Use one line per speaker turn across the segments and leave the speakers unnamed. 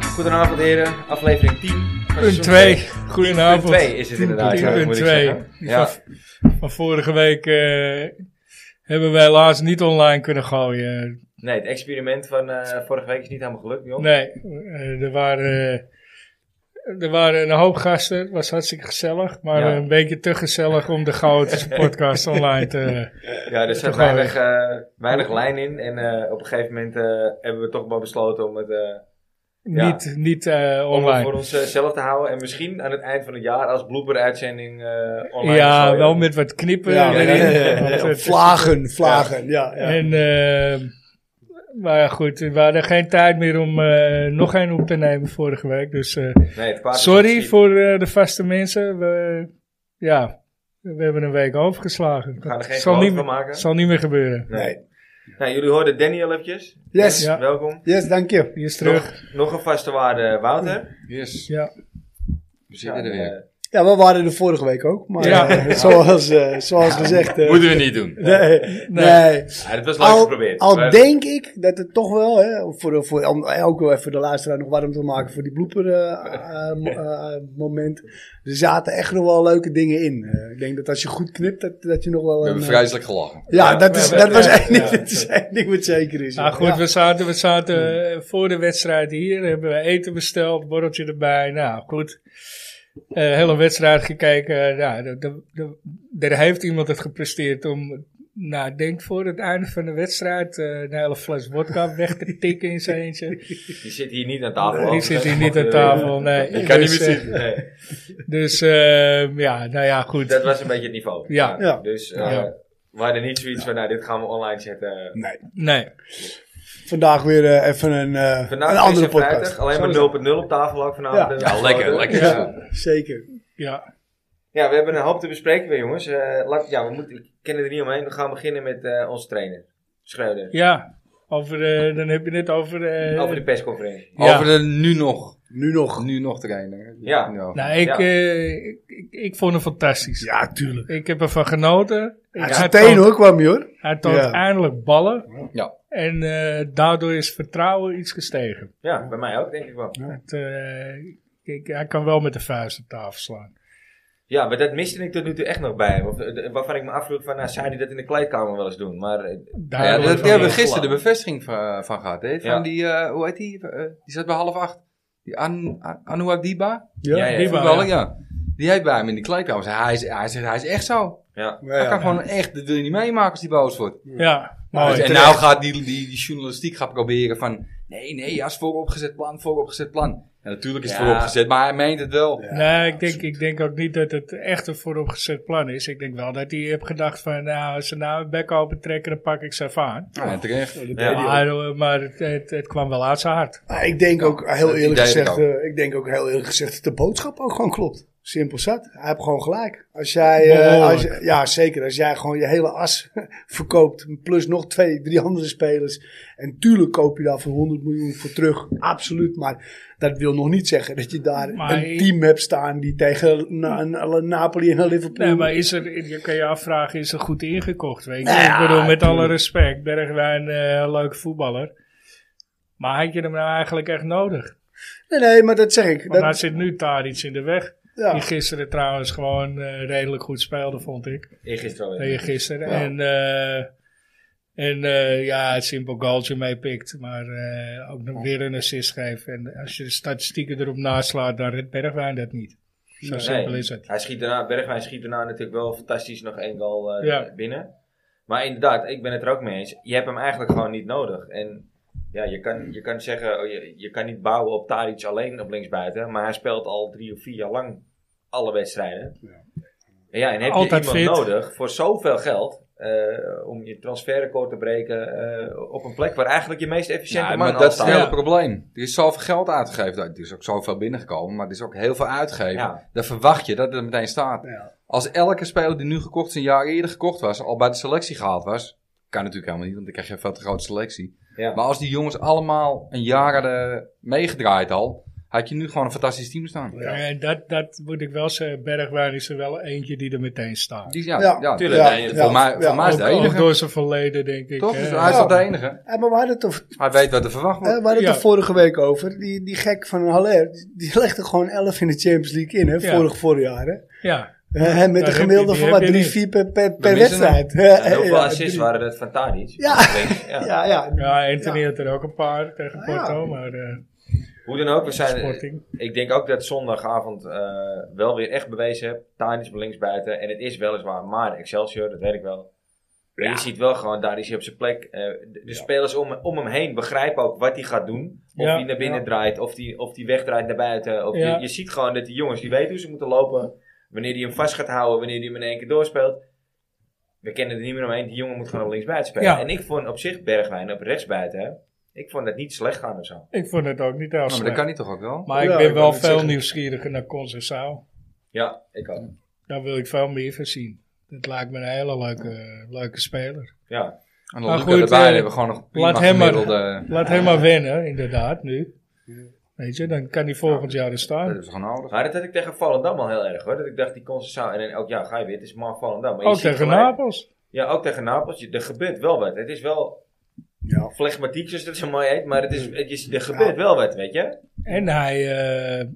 Goedenavond heren, aflevering 10. van
Punt
seizoen
2.
twee.
Goedenavond.
Punt 2 is het inderdaad.
Punt
ja,
punt
moet ik
twee.
zeggen.
Die
Ja.
Van, van vorige week eh, hebben wij helaas niet online kunnen gooien.
Nee, het experiment van eh, vorige week is niet helemaal gelukt, joh.
Nee, eh, er waren, eh, er waren een hoop gasten. Het was hartstikke gezellig. Maar
Ja.
een beetje te gezellig om de chaotische podcast online te...
Ja, er zat
Toch wel
weinig, eh, weinig lijn in. En eh, op een gegeven moment eh, hebben we toch maar besloten om het eh, Ja.
Niet, niet eh,
om het
online.
voor onszelf te houden. En misschien aan het eind van het jaar als blooper-uitzending eh, online. te
Ja,
gooien.
wel met wat knippen.
Ja,
erin.
ja, ja, ja.
Want het-
Vlagen, vlagen, ja. ja.
En, eh, maar ja, goed, we hadden geen tijd meer om eh, nog één op te nemen vorige week. Dus eh,
Nee, het kwaad is
sorry
misschien-
voor eh, de vaste mensen. We, ja, we hebben een week overgeslagen.
We gaan er geen
zal,
geloof
niet,
van maken.
zal niet meer gebeuren.
Nee.
Nou, jullie hoorden Danny al eventjes.
Yes,
Ja.
Welkom.
yes, dank je.
Die is terug.
Nog, nog een vaste waarde, Wouter.
Yes,
Ja.
we zitten er
Ja,
weer.
eh,
Ja, we waren er vorige week ook, maar
Ja.
eh, zoals, eh, zoals gezegd... eh,
Moeten we niet doen.
nee, nee.
ja, dat was leuk
Al,
geprobeerd.
al
Maar-
denk ik dat het toch wel, hè, voor, eh, voor, om ook wel even de luisteraar nog warm te maken voor die blooper eh, eh, mo- eh, moment. Er zaten echt nog wel leuke dingen in. Eh, ik denk dat als je goed knipt, dat, dat je nog wel...
We
een,
hebben
eh,
vreselijk gelachen.
ja, dat, is,
Ja,
dat
ja,
was
ja,
één ding,
ja.
dat is één ding wat zeker is.
Nou
ja.
goed,
Ja.
we zaten, we zaten eh, voor de wedstrijd hier. Hebben we eten besteld, borreltje erbij. Nou goed. Eh hele wedstrijd gekeken. Nou, de- de- de- er heeft iemand het gepresteerd om, nou, ik denk voor het einde van de wedstrijd, eh, een hele fles wodka weg te tikken in zijn eentje.
Die zit hier niet aan tafel.
Die
hoor.
zit hier
Dat
niet
mag
aan
jullie-
tafel. Nee.
Ik kan
Dus,
niet meer
eh,
zien.
Nee,
Dus eh, ja, nou ja, goed.
dat was een beetje het niveau.
Ja.
Ja.
Dus eh,
Ja.
we hadden niet zoiets van, nou, dit gaan we online zetten.
Nee.
Nee.
Vandaag weer eh, even een, eh,
Vandaag
een
is
andere
het
podcast.
vrijdag, alleen
Zo
maar
is het.
0.0 op tafel ook vanavond.
Ja.
hebben we
Ja, lekker,
besloten.
lekker.
Ja, zeker.
Ja.
Ja, we hebben een hoop te bespreken weer, jongens. Eh, laat, ja, we moeten, we kennen er niet omheen. We gaan beginnen met eh, onze trainer, Schreuder.
Ja. Over, eh, dan heb je het over... eh,
Over de persconferentie.
Ja.
Over de nu nog.
Nu nog.
Nu nog trainer.
Ja.
Nou, ik,
Ja.
eh, ik, ik, ik vond hem fantastisch.
Ja, tuurlijk.
Ik heb ervan genoten.
Hij
Ik-
is meteen
toont,
hoor, kwam je hoor.
hij toont
Ja.
eindelijk ballen.
Ja.
En eh, daardoor is vertrouwen iets gestegen.
Ja, bij mij ook, denk ik wel.
Het, eh, ik, hij kan wel met de vuist op tafel slaan.
Ja, maar dat miste ik tot nu toe echt nog bij hem. Of, eh, de- Waarvan ik me afvroeg van, nou, zou hij dat in de kleedkamer wel eens doen? Maar eh,
Ja,
Daardoor
daar
is hij-
hebben we gisteren de bevestiging van, van gehad. Hè? Van
Ja.
die, eh, hoe heet die? Eh, die zat bij half acht. Die An, An, Anouar Diba.
Ja.
Ja, ja.
die bal,
Voetballer,
ja.
ja. Die heeft bij hem in de kleedkamer. Hij is, hij, is, hij is echt zo.
ja,
Maar
Hij
ja.
kan gewoon echt, dat wil je niet meemaken als die boos wordt.
Ja,
Nou,
mooi.
en
terecht.
nou gaat die, die, die journalistiek gaan proberen van... Nee, nee, ja, is vooropgezet plan, vooropgezet plan. En natuurlijk is het
Ja.
vooropgezet, maar hij meent het wel.
Ja.
Nee, ik denk, ik denk ook niet dat het echt een vooropgezet plan is. Ik denk wel dat hij heeft gedacht van, nou, als ze nou een bek open trekken, dan pak ik ze even aan.
Ja, en terecht.
Ja, dat
Ja.
deed hij ook.
Maar, eh, maar het, het, het kwam wel uit zijn hart.
Maar ik denk ook
Ja,
heel
dat
eerlijk
idee heb ik
gezegd,
ook.
eh, ik denk ook heel eerlijk gezegd dat de boodschap ook gewoon klopt. Simpel zat. Hij heeft gewoon gelijk. Als jij, eh,
Behoorlijk.
als, je- ja zeker, als jij gewoon je hele as verkoopt, plus nog twee, drie andere spelers. En tuurlijk koop je daar voor 100 miljoen voor terug, absoluut. Maar dat wil nog niet zeggen dat je daar
Maar
een
ik-
team hebt staan die tegen na, na- Napoli en Liverpool...
Nee, maar is er, je kan je afvragen, is er goed ingekocht? Weet je?
Nou ja,
ik bedoel, met alle
tuurlijk.
respect, Bergwijn, eh leuke voetballer. Maar had je hem nou eigenlijk echt nodig?
Nee, nee, maar dat zeg ik.
Want daar
Dat,
zit nu daar iets in de weg.
ja.
Die gisteren trouwens gewoon eh, redelijk goed speelde, vond ik.
eergisteren wel.
Tegen gisteren.
Ja.
En, eh, en eh, ja, het simpel goaltje meepikt. Maar eh, ook nog weer een assist geeft. En als je de statistieken erop naslaat, dan redt Bergwijn dat niet. Zo
Nee.
simpel is het.
Hij schiet daarna, Bergwijn schiet daarna natuurlijk wel fantastisch nog één goal eh,
Ja.
binnen. Maar inderdaad, ik ben het er ook mee eens. Je hebt hem eigenlijk gewoon niet nodig. En ja, je kan, je kan zeggen, oh, je, je kan niet bouwen op Tadic alleen op linksbuiten. Maar hij speelt al drie of vier jaar lang alle wedstrijden. Ja, en, ja, en heb
Altijd
je iemand
fit.
nodig voor zoveel geld... eh, om je transferrecord te breken eh, op een plek waar eigenlijk je meest efficiënte
Ja,
man
maar
al
dat is
staat.
het hele
Ja.
probleem. Er is zoveel geld uitgegeven. Nou, Er is ook zoveel binnengekomen, maar er is ook heel veel uitgegeven.
Ja.
Dan verwacht je dat het er meteen staat.
Ja.
Als elke speler die nu gekocht is, een jaar eerder gekocht was, al bij de selectie gehaald was. Kan natuurlijk helemaal niet, want dan krijg je een veel te grote selectie.
Ja.
Maar als die jongens allemaal een jaar hadden meegedraaid al, had je nu gewoon een fantastisch team staan.
Ja.
Eh, dat, dat moet ik wel zeggen. Bergwijn is er wel eentje die er meteen staat.
Die, ja,
Ja,
ja,
tuurlijk.
ja,
nee,
voor mij- voor mij is
Ook,
de
ook
enige.
door zijn verleden, denk ik.
Toch?
hè.
Dus hij is
Ja.
toch de enige?
Eh, maar we hadden het, er-
Hij weet wat er verwacht
eh, we
wordt.
hadden het
Ja.
er vorige week over. Die, die gek van Haller, die- die legde gewoon 11 in de Champions League in, hè,
Ja.
vorig, vorig jaar. Hè.
Ja,
Eh, met een
heb je-
gemiddelde
die
van
heb
wat,
je
3,
niet.
4 per, per, per
missen
wedstrijd.
En hoeveel assists
drie.
waren dat van Tadic?
Ja.
Links, ja.
Ja, ja.
ja Anthony had er ook een paar
Ah,
tegen
ja.
Porto, maar eh,
Hoe dan ook, we zijn,
Sporting.
ik denk ook dat zondagavond eh, wel weer echt bewezen heb. Tadic op linksbuiten. En het is weliswaar maar Excelsior, dat weet ik wel. Maar je ziet wel gewoon, daar is hij op zijn plek. Eh, de de spelers om, om hem heen begrijpen ook wat hij gaat doen. Of
Ja,
hij naar binnen
ja.
draait, of hij of die wegdraait naar buiten. Of
Ja.
je, je ziet gewoon dat die jongens, die weten hoe ze moeten lopen. Wanneer hij hem vast gaat houden, wanneer hij hem in één keer doorspeelt. We kennen er niet meer omheen, die jongen moet gewoon op linksbuiten spelen.
Ja.
En ik vond op zich Bergwijn op rechtsbuiten, ik vond dat niet slecht gaan of zo.
ik vond het ook niet heel
Ja, maar dat
slecht.
kan hij toch ook wel?
Maar ik
Ja,
ben
ik
wel
wou net
veel
zeggen.
nieuwsgieriger naar Concessao.
Ja, ik ook.
Daar wil ik veel meer van zien. Dat lijkt me een hele leuke, leuke speler.
Ja,
En
Maar
dan Luca
goed,
erbij
eh,
hebben we gewoon nog prima
laat hem maar-
gemiddelde...
Laat hem maar winnen, inderdaad, nu. Weet je, dan kan hij volgend jaar er
Dat
staan.
is gewoon nodig.
Maar dat had ik tegen Volendam al heel erg hoor. Dat ik dacht, die Concessao. En dan ook, ja, ga je weer. Het is maar Volendam. Maar je
Ook
ziet
tegen
gelijk-
Napels.
Ja, ook tegen Napels. Je- Er gebeurt wel wat. Het is wel
Ja.
flegmatiek, zoals dat zo mooi heet. Maar het is, het is, er gebeurt wel wat, weet je?
En hij, eh,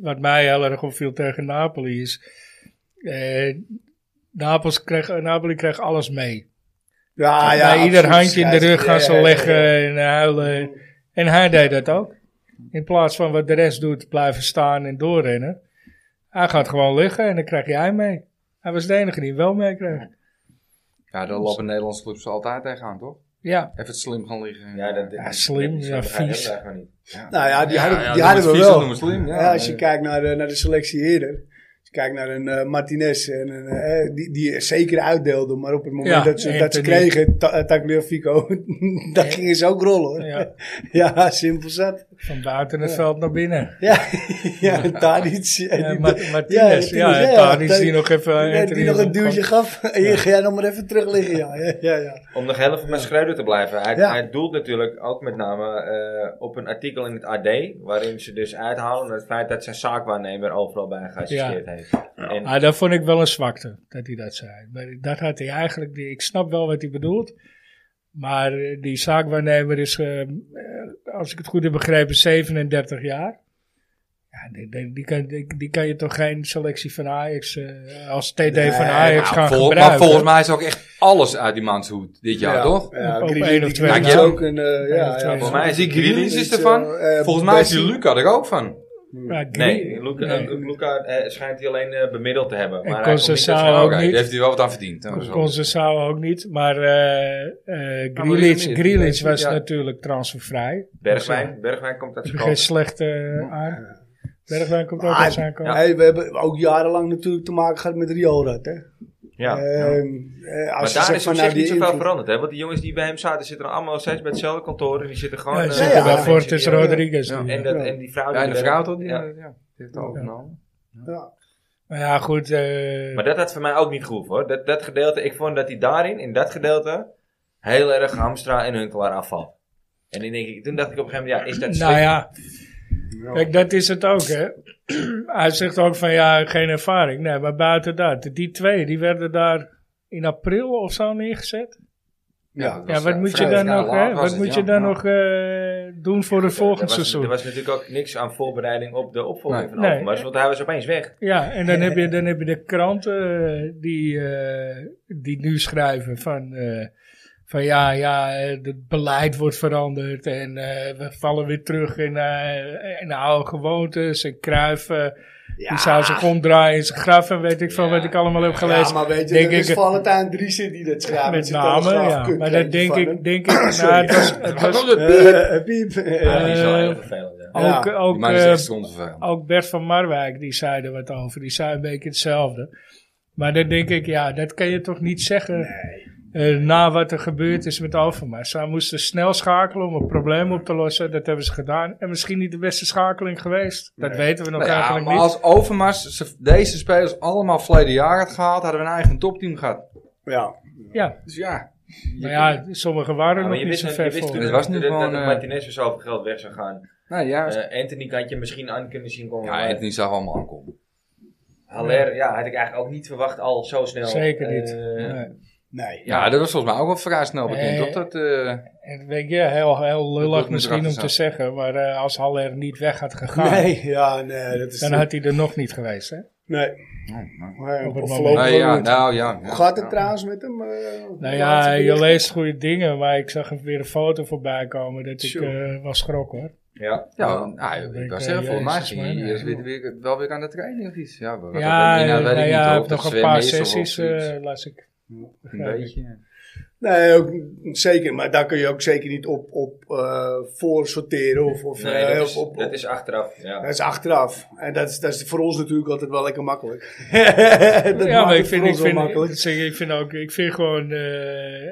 wat mij heel erg opviel tegen Napoli is... eh, Napels kreeg, Napoli kreeg alles mee.
Ja, Ah, ja,
Bij ieder
absoluut.
handje in de rug gaan
Ja,
ze
ja, ja,
leggen
ja.
en huilen. En hij deed dat ook. In plaats van wat de rest doet, blijven staan en doorrennen. Hij gaat gewoon liggen en dan krijg jij mee. Hij was de enige die hem wel mee kreeg.
Ja, daar lopen Nederlandse clubs altijd tegenaan, toch?
Ja,
Even slim gaan liggen.
Ja, dat,
Ja, slim,
dat-
ja,
dat begrijp ik
vies.
eigenlijk gewoon niet.
Nou ja, die hadden, die
ja, noem het
hadden we
vies en noem
wel.
het slim,
Ja,
ja.
als je kijkt naar de, naar de selectie eerder. Als je kijkt naar een eh, Martinez. En een, eh, die, die zeker uitdeelden. Maar op het moment
Ja,
dat, ze, dat ze
Anthony.
kregen, Ta- eh, Tagliafico. dat gingen ze ook rollen hoor.
Ja.
Ja, simpel zat.
van buiten het veld naar binnen.
Ja, ja en Tadic. Ja,
Ja,
die-
Mart- Martinez, ja, en Tadic die nog even, eh,
ja, die
Anthony
nog een
nog-
duwtje gaf. En hier ga jij nog maar even terug liggen. Ja, ja, ja. ja.
Om nog heel even met Schreuder te blijven. Hij,
Ja.
hij doelt natuurlijk ook met name eh, op een artikel in het AD. Waarin ze dus uithalen het feit dat zijn zaakwaarnemer overal bij geassisteerd heeft. En,
Ah, dat vond ik wel een zwakte, dat hij dat zei. Maar dat had hij eigenlijk, die- ik snap wel wat hij bedoelt. Maar eh, die zaakwaarnemer is, eh, eh, als ik het goed heb begrepen, 37 jaar. Ja, die, die, die kan, die, die kan je toch geen selectie van Ajax, eh, als TD van Ajax gaan
Nou, vol-
gebruiken.
maar volgens mij is ook echt alles uit die man's hoed dit jaar,
Ja,
toch?
Ja,
Op
Grealish-
één of twee
Grealish
na.
ook een, eh,
één
ja,
of
ja,
twee
ja,
na.
voor mij is die
Grealish
Grealish...
is
eh,
ervan.
eh,
Volgens mij is die
Bessie-
Luca er ook van.
Oh, Ja,
Nee,
Grie-
Luca,
nee.
Luca eh, schijnt hij alleen eh, bemiddeld te hebben.
En
Maar hij komt niet
Concessao
uit zijn-
Oké,
ook niet.
daar heeft hij wel wat aan verdiend. Dat is wel-
Concessao ook niet, maar eh eh
maar die
Grealish,
niet.
Grealish was
Ja.
natuurlijk transfervrij.
Bergwijn, Bergwijn komt uit
Dus,
zijn
eh, geen
kant.
slechte eh, aan. Bergwijn komt ook
Maar-
uit zijn kant.
Hey, we hebben ook jarenlang natuurlijk te maken gehad met Riorat. Hè?
Ja.
Ehm, eh,
Maar
als je
daar
zegt
is
van,
op
nou,
zich
die
niet zoveel
invloed-
veranderd. Hè? Want die jongens die bij hem zaten zitten er allemaal nog steeds bij hetzelfde kantoor. En die zitten gewoon...
Ja,
eh,
ja,
ja, ja.
daarvoor
mensen
het is
die-
Rodriguez.
Ja.
die-
En, dat, en die vrouw...
Ja, en
die
de
er-
vrouw toch? Die,
Ja.
ja. die heeft het overgenomen.
Ja.
Maar ja, goed. eh,
Maar dat had voor mij ook niet gehoeven hoor. Dat, dat gedeelte, ik vond dat hij daarin, in dat gedeelte, heel erg Hamstra en Huntelaar afvalt. En dan denk ik, toen dacht ik op een gegeven moment, ja, is dat slim?
nou ja, kijk, dat is het ook, hè. Hij zegt ook van, ja, geen ervaring. Nee, maar buiten dat. Die twee, die werden daar in april of zo neergezet.
Ja.
eh, Ja, wat moet je
vrij
dan
jaar
nog, hè? Wat moet je dan nog eh, doen voor het
Er
volgend
was- Er
seizoen?
was natuurlijk ook niks aan voorbereiding op de opvolging
Nee.
van
Nee.
Overmars, want hij was opeens weg.
Ja, en
Eh,
dan heb je, dan heb je de kranten eh, die, eh, die nu schrijven van, eh, van ja, ja, eh, het beleid wordt veranderd en eh, we vallen weer terug in, eh, in de oude gewoontes en kruiven. Die zou zich omdraaien in zijn graf en weet ik veel wat ik allemaal heb gelezen.
Ja, maar weet je,
Denk
denk dat is
ik-
Valentijn Driessen die dat schrijft.
met
zit al een
name, ja.
grafkut,
Maar
weet je,
dat denk
van
ik,
hem.
denk ik, nou, het was, het was
Eh, eh, piep.
Ja, die is wel
Eh,
heel vervelend. ja.
Ja,
ook,
die
Die
ook
man is
eh,
echt zonder vervelend.
ook Bert van Marwijk, die zei er wat over. Die zei een beetje hetzelfde. Maar dan denk ik, ja, dat kan je toch niet zeggen eh, na wat er gebeurd is met Overmars. Zij moesten snel schakelen om een probleem op te lossen. Dat hebben ze gedaan. En misschien niet de beste schakeling geweest. Dat weten we nog
Nou ja,
eigenlijk
maar
niet.
als Overmars ze- deze spelers allemaal verleden jaar had gehaald, hadden we een eigen topteam gehad.
Ja.
Ja,
Dus ja,
maar ja, sommigen waren
Ja, maar
nog
je
niet
wist,
zo
je
ver
wist
voor.
toen
Het was nu
dat, dat
gewoon,
dat
eh,
Martinez voor zoveel geld weg zou gaan.
Nou ja,
Eh, Anthony had je misschien aan kunnen zien komen.
ja
maar
Anthony zag allemaal aankomen.
Haller, ja, had ik eigenlijk ook niet verwacht al zo snel.
Zeker
eh,
niet. Nee.
Nee.
Ja, dat was volgens mij ook wel vrij snel
Nee.
bekend, toch? Dat, eh,
En weet je, heel, heel lullig
Dortmund
misschien om
erachter
te zeggen, maar eh, als Haller niet weg had gegaan,
Nee, ja, nee, dat is...
dan had hij er nog niet geweest. Hè?
Nee. Maar
Op het
voorlopig
moment.
wel
nou ja,
niet.
nou ja. ja,
Hoe gaat het
ja.
trouwens met hem? eh,
Nou ja,
laatste
je
bericht?
leest goede dingen, maar ik zag weer een foto voorbij komen dat ik
Tjoe.
eh was schrok hoor.
Ja,
Ja, nou,
denk,
ik was
eh,
zeggen, volgens mij
Jezus,
ging hij
man,
eerst
ja.
weer, weer- wel weer aan de training of iets. Ja, wat dat
Ja,
inhoudt, weet ik
nou
niet,
ja,
hoor.
ik heb
Dat
nog een
zwemmen
paar
is of
sessies,
zoiets.
eh las ik.
Een beetje.
Nee, ook, zeker. Maar daar kun je ook zeker niet op, op eh, voor sorteren. Of, of,
nee,
eh,
dat, is,
op, op-
dat is achteraf. Ja.
dat is achteraf. En dat is, dat is voor ons natuurlijk altijd wel lekker makkelijk. dat
ja,
maakt
maar ik vind,
het voor
ik,
ons wel
vind,
makkelijk.
ik, zeg, ik vind ook, ik vind gewoon, eh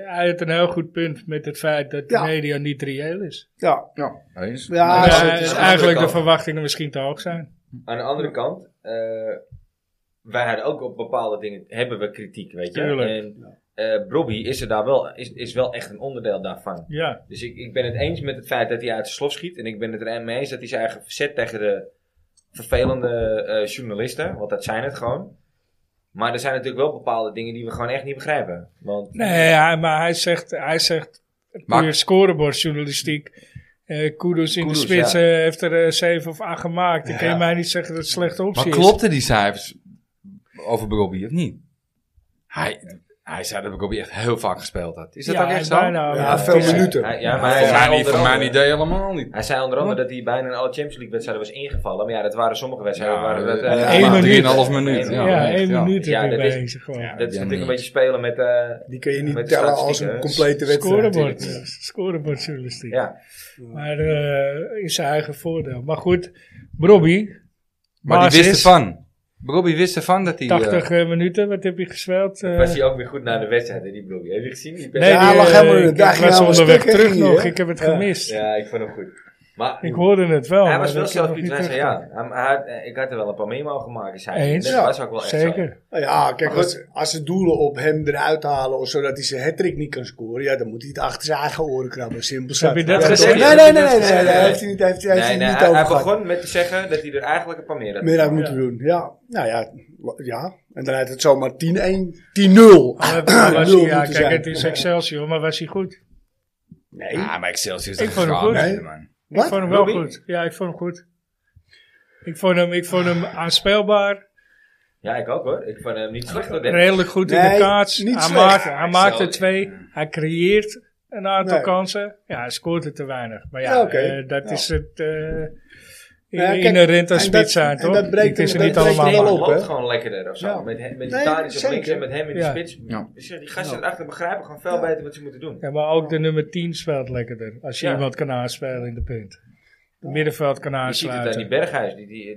hij heeft een heel goed punt met het feit dat de
Ja.
media niet reëel is.
ja,
Ja, eens.
ja,
Ja,
zo-
het is
eh,
aan de andere
eigenlijk de
kant.
verwachtingen misschien te hoog zijn.
Aan de andere kant, eh, wij hadden ook op bepaalde dingen, hebben we kritiek, weet je.
Tuurlijk.
En eh Brobby is, er daar wel, is, is wel echt een onderdeel daarvan.
Ja,
Dus ik, ik ben het eens met het feit dat hij uit zijn slof schiet. En ik ben het er mee eens dat hij zijn eigen verzet tegen de vervelende eh, journalisten. Want dat zijn het gewoon. Maar er zijn natuurlijk wel bepaalde dingen die we gewoon echt niet begrijpen. Want
nee, hij- maar hij zegt, hij zegt
Maar-
puur scorebordjournalistiek. Eh Kudus in
Kudus,
de spits
ja.
eh, heeft er eh, zeven of acht gemaakt. Dan kun je
Ja.
mij niet zeggen dat het slechte optie
Maar
is.
klopten die cijfers over Bobby of niet? Hij, hij zei dat Bobby echt heel vaak gespeeld had. Is dat ook echt zo?
bijna wel.
Ja, veel
Het is-
minuten.
hij, ja, maar
Maar
hij
voor mij,
zei
niet,
onder
voor
andere-
mijn idee helemaal niet.
hij zei onder andere dat hij bijna in alle Champions League wedstrijden was ingevallen. Maar ja, dat waren sommige wedstrijden. waren dat, eh,
ja,
maar-
één minuut.
Drieënhalf minuut.
Ja,
Ja, één minuut
Ja,
heb ik
dat is-
bezig gewoon.
Dat is
Ja,
natuurlijk een
niet.
beetje spelen met... eh,
die kun je niet
Met de
tellen als
statistieken,
een
hè.
complete wedstrijd.
Scorebord, scorebordjournalistiek.
ja,
Maar eh in zijn eigen voordeel. Maar goed, Bobby,
Maar die
basis,
wist ervan. Bobby wist ervan dat hij... eh,
80 minuten, wat heb je gespeeld? Eh,
was hij ook weer goed naar de wedstrijd, hè, die Brobby. Heb je gezien? Die
nee,
Ja,
die,
lag
eh,
helemaal in de
ik,
dag,
ik
ja,
was
was
onderweg
stuk, hè,
terug
hier,
nog,
hè?
ik heb het
Ja.
gemist.
Ja, ik vond hem goed. Maar
Ik hoorde het wel.
hij
maar
was wel
ik heb nog
zelfkritisch. Hij
niet
zei, ja, hij- hij had- eh, ik had er wel een paar memo gemaakt, zei hij.
Eens.
Dat
Ja,
was ook wel echt
Zeker.
zo.
Nou Ja, kijk, als, als ze doelen op hem eruit halen, of zodat hij zijn hattrick niet kan scoren, ja, dan moet hij het achter zijn eigen oren krabben. Simpel
Heb je
zat.
dat
Ja,
gezegd?
toch? Nee, nee, nee,
Heb je dat
nee, nee,
gezegd?
daar heeft hij niet, heeft, hij- heeft
Nee, nee,
hij niet
hij,
over
hij
gehad.
begon met te zeggen dat hij er eigenlijk een paar meer had.
meer aan moeten
Ja.
doen. Ja, nou ja, ja. En dan had het zomaar 10-1, 10-0.
Maar Ah, was hij,
Nul
ja,
moeten
kijk,
zijn.
het is Excelsior, maar was hij goed?
Nee,
Ja, Ah, maar Excelsior is
Ik
toch
vond hem
een
goed.
verhaal, man.
Ik
wat?
vond hem wel
Robbie?
goed. Ja, ik vond hem goed. Ik vond hem, ik vond hem aanspeelbaar,
Ja, ik ook hoor. Ik vond hem niet slecht. hoor, Dennis.
redelijk goed in de
Nee,
kaats.
niet
hij
slecht.
maakt, hij maakt er
Excel-
twee, hij creëert een aantal
Nee.
kansen. Ja, hij scoort er te weinig. Maar ja,
Ja, oké.
eh, dat
Ja.
is het eh
Ja, kijk,
inherent aan
en
spits
dat-
zijn,
en
toch?
dat breekt
het is er
hem-
niet
dat breekt hem
allemaal
wel
aan.
op.
loopt
hè?
gewoon lekkerder of zo.
Ja.
Met, hem- met
Nee,
die Tadic op
zeker.
links en met hem in de
Ja.
spits.
Ja.
Dus ja, die gasten
Ja.
erachter begrijpen gewoon veel
Ja.
beter wat ze moeten doen.
Ja, maar ook de nummer 10 speelt lekkerder. Als je
Ja.
iemand kan aanspelen in de punt. Het middenveld kan
Je ziet het aan die
aansluiten.
Berghuis. Die, die, die,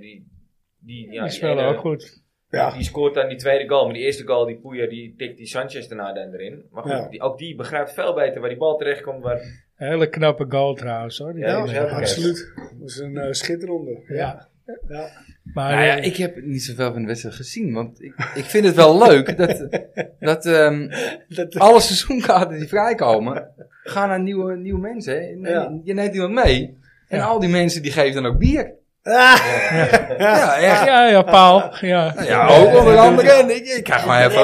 die, ja,
Die
die
spelen
ene-
ook goed.
Ja,
Die scoort dan die tweede goal. Maar die eerste goal, die Poeja, die tikt die Sanchez daarna dan erin. Maar goed,
Ja.
die, ook die begrijpt veel beter waar die bal terecht komt. Waar,
Hele knappe goal trouwens hoor. Die
Ja,
ja,
die was heel
tweede.
goed.
absoluut. Dat was een eh, schitterende. Ja.
Ja.
Ja.
Maar
Nou ja,
eh,
ik heb niet zoveel van de wedstrijd gezien. Want ik, ik vind het wel leuk dat, dat ehm,
Dat,
alle seizoenkaarten die vrijkomen, gaan naar nieuwe, nieuwe mensen. hè. Je neemt-
Ja.
Je neemt iemand mee. En
Ja.
al die mensen die geven dan ook bier.
Ah,
Ja, echt.
Ja, ja, Paul. Ja.
Ja, ook onder andere. En Ik, ik krijg maar even...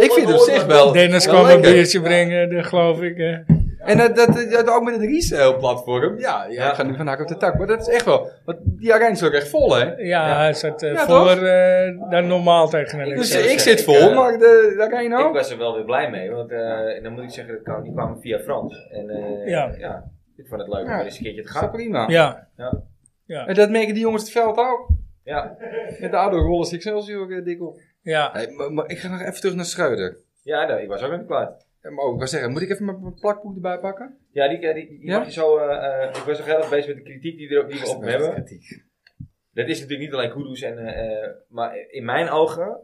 Ik vind het op zich wel
Dennis
wel
kwam een
lekker.
biertje brengen, dat geloof ik. hè.
En dat, dat, dat ook met het resale-platform. Ja, ja, ik ga nu van haak op de tak. Maar dat is echt wel... Want die arena is ook echt vol, hè?
Ja, hij zat eh,
Ja,
voor
toch?
eh, dan normaal tegen een
Dus
zou
ik
zeggen,
zit vol,
ik, eh,
maar de, de arena
Ik
ook.
was er wel weer blij mee. Want eh, en dan moet ik zeggen, dat kwam, die kwamen via Frans. En eh,
Ja.
ja. ik vond het leuk om
Ja.
weer eens een keertje te
Gaat
gaan.
prima.
Ja,
Ja.
En dat merken die jongens het veld ook.
Ja.
Met de oude rollen Excelsior eh, dik op.
ja.
Hey, maar, maar ik ga nog even terug naar Schreuder.
Ja, nou, ik was ook in kwaad.
Eh, Maar ook, ik wou zeggen, moet ik even mijn mijn plakboek erbij pakken?
Ja, die, die, die
Ja?
mag je zo... eh, eh, ik was nog heel erg bezig met de kritiek die, er, die we op hem hebben.
Kritiek.
Dat is natuurlijk niet alleen Kudus. En, eh, eh, maar in mijn ogen...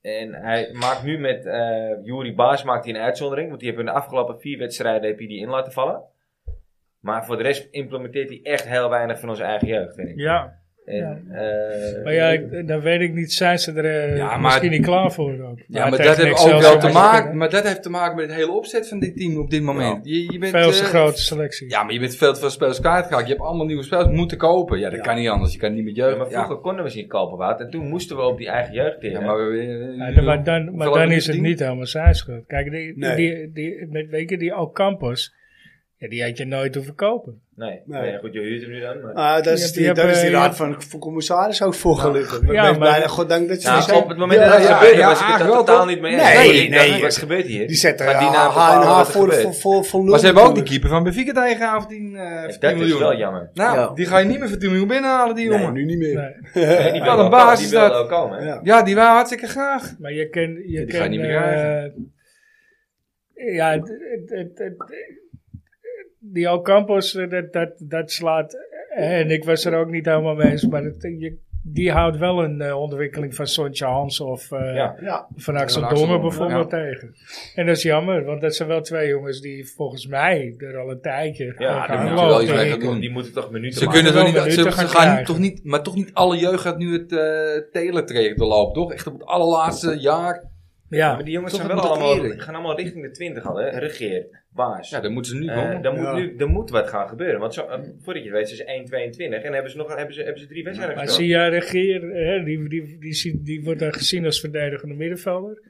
En hij maakt nu met eh Juri Baas maakt hij een uitzondering. Want die hebben in de afgelopen vier wedstrijden heb je die in laten vallen. Maar voor de rest implementeert hij echt heel weinig van onze eigen jeugd, vind ik.
Ja,
En, eh,
Maar ja, ik- dan weet ik niet, zijn ze er eh,
Ja, maar-
misschien niet klaar voor ook.
Ja, maar
tegen
dat, heeft ook
Excelsior
wel te
moet je
maken,
kunnen.
maar dat heeft te maken met het hele opzet van dit team op dit moment. Je, je bent,
Veel te
eh,
grote selectie.
Ja, maar je bent veel te veel spelers kwijtgeraakt. Je hebt allemaal nieuwe spelers moeten kopen. Ja, dat
Ja.
kan niet anders. Je kan niet met
ja,
jeugd.
maar vroeger konden we ze niet kopen, Wout. En toen moesten we op die eigen jeugd
Ja,
teren.
maar, we- we-
Ja, dan- maar dan, maar
hoeveel
dan
hebben
is
we
het
gezien?
niet helemaal zijn schuld. Kijk, die,
Nee.
die, die, met, weet je, die Alcampos, ja, die had je nooit hoeven kopen.
nee.
Nee.
Nee, goed, je huurt hem nu dan. Maar...
Ah, dat
Je
is
hebt-
die,
je
dat
hebt,
is die
eh,
raad van, van commissaris ook voorgelukkig.
ja,
Ja,
maar-
maar goddank dat ze er
Nou,
zijn.
op het moment
Ja,
dat het
ja,
gebeurde,
ja,
was ik het
eigenlijk wel,
totaal
toch?
niet mee
Nee,
eens. Ik dacht,
nee,
wat gebeurt hier?
Die zetten
Maar die
H
naam
en
bepalen
H
wat er
voor,
gebeurt.
voor, voor, voor nul.
Maar ze hebben ook die
natuurlijk.
keeper van Benfica tegengehaald. Die, eh,
Ja,
10
Dat
miljoen.
is wel jammer.
Nou,
Ja.
die ga je niet meer voor 10 miljoen binnenhalen, die jongen.
Nee, nu niet meer.
Nee.
Nee, die
Wel
wilde
een
wel-
basis
Die wilde
dat.
ook komen. hè?
Ja.
Ja, die waren hartstikke graag.
Maar je kan... Je
die
kan,
ga je niet meer
eh,
krijgen.
ja, het- het- het- het- die Alcampos, eh, dat, dat, dat slaat... eh, En ik was er ook niet helemaal mee eens, maar het- je, die houdt wel een eh, ontwikkeling van Sontje Hans of eh,
Ja.
Ja.
van Axel
Van Axel
Dongen
Dongen,
bijvoorbeeld tegen. En dat is jammer, want dat zijn wel twee jongens die volgens mij er al een tijdje
Ja, daar
gaan
moet je
moeten we
wel
wel
iets
lopen.
mee
iets
gaan doen.
Die moeten toch minuten
Ze
maken.
kunnen
wel
toch niet,
minuten
ze,
gaan
ze gaan
krijgen.
toch niet, maar toch niet alle jeugd gaat nu het eh teletraject doorlopen, toch? Echt op het allerlaatste jaar.
Ja,
Ja,
maar die jongens
Toch
zijn wel
moet dat
allemaal,
eerlijk.
gaan allemaal richting de 20 al, hè? Regeer, baas.
Ja,
Eh
dat moeten ze nu komen.
er moet,
Ja.
nu, er moet wat gaan gebeuren. Want zo, eh, voordat je het weet, ze is 1, 22 en hebben ze, nog, hebben ze, hebben ze drie wedstrijden
maar
gespeeld.
zie jij regeer, hè, die, die, die, zie- die wordt dan gezien als verdedigende middenvelder.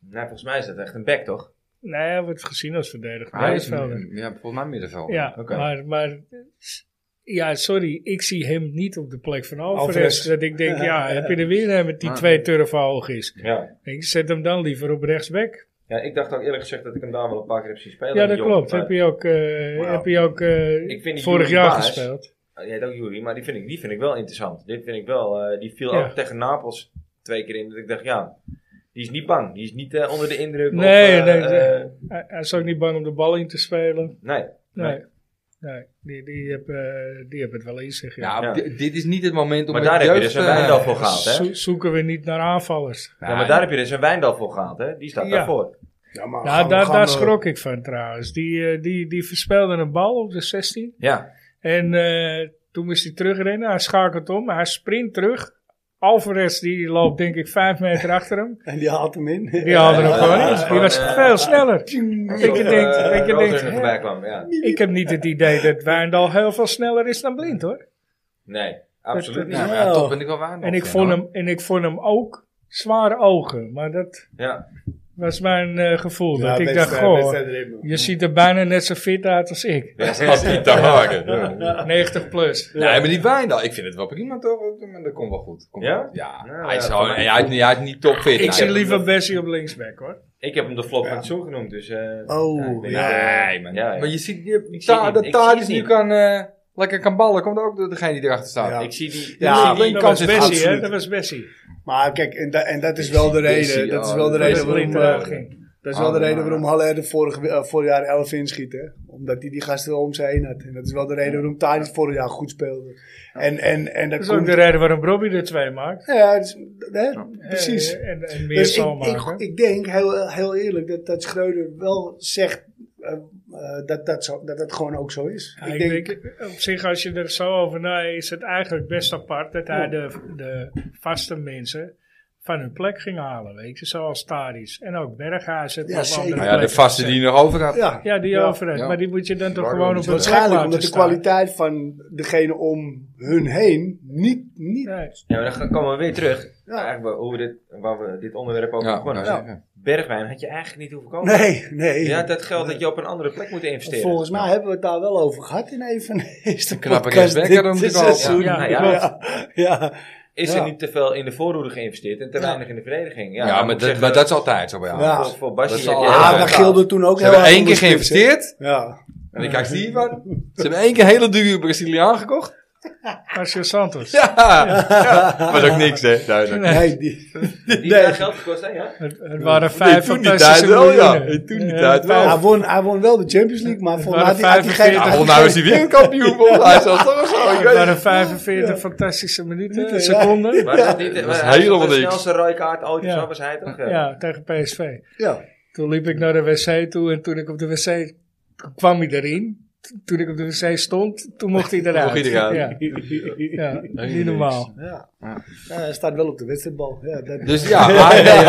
Nou, volgens mij is dat echt een back, toch?
Nee, hij wordt gezien als verdedigende
Hij is Oh,
middenvelder.
ja, volgens mij middenveld.
Ja,
Oké.
maar, maar ja, sorry, ik zie hem niet op de plek van Alvarez.
Alvarez.
Dat ik denk, ja, heb je er weer een met die
Ah.
twee turven hoog is?
Ja.
Ik zet hem dan liever op rechtsback.
ja. Ik dacht ook eerlijk gezegd dat ik hem daar wel een paar keer heb zien spelen.
Ja,
die
dat
jongen.
klopt.
Maar-
Heb je ook, eh,
Wauw.
heb je ook eh,
Ik vind die
vorig
Yuri
jaar
Baas-
gespeeld?
Ja, jij hebt ook Jury, maar die vind ik, die vind ik wel interessant. Dit vind ik wel, eh, die viel
Ja.
ook tegen Napels twee keer in. Dat ik dacht, ja, die is niet bang. Die is niet eh, onder de indruk.
Nee,
of, eh,
nee, nee.
eh,
Hij, hij is ook niet bang om de bal in te spelen.
nee.
Nee.
Nee.
nee. Die, die, heb, eh, die hebben het wel in zich. Ja.
Ja,
Ja.
di- dit is niet het moment om
Maar
met
daar heb je dus
jeugd...
een
eh,
wijndal voor gehaald, hè?
Zo- zoeken we niet naar aanvallers.
Ja, maar daar heb je dus een Wijndal voor gehaald, hè? Die staat
Ja.
daarvoor.
Ja, maar eh, gaan
Nou,
we-
daar,
gaan
daar
we-
schrok ik van trouwens. Die, eh, die, die verspeelde een bal op de 16.
Ja.
En eh, toen moest hij terugrennen. Hij schakelt om. Hij sprint terug. Alvarez die loopt denk ik vijf meter achter hem.
En die haalt hem in.
Die haalde hem
Ja,
gewoon
ja,
in.
ja.
Die was
Ja.
veel sneller. Ik
Alsof,
denk,
eh,
ik
Rozen
denk,
er
hè?
voorbij kwam, ja.
Ik heb niet het idee dat Wijndal heel veel sneller is dan Blind hoor.
Nee, absoluut
dat-
niet.
Ja, maar
Ja.
toch ben ik wel waar.
Oh. En ik, vond hem, en ik vond hem ook zware ogen. Maar dat
Ja.
was mijn eh, gevoel.
Ja,
dat ik dacht,
wedstrijd-
goh,
wedstrijdritme.
je ziet er bijna net zo fit uit als ik.
Dat is niet te haken. Ja.
90 plus.
Nee, maar die Wijndal, ik vind het wel prima toch? eh, Maar dat komt wel goed. Komt
Ja?
wel goed. Ja.
Nou,
hij, is
ja,
gewoon-
voor mij-
hij, hij, hij is niet topfit.
Ik
Nou,
zie
ja,
liever Bessie op linksback hoor.
Ik heb hem de flop van het zo genoemd, dus... eh, ja, ik
Oh,
denk,
ja.
Nee, man.
Ja, ja.
Eh, Maar je ziet, je,
Ik zie
Ta-
niet,
dat
ik
Tadic
zie
nu
niet.
kan, eh, lekker kan ballen, komt ook door degene die erachter staat.
Ja.
eh, Ik zie die...
Ja,
ik zie die-
dat
kans
was
is
Bessie hè,
absoluut.
dat was Bessie.
Maar kijk, en, da- en dat is wel de
Is- is-
reden.
ja,
Dat is wel de
dat is
reden
Dat Blind
waarom... eh,
eruit ging.
Dat is wel de
Oh,
Ah.
reden waarom Haller er vorig, eh, vorig jaar 11 inschiet. Hè? Omdat hij die gasten wel om zijn heen had. En dat is wel de reden waarom Tadic vorig jaar goed speelde. En, en, en dat,
Dat is ook
komt...
de reden waarom Robbie er twee maakt.
Ja, het is- hè? precies.
Eh, En, en meer
Dus
zal
ik, ik,
maken.
ik denk, heel, heel eerlijk, dat, dat Schreuder wel zegt eh, eh, dat, dat, zo, dat dat gewoon ook zo is.
Ja, ik denk, eh, op zich, als je er zo over na is het eigenlijk best apart dat hij de, de vaste mensen van hun plek ging halen, weet je, zoals Tadis. En ook Berghuis het
Ja,
nog op
zeker.
andere
Nou ja, de
plekken
vaste
gezet.
die nog over had.
ja,
Ja, die
Ja.
overheid,
Ja.
maar die moet je dan toch
Waarom
gewoon op
niet?
het
waarschijnlijk omdat de kwaliteit van degene om hun heen niet... niet
Nee.
Ja, maar dan komen we weer terug.
Ja.
Eigenlijk waar, hoe we dit, waar we dit onderwerp over
Ja,
begonnen.
nou, zeker.
Bergwijn had je eigenlijk niet hoeven komen.
Nee, nee.
Ja, dat geldt dat je op een andere plek moet investeren.
Volgens mij hebben we het daar wel over gehad in een van de eerste
Knappe
podcasts
rechtsback
dit
om te kopen.
seizoen.
Ja, nou
ja.
ja. ja.
Is
Ja.
er niet te veel in de voorhoede geïnvesteerd en te weinig in de verdediging?
Ja,
dan moet
maar,
ik
dat,
zeggen,
maar dat is altijd zo bij jou.
Ja.
Voor, voor Basje
Dat Ah, zal-
heb je-
Ja,
Ja,
ja,
daar
ja.
gilde toen ook
Ze hebben
hard
één
om
keer
de spits, hè?
geïnvesteerd.
Ja.
En ik kijk, zie je wat? Ze hebben één keer hele dure Braziliaan gekocht.
Marcio Santos.
Ja, was ook niks, hè? Duidelijk.
Nee.
Nee, die,
Die
Nee.
daar geld gekost, hè? Ja?
Het, het waren
Nee,
vijf
toen die
fantastische
tijd wel, ja.
miljoenen.
Nee, toen die
Eh,
tijd wel.
hij,
vijf-
won, hij won wel de Champions League, maar volgens mij had hij- had hij geen...
Ja,
45
volgens mij was hij wereldkampioen volgens mij zelfs toch of zo. Ik
Het
weet
waren
het.
45 fantastische minuten,
eh,
Minuten, ja.
seconden.
Maar dat niet,
was
hij
helemaal
had De
niks.
snelste rode kaart ooit,
Ja.
of zo was hij toch? eh,
Ja, tegen PSV.
Ja.
Toen liep ik naar de wc toe en toen ik op de wc toen kwam hij erin. t- toen ik op de wc stond, toen mocht hij eruit.
mocht hij eruit.
Ja, ja niet normaal.
Ja. Ja, hij staat wel op de wedstrijdbal. Ja, dat-
Dus ja, Ajax, ja,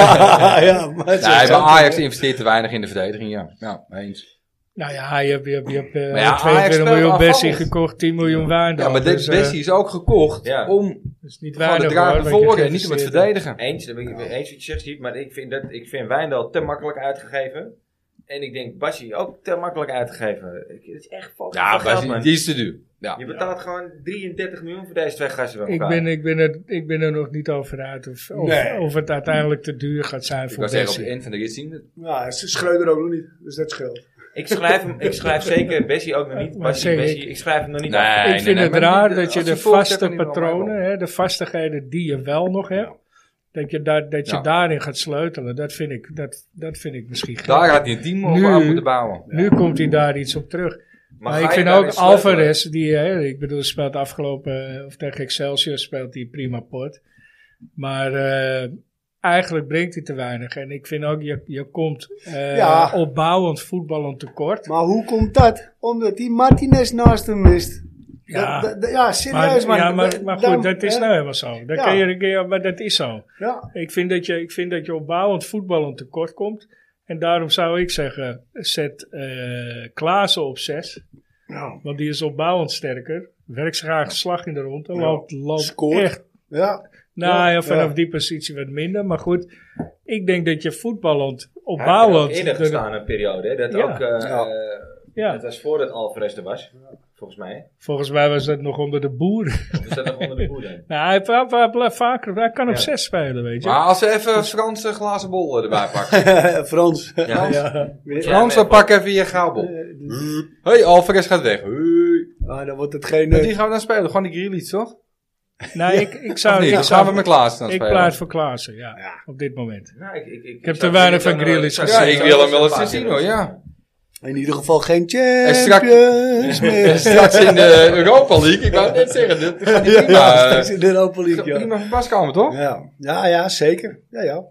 ja, maar het is
Nee,
wel
maar
zo.
Ajax investeert te weinig in de verdediging, ja. Ja, eens.
Nou ja, je hebt, je hebt, je hebt eh,
Maar ja, Ajax
22 miljoen
speelt
Bessie
aanvallend.
gekocht, 10 miljoen waarde.
Ja, maar
dus,
dit
eh,
Bessie is ook gekocht
Ja.
om
dat is niet
gewoon de
waarde
draad
hoor,
naar
wat je
voren en niet om het
geïnvesteerd
verdedigen.
Eens, daar ben ik het weer eens wat je zegt, Steve, maar ik vind, dat, ik vind Wijndal te makkelijk uitgegeven. En ik denk Bassi ook te makkelijk uitgegeven. Ik- Het is echt vals.
Ja,
geld,
Bessie,
man.
die is te duur. Ja.
Je betaalt gewoon 33 miljoen voor deze twee gasten bij
hebt. Ik
elkaar.
ben, ik, ben er, ik ben er nog niet over uit of, of,
Nee.
of het uiteindelijk te duur gaat zijn
Ik
voor
was zeggen, op het
Bessie.
eind van de rit zien we het.
Ja, ze Schreuder ook nog niet. Dus dat scheelt.
Ik schrijf, hem, ik schrijf zeker Bessie ook nog niet.
Maar
Bassi,
zeg ik-
Bessie, ik schrijf hem nog niet.
Nee.
af.
ik vind
nee,
het
maar
raar
die-
dat je
als
de
je volgt,
vaste
zegt dan niet wel
patronen,
waarom.
hè, de vastigheden die je wel nog hebt, dat je, daar, dat je
Ja.
daarin gaat sleutelen. Dat vind ik, dat, dat vind ik misschien gek.
Daar had hij een team op
Nu-
aan moeten bouwen.
Nu komt hij daar iets op terug. Maar,
ga
ik
je
vind
daarin
ook
sleutelen?
Alvarez, die, hè, ik bedoel, speelt afgelopen, eh, of tegen Excelsior speelt hij prima pot. Maar eh, eigenlijk brengt hij te weinig. En ik vind ook, je, je komt eh,
Ja.
opbouwend voetballend tekort.
Maar hoe komt dat? Omdat die Martinez naast hem mist.
Ja.
Dat- dat- ja, serieus,
maar,
man.
ja, maar,
Dat-
maar goed,
daarom-
dat is
hè?
nou helemaal zo. Dat
Ja.
kan je een keer, maar dat is zo.
Ja,
Ik vind dat je, ik vind dat je opbouwend voetballend tekort komt. En daarom zou ik zeggen, zet eh Klaassen op 6.
ja.
Want die is opbouwend sterker. Werkt zich graag een slag in de ronde.
Ja.
Loopt, loopt
Scoort.
echt.
ja.
Nou ja,
Ja,
vanaf
ja.
die positie wat minder. Maar goed, ik denk dat je voetballend
Hij heeft er ook
opbouwend...
eerder
de-
gestaan een periode. hè, Dat
Ja.
ook, eh,
Ja.
eh, dat
ja,
was voordat Alvarez er was. Volgens mij.
volgens mij was dat nog onder de boeren.
We staat nog onder de boer dan.
nou, hij, hij, hij blijft vaker, hij kan op
Ja.
zes spelen, weet je.
Maar als we even Franse glazen bol eh, erbij pakken.
Frans.
Ja.
Ja.
Frans, we pakken even je gaalbol.
Eh, dus-
Hey, Alvarez gaat weg. Hey.
Ah, dan wordt het geen...
Met
eh,
die gaan we dan spelen? Gewoon die Grealish, toch?
nee, Nou, ik, ik zou...
Of niet?
ik
Dan
zou-
gaan we met Klaas dan
Ik
spelen.
plaats voor Klaassen, ja,
Ja.
Op dit moment.
Nou, ik, ik,
heb te weinig van Grealish
Grilis
Ja, ik wil hem wel eens zien hoor, ja.
eh, In ieder geval geen
En
champions
strak-
meer.
Straks in de Europa League, ik wou het net zeggen, dit gaat niet
ja,
prima.
straks
eh,
in de Europa League, ja.
Prima van pas komen, toch?
Ja, ja, ja zeker. Ja, ja.
Ja,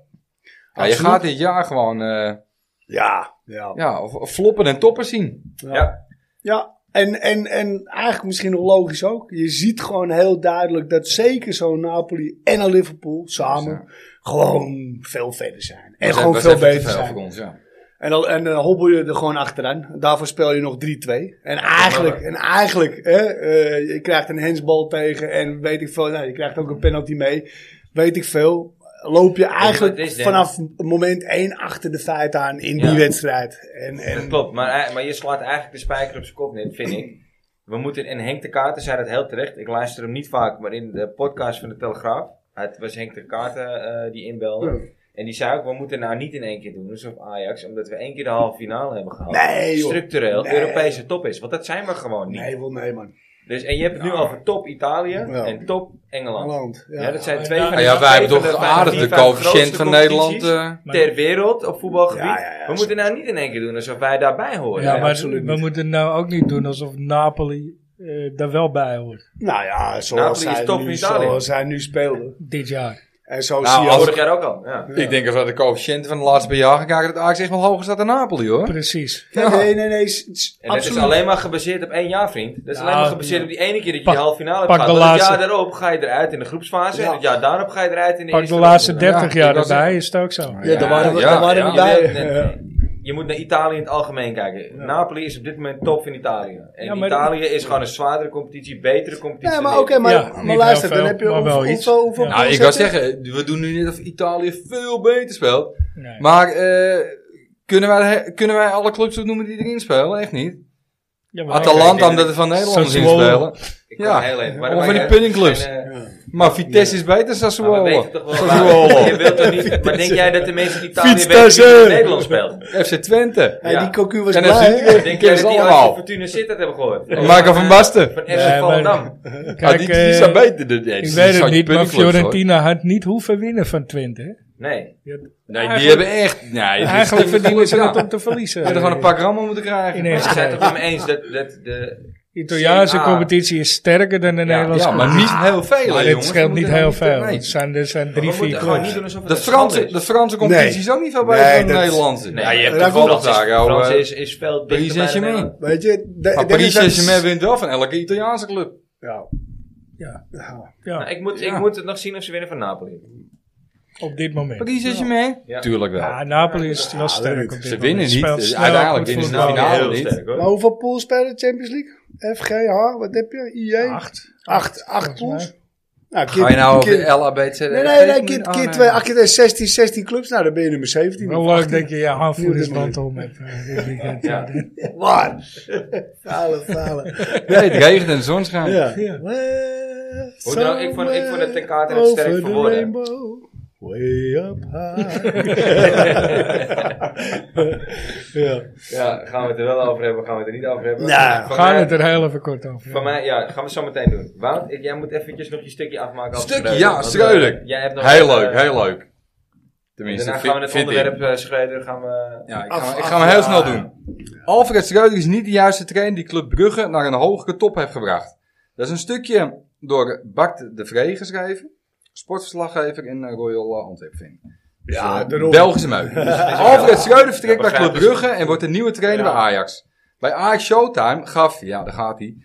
je
Absoluut.
gaat dit jaar gewoon eh,
Ja, ja.
ja, of- of floppen en toppen zien.
Ja.
Ja, en, en, en eigenlijk misschien nog logisch ook. Je ziet gewoon heel duidelijk dat zeker zo'n Napoli en een Liverpool samen gewoon veel verder zijn. En
Dat
gewoon
was
veel
even te
beter
veel
zijn.
voor ons, ja.
En dan, en dan hobbel je er gewoon achteraan. Daarvoor speel je nog 3-2. En eigenlijk, en eigenlijk hè, eh, je krijgt een handsbal tegen en weet ik veel. Nou, je krijgt ook een penalty mee. Weet ik veel. Loop je eigenlijk
wat het is,
vanaf moment 1 achter de feiten aan in die
Ja.
wedstrijd. En, en,
Klopt, maar, hij- maar je slaat eigenlijk de spijker op zijn kop net, vind ik. We moeten, en Henk de Kaarten zei dat heel terecht. Ik luister hem niet vaak, maar in de podcast van de Telegraaf. Het was Henk de Kaarten eh, die inbelde. En die zei ook, we moeten nou niet in één keer doen, dus op Ajax. Omdat we één keer de halve finale hebben gehaald.
Nee, joh.
Structureel,
Nee.
Europese top is. Want dat zijn we gewoon niet.
Nee, wel nee, man.
Dus, en je hebt het nu over top Italië
Ja.
en top Engeland.
Holland.
Ja,
Ja.
dat zijn twee
Ja,
van
Ah,
de-
ja, wij
twee
hebben
van
toch
de vijf-
aardig
vier,
de
vijf
coëfficiënt
grootste
van Nederland.
competities
eh,
Maar-
Ter wereld op voetbalgebied.
Ja, ja, ja,
we moeten nou niet in één keer doen alsof wij daarbij
Oh,
horen.
ja,
nee,
maar
absoluut
we
niet.
moeten nou ook niet doen alsof Napoli eh, daar wel bij hoort.
Nou ja,
Napoli
zoals,
is
zij
top
nu,
in Italië.
zoals hij nu speelde.
Dit jaar.
En zo
Nou,
zie je
als-
Vorig
ook...
jaar ook al. Ja.
Ik denk dat we de coëfficiënt van de laatste paar jaar gaan kijken dat Ajax echt wel hoger staat dan Napoli hoor.
Precies.
Ja, nee, nee, nee. s- s-
En dat is dus
absoluut.
alleen maar gebaseerd op één jaar, vriend. Dat is alleen
Nou,
maar gebaseerd
ja.
op die ene keer dat je
Pak-
de halve finale
pak
hebt
de
gehad. Want het
laatste-
jaar daarop ga je eruit in de groepsfase.
Ja.
En het jaar daarop ga je eruit in de
Pak
eerste
de laatste
ronde.
30
Ja,
jaar
ik was-
erbij is het ook zo.
Ja, daar waren we,
Ja,
daar waren we
ja.
Je,
bij.
moet-
Ja.
je moet naar Italië in het algemeen kijken. Napoli is op dit moment top in Italië. En
Ja, maar-
Italië is gewoon een zwaardere competitie, betere competitie.
Ja, maar
dan
oké, maar,
Ja, niet
maar
heel
luister, dan
veel,
heb je
maar wel
hoeveel,
iets.
hoeveel, hoeveel
Ja.
Nou, ik
procent
wou
heb je?
zeggen, we doen nu net of Italië veel beter speelt.
Nee.
Maar eh, kunnen, wij, kunnen wij alle clubs opnoemen die erin spelen? Echt niet.
Ja, maar-
Atalanta, omdat er van Nederlanders in
Sassuolo.
spelen.
Ik kan
Ja.
heel even. maar
Of
dan
van
maak
die
je-
puddingclubs.
en, eh,
Maar Vitesse is beter dan
Maar we
Sassuolo.
weten toch wel waar- je
Sassuolo.
wilt toch niet, maar denk jij dat de mensen in Italië
Fiets
weten wie
tussen.
in Nederland speelt?
FC Twente. Ah,
Hey,
Ja.
Die cocu was
En dan
blij,
zie
hè?
je-
Denk jij
kennen
dat
ze
die
allemaal.
uit Fortuna Sittard hebben gehoord?
En Marco van Basten.
Van
Nee,
FC
maar-
Volendam.
Ja,
Kijk,
ah, die,
eh,
die zijn beter. dan- ja, die
Ik
zijn
weet het niet, maar
puddingclubs, hoor.
Fiorentina had niet hoeven winnen van Twente. hè.
Nee.
Die had-
Nee, die
Eigenlijk-
hebben echt... Nee,
Eigenlijk verdienen ze dat
Ze
om te verliezen.
hadden gewoon een paar gram om moeten
In
krijgen.
één
Maar ik
wedstrijd.
ben het ook met me eens dat, dat de
Italiaanse
Serie A.
competitie is sterker dan de Nederlandse
ja, maar
competitie.
niet heel veel.
Maar
hè,
dit
jongens.
scheelt
We
niet
moeten
heel
daar
veel.
niet-
Het
nee.
zijn, er zijn drie,
We moeten
vier
gewoon
clubs.
niet doen alsof het
De
een schande
Franse,
is.
de Franse competitie is ook niet veel beter
Nee,
dan de
dat-
Nederlandse.
Nee, je hebt
Daar
de Frans,
komt het
is,
daar,
Frans
ouwe.
is, is veel
Paris
dichter bij de
Saint-Germain.
Nederland.
Weet je, de-
Maar
ik denk
Paris
dat-
Saint-Germain wint wel van elke Italiaanse club.
Ja.
Ja.
Ja.
Nou,
Ja,
ik, moet, ik
Ja. Nou,
moet het nog zien of ze winnen van Napoli.
op dit moment.
Paris Saint-Germain?
Ja.
Tuurlijk wel.
Ja, Napoli is wel
weet
sterk
ik.
op dit
Ze
moment.
winnen niet,
Speelt
dus
snel,
uiteindelijk
goed
winnen ze de
voetbal.
finale.
heel
niet. Nou.
sterk hoor.
Maar hoeveel pools spelen de Champions League? F, G, H, wat heb je? I, J?
Acht.
Acht, acht
Volgens
pools. Nou, keer,
Ga je nou
keer-
over LABC?
Nee, nee, nee, keer,
Ah,
keer twee, acht keer twee, 16, 16 clubs. Nou, dan ben je nummer 17.
Wel
of
leuk
18.
dat je je aanvoerdersband
Ja.
om hebt. eh, dit weekend.
Ja.
Waar? Falen, falen.
Nee, het regent en de zon schijnt.
Ja.
Ja.
Hoe dan ook, ik vond- ik vond het ten kater het sterk
Over the
verwoorden.
rainbow, Way up high. ja.
Ja, gaan we het er wel over hebben, gaan we het er niet over hebben.
Nou,
Van
Gaan we
mij-
het er heel even kort over.
Van mij, ja, gaan we zo meteen doen. Wout, ik- jij moet eventjes nog je stukje afmaken. als
Stukje,
Schreuder,
ja,
want, eh,
Schreuder.
jij hebt nog
Heel
eh,
leuk, heel leuk. Tenminste,
Daarna
vind-
gaan we het
vind ik.
onderwerp eh Schreuder gaan we...
Ja, ik
Af-
ga, me- ik
af-
ga hem heel
ja.
snel doen. Alfred Schreuder is niet de juiste trainer die Club Brugge naar een hogere top heeft gebracht. Dat is een stukje door Bart de Vree geschreven. Sportverslaggever in eh, Royal eh, Antwerpen. Dus,
Ja,
eh,
daarom.
Belgische meuk. Alfred Schreuder vertrekt
Ja,
bij
begrijp ik.
Club Brugge en wordt de nieuwe trainer
Ja.
bij Ajax. Bij Ajax Showtime gaf, ja daar gaat hij,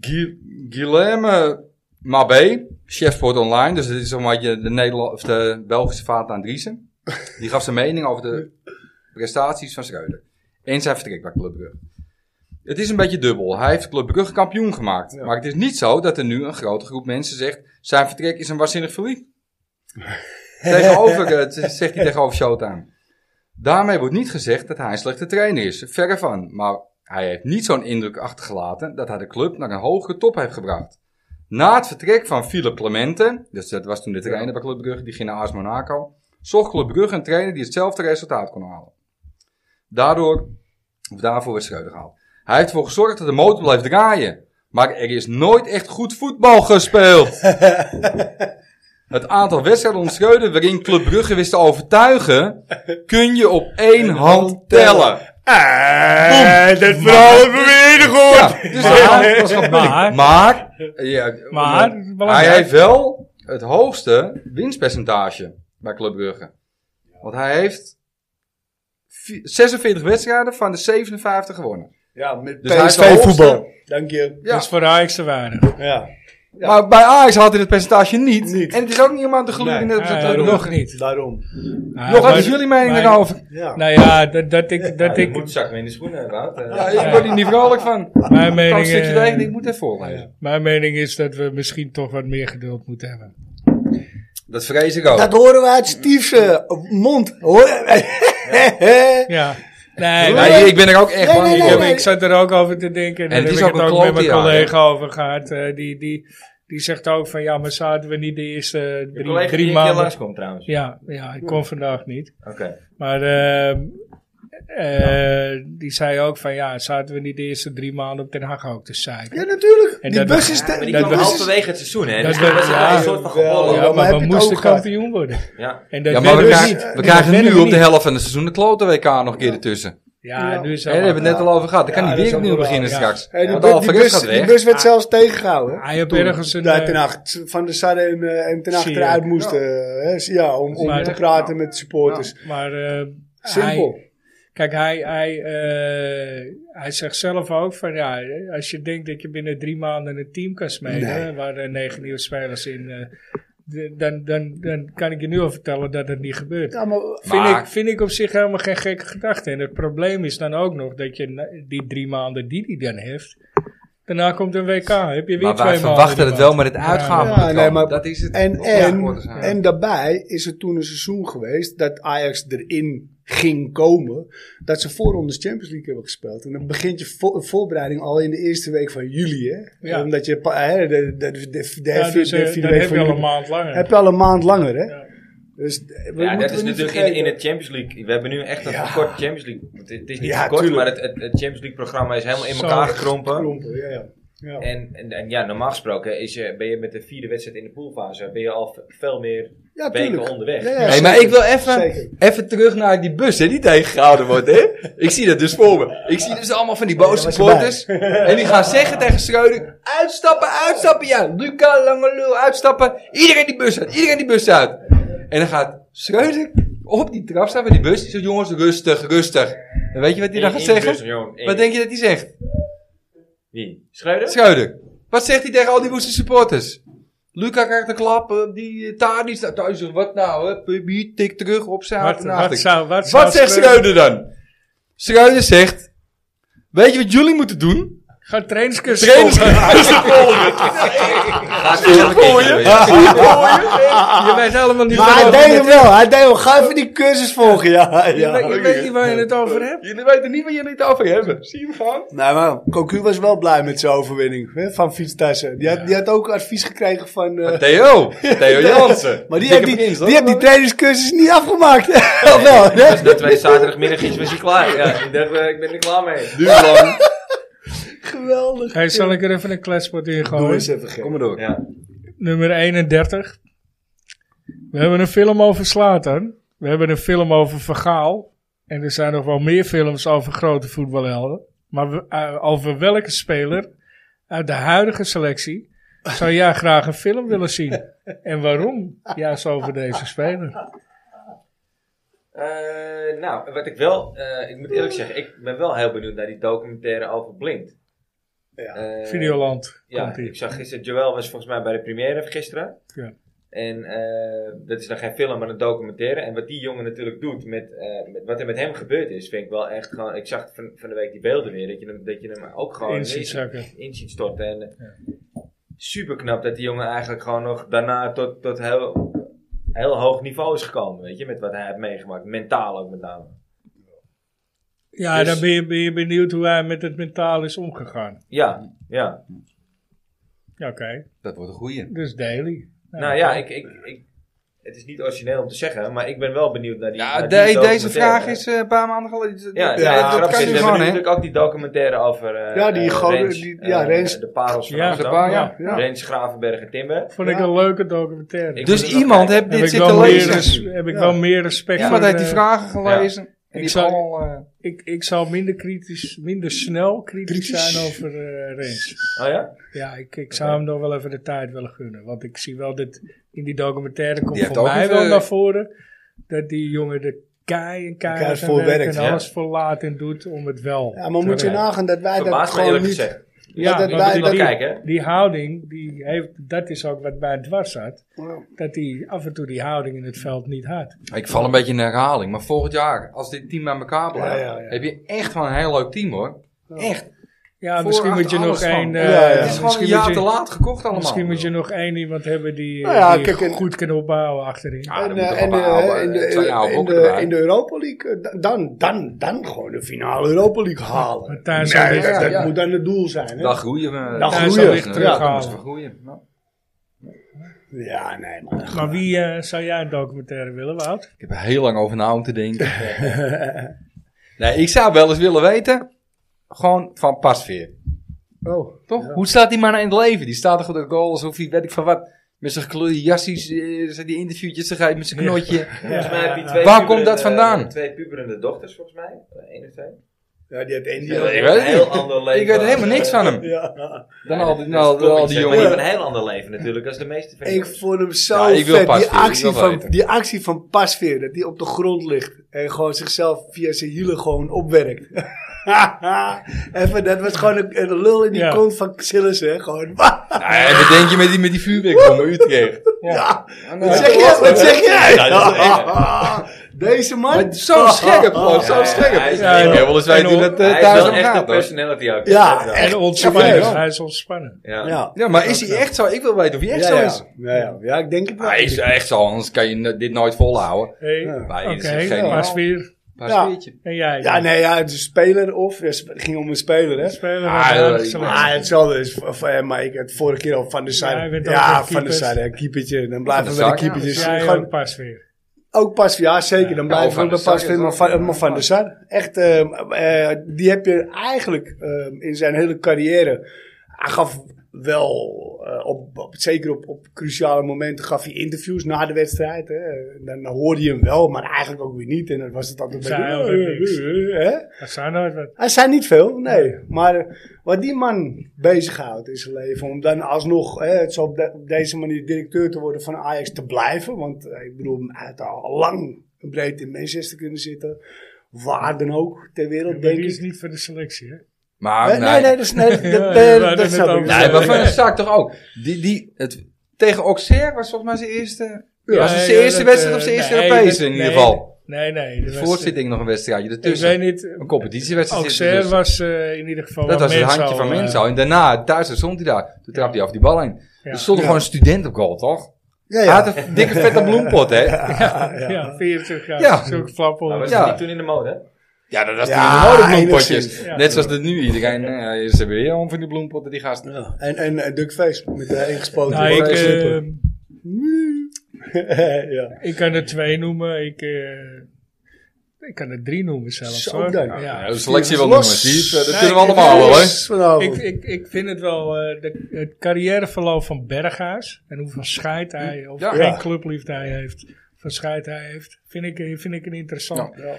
Gui- Guillaume Mabé, chefsport online, dus dit is een beetje de, Nederland, of de Belgische vaat aan Driessen. Die gaf zijn mening over de prestaties van Schreuder. En zijn vertrek bij Club Brugge. Het is een beetje dubbel. Hij heeft Club Brugge kampioen gemaakt.
Ja.
Maar het is niet zo dat er nu een grote groep mensen zegt... zijn vertrek is een waanzinnig verlies. tegenover, eh, t- zegt hij tegenover Showtime. Daarmee wordt niet gezegd dat hij een slechte trainer is. Verre van. Maar hij heeft niet zo'n indruk achtergelaten... dat hij de club naar een hogere top heeft gebracht. Na het vertrek van Philip Clemente... dus dat was toen de trainer bij Club Brugge... die ging naar AS Monaco... zocht Club Brugge een trainer die hetzelfde resultaat kon halen. Daardoor, of daarvoor werd Schreuder gehaald. Hij heeft ervoor gezorgd dat de motor blijft draaien. Maar er is nooit echt goed voetbal gespeeld. Het aantal wedstrijden onder Schreuder waarin Club Brugge wist te overtuigen... kun je op één hand tellen.
Eh, dat verhaal hebben we eerder
Ja,
gehoord.
dus
Maar-
dat was gewoon moeilijk.
maar-
maar, ja,
Maar, belangrijk.
hij heeft wel het hoogste winstpercentage bij Club Brugge. Want hij heeft vi- 46 wedstrijden van de 57 gewonnen.
Ja, met
Dus hij is de
PSV
hoogste.
voetbal. Dank je.
Ja.
Dat is voor Ajax te waarde.
Ja. Ja.
Maar bij Ajax had hij het percentage niet.
Niet.
En het is ook niet helemaal te geloven
Nee.
dat
Ja,
dat dat-
nog niet.
Daarom.
Nou,
Nog
maar-
wat is jullie mening
maar-
daarover?
Ja.
Nou ja, dat, dat ik...
Ja,
Dat
die
ik
moet zak me in de schoenen, Wout. Eh,
Ja, ik word hier niet vrolijk van.
mijn,
Ik kan een
mening,
stukje
eh,
tegen, ik moet even voorlezen.
mijn mening is dat we misschien toch wat meer geduld moeten hebben.
Dat vrees ik ook.
Dat horen we uit Steve's eh, mond. Hoor.
Ja. Nee,
Nee,
maar-
hier, ik ben er ook echt
Nee,
bang
nee,
voor.
ik, heb-
nee.
ik zat er ook over te denken. En daar
het
heb
is
ik
ook
het
een
ook met mijn
klote, ja,
collega over gehad. eh, die, die, die zegt ook van, ja, maar zaten we niet de eerste
De
drie,
collega die
drie
een keer
maanden...
langskomt trouwens.
Ja, ja, ik kon vandaag niet.
Oké.
Maar ehm, eh, die zei ook van ja, zaten we niet de eerste drie maanden op Den Haag ook te zeiken.
Ja, natuurlijk.
En
die
dat-
bus is...
Ja, maar die
Dat
kwam
was-
halverwege het seizoen, hè.
Dat
Dus
was-
dat is
ja,
een soort van
jawel.
gebollen.
ja,
maar heb
maar
je
we
het
moesten
ook gehad?
kampioen worden.
Ja.
En dat
Ja, maar
werden we
we,
dus
krijgen-
niet.
we
Dat
krijgen
werden
nu
we
op de
niet.
helft van het seizoen de klote WK nog een keer ertussen.
Ja, nu is
Hè, daar hebben we het net al over gehad. Dan kan
Ja,
hij
dat
weer
is
opnieuw
ook wel
beginnen
waar, ja.
straks.
Hey, die,
Want
bu- die,
Alvarez
bus,
gaat
die
weg.
bus
Ah.
werd zelfs tegengehouden.
Hij heeft
Toen.
Ah, ergens een...
Daar
eh,
ten acht, van de Sarre en, eh, en ten acht
Zie je.
eruit moesten. eh, hè, ja, om, om
Maar-
te praten met de supporters.
Maar eh,
Simpel.
hij- Kijk, hij, hij, eh, hij zegt zelf ook van ja, als je denkt dat je binnen drie maanden een team kan smeden,
Nee.
waar er negen nieuwe spelers in, eh, de- dan, dan, dan kan ik je nu al vertellen dat het niet gebeurt.
ja, maar
Vind,
Maar-
ik, vind ik op zich helemaal geen gekke gedachte. En het probleem is dan ook nog dat je na- die drie maanden die hij dan heeft, daarna komt een WK. Heb je weer
Maar
twee maanden.
wij verwachten
die
het wel,
maand.
maar het uitgaven
Ja, nee, maar-
Ah, dat is het.
En,
Ja,
en,
hoort te zijn.
en daarbij is er toen een seizoen geweest dat Ajax erin ging komen. Dat ze voorrondes Champions League hebben gespeeld. En dan begint je vo- voorbereiding al in de eerste week van juli. Hè?
Ja.
Omdat je pa- hè, de, de, de, de, de
Ja, dus,
vierde-
eh,
vierde
dan
week
heb
van
je al
juli-
een maand langer.
heb je al een maand langer. Hè?
Ja.
Dus, eh, we
Ja, dat
moeten we
is
niet
natuurlijk in,
vergeten.
in het Champions League. We hebben nu echt een
Ja.
verkort Champions League. Het, het is niet
Ja,
verkort,
tuurlijk.
maar het, het, het Champions League programma is helemaal in
Zo
elkaar gekrompen.
Krompen, ja, ja. Ja.
En, en, en ja, normaal gesproken is, je- ben je met de vierde wedstrijd in de poolfase ben je al v- veel meer
Ja,
weken
tuurlijk.
onderweg.
Ja, ja,
Hey,
zeker.
maar ik wil even,
Zeker.
even terug naar die bus hè, die tegengehouden wordt. Hè? Ik zie dat dus voor me. Ik zie dus allemaal van die boze
Ja, daar was
supporters. En die gaan zeggen tegen Schreuder: uitstappen, uitstappen. Ja, Luca, lange lul, uitstappen. Iedereen die bus uit, iedereen die bus uit. En dan gaat Schreuder op die trap staan van die bus. Die zegt: jongens, rustig, rustig. En weet je wat hij dan gaat zeggen? Wat denk je dat hij zegt?
Wie? Schreuder?
Schreuder. Wat zegt hij tegen al die woeste supporters? Luca krijgt een klap, eh, die eh, Tadic, nou, thuis, eh, wat nou, hè? Pubi, tik terug op zijn
Wat,
hart en achter.
wat zou, wat zou
Wat zegt
Schreuder-
nou?
Schreuder dan? Schreuder zegt, weet je wat jullie moeten doen?
Ga trainerscursus
Trainers
volgen.
Gaat voor
Je weet helemaal niet
Maar hij
waar-
deed hem wel. Hij deed hem. Ga even die cursus volgen. Ja,
Je weet-
ja.
je weet niet waar je het over hebt.
Jullie weten niet waar jullie het over hebben. Zie je hem gaan?
Nou, maar Cocu was wel blij met zijn overwinning hè, van Fietstassen. Die had, die had ook advies gekregen van... eh,
Theo, Theo Jansen.
maar die
Dikke
heeft die,
prins, hoor.
die, heeft die trainingscursus niet afgemaakt. Of wel? hè?
Dus dat wij zaterdagmiddag is, was hij klaar. Ja, ik dacht, eh, ik ben er klaar mee.
Duur lang.
Geweldig.
Hey, zal ik er even een kletspot in
Doe
gooien?
eens even gek.
Kom maar door.
Ja.
Nummer 31. We hebben een film over Slatan. We hebben een film over Vergaal. En er zijn nog wel meer films over grote voetbalhelden. Maar we- eh, over welke speler uit de huidige selectie zou jij graag een film willen zien? En waarom? Juist over deze speler.
Eh, nou, wat ik wel, eh, ik moet eerlijk zeggen, ik ben wel heel benieuwd naar die documentaire over Blind.
Ja.
Eh,
Videoland.
Ja,
komt ie.
ik zag gisteren, Joel was volgens mij bij de première van gisteren.
Ja.
En eh, dat is dan geen film, maar een documentaire. En wat die jongen natuurlijk doet, met, eh, met wat er met hem gebeurd is, vind ik wel echt gewoon... Ik zag van, van de week die beelden weer, dat je hem, dat je hem ook gewoon
In ziet zakken.
in ziet storten. En, Super knap dat die jongen eigenlijk gewoon nog daarna tot, tot heel, heel hoog niveau is gekomen, weet je. Met wat hij heeft meegemaakt, mentaal ook met name.
Ja,
Dus-
dan ben je, ben je benieuwd hoe hij met het mentaal is omgegaan.
Ja, ja.
Ja, Oké,
Dat wordt een goeie.
dus Daily.
Nou ja, ik, ik, ik, het is niet origineel om te zeggen, maar ik ben wel benieuwd naar die.
Ja,
naar
de-
die
deze
documentaire.
vraag is eh, een paar maanden geleden.
Ja,
dat,
ja,
dat
ja dat
kan
is,
nu
we
gewoon,
hebben
hè?
natuurlijk ook die documentaire over. eh,
Ja, die
eh,
goden-
Rens,
die- ja,
eh,
Rens.
de parels van
Ja,
de
Amsterdam.
paar, ja.
Ja.
Rens, Gravenberg en Timber.
Vond ik
Ja.
een leuke documentaire.
Ik
Dus
moet het wel
iemand
kijken.
heb
heeft dit
ik,
zitten
wel dus- meer,
lezen.
res- heb ik
Ja.
wel meer respect voor.
Iemand heeft die
eh,
vragen gelezen. En die
Ik zou-
zal, eh,
Ik, ik zal minder kritisch, minder snel kritisch,
Kritisch?
zijn over eh Rens.
Oh ja?
Ja, ik, ik zou hem nog wel even de tijd willen gunnen. Want ik zie wel dat in die documentaire komt
Die heeft
voor
ook
mij
een,
wel
eh,
naar voren. Dat die jongen de kei en kei
Keihard
aan zijn
voor
werk
werkt,
en
ja.
alles voor laat en doet om het wel.
Ja, maar moet je
te-
nagaan dat wij dat
Verbaasd me
gewoon
eerlijk
niet...
gezegd.
Ja,
dat
want
wij-
die-
dat-
die-
Kijken, hè?
Die houding, die heeft, dat is ook wat bij het dwars zat.
Ja.
Dat hij af en toe die houding in het veld niet had.
Ik val een beetje in herhaling, maar volgend jaar, als dit team bij elkaar blijft,
Ja, ja, ja.
heb je echt wel een heel leuk team hoor. Echt.
Ja,
Voor,
misschien moet
achter,
je nog
alles
één...
van.
eh,
Ja, ja.
het is gewoon
misschien
een
moet
jaar
je-
te laat gekocht allemaal.
Misschien moet je nog één iemand hebben die, eh,
Nou ja,
die
kijk, en-
goed kan opbouwen achterin.
Ja,
En,
dan moet
eh,
toch
en,
wel
eh,
oude-
in de-
het zijn oude
in
bokken
de-
erbij.
in de Europa League, eh, da- dan, dan, dan gewoon de finale Europa League halen.
Martijn zal
Ja,
dit-
dat, dat
ja.
moet dan het doel zijn. Hè?
Dan groeien we.
Dan
Ja,
groeien.
zo ligt het terug.
Ja.
Ja, dan groeien. Ja.
Ja, nee, maar.
Maar wie eh, zou jij een documentaire willen, Wout?
Ik heb er heel lang over na om te denken. nee, ik zou wel eens willen weten, gewoon van Pasveer.
Oh.
Toch? Hoe staat die man in het leven? Die staat toch op de goal alsof hij, weet ik van wat, met zijn gekleurde jassies, eh, zijn die interviewtjes te geven met zijn knotje.
Volgens mij heb je twee
Waar komt
puberende-
dat vandaan?
Twee puberende dochters, volgens mij. Eén of twee.
Ja, die had één.
Die hebben
ik
echt een
weet het
heel
niet.
ander leven.
Ik weet helemaal niks van hem.
Ja.
Dan al
Dat
die,
is
dan al, dan al die
klopt, maar Je hebt
jongen.
een heel ander leven natuurlijk als de meeste fans.
Ik vond hem zo
Ja, ik wil
vet. Die
Pasveer, ik
actie,
wil
van,
weten.
die actie van Pasveer, dat die op de grond ligt. En gewoon zichzelf via zijn hielen gewoon opwerkt. Even, dat was gewoon een, een lul in die
Ja.
kont van Xillis, hè. Gewoon,
Nee, wat denk je met die, met die vuurwerk van Utrecht?
ja.
Ja.
Wat zeg jij? Wat zeg jij?
Ja, dat is echt.
Deze man.
Maar zo scherp, gewoon,
ja,
zo
ja,
scherp.
hij is-
Ja, ik wil eens
en
weten hoe
on-
dat eh,
Hij is
thuis
wel
om
echt een
gaat. hoor.
personality ook.
Ja,
ja.
echt.
En ontspannen.
Ja.
hij is ontspannen.
Ja.
Ja.
Ja, maar is hij echt zo? Ik wil weten of hij echt
ja,
zo
ja.
is.
Ja, ja. ja, ik denk het wel.
Hij is echt zo, anders kan je n- dit nooit volhouden.
Hey,
Ja.
Maar hij is
Oké,
geniaal.
Bas Wier
Pasveertje.
en jij.
Ja, nee, ja, het is een speler of... ja, Het ging om een speler, hè.
Speler
Ah,
van de huidige
ja,
selectie.
Ah, hetzelfde is v- v- maar ik het vorige keer al van de
Ja, hij
zijde.
werd
Ja,
ook een
van de
keeper.
zijde, een keepertje. Dan blijven
Van
we bij
de
de
Sar, ja.
keepertjes.
jij ook
dus Gewoon,
pas weer.
ook pas, ja zeker, dan
Ja, of
blijven
Van
we
de
bij
Sar
pas
is
vinden, maar
ook,
van,
ja.
maar van de Sar. Echt, ehm, eh, die heb je eigenlijk ehm, in zijn hele carrière. Hij gaf wel, eh, op, op, zeker op, op cruciale momenten, gaf hij interviews na de wedstrijd. Hè. En Dan hoorde je hem wel, maar eigenlijk ook weer niet. En dan was het altijd
Zei
beetje, eh,
altijd niks.
hè?
Dat zijn nooit wat.
Hij zei niet veel, nee. Maar eh, wat die man bezighoudt in zijn leven, om dan alsnog hè, het zo op, de- op deze manier directeur te worden van Ajax te blijven. Want eh, ik bedoel, hij had al lang en breed in Manchester kunnen zitten. Waar dan ook ter wereld,
Maar
denk
die
ik.
is niet voor de selectie, hè?
Maar
nee, nee, nee, dat is nee, dat-
Ah, Ja,
dat-
we
eh,
hadden
dat
het
snap
over-
ik.
Nee, maar van
Ja.
de Sar toch ook. Die, die, het, tegen Auxerre was volgens mij zijn eerste,
Ja,
was het zijn
ja,
eerste
dat,
wedstrijd
eh,
of zijn eerste
nee,
Europese
dat-
in ieder
nee,
geval.
Nee, nee. dat
De
was- eh,
voorzitting nog een wedstrijdje
Ik
ertussen.
weet niet.
Een competitiewedstrijd zit
Auxerre
ertussen.
was eh, in ieder geval
Dat
wel
was het handje
Mensal,
van
eh,
Menzo. En daarna, thuis stond hij daar. Toen trapte hij af die bal in.
Ja.
Er stond
Ja.
gewoon een student op goal, toch?
Ja,
Hij
ja.
had een dikke vette bloempot, hè?
Ah,
Ja, ja, 24 jaar.
Ja.
Zulke flappel.
Maar was
Ja.
dat niet toen in de mode, hè?
Ja, dat was
Ja,
die nodig bloempotjes.
enigszins.
Ja.
Net zoals dat nu iedereen, nou ja, ze hebben weer om van die bloempotten, die gasten.
Ja. En, en eh, Duck Face met de ingespoten.
Nou, ik,
Voor de
eh,
ja.
ik kan er twee noemen. Ik, eh, ik kan er drie noemen zelfs.
Zo
hoor.
dan.
Ja,
Ja.
de selectie wel
Los.
noemen, zie je? Dat
Nee,
kunnen we
ik-
allemaal wel, hè?
Yes, vanavond.
Ik, ik, ik vind het wel, eh, de, het carrièreverloop van Berghuis en hoeveel scheid hij, of
Ja.
geen clubliefde hij heeft, hoeveel scheid hij heeft, vind ik, eh, vind ik een interessant.
Ja.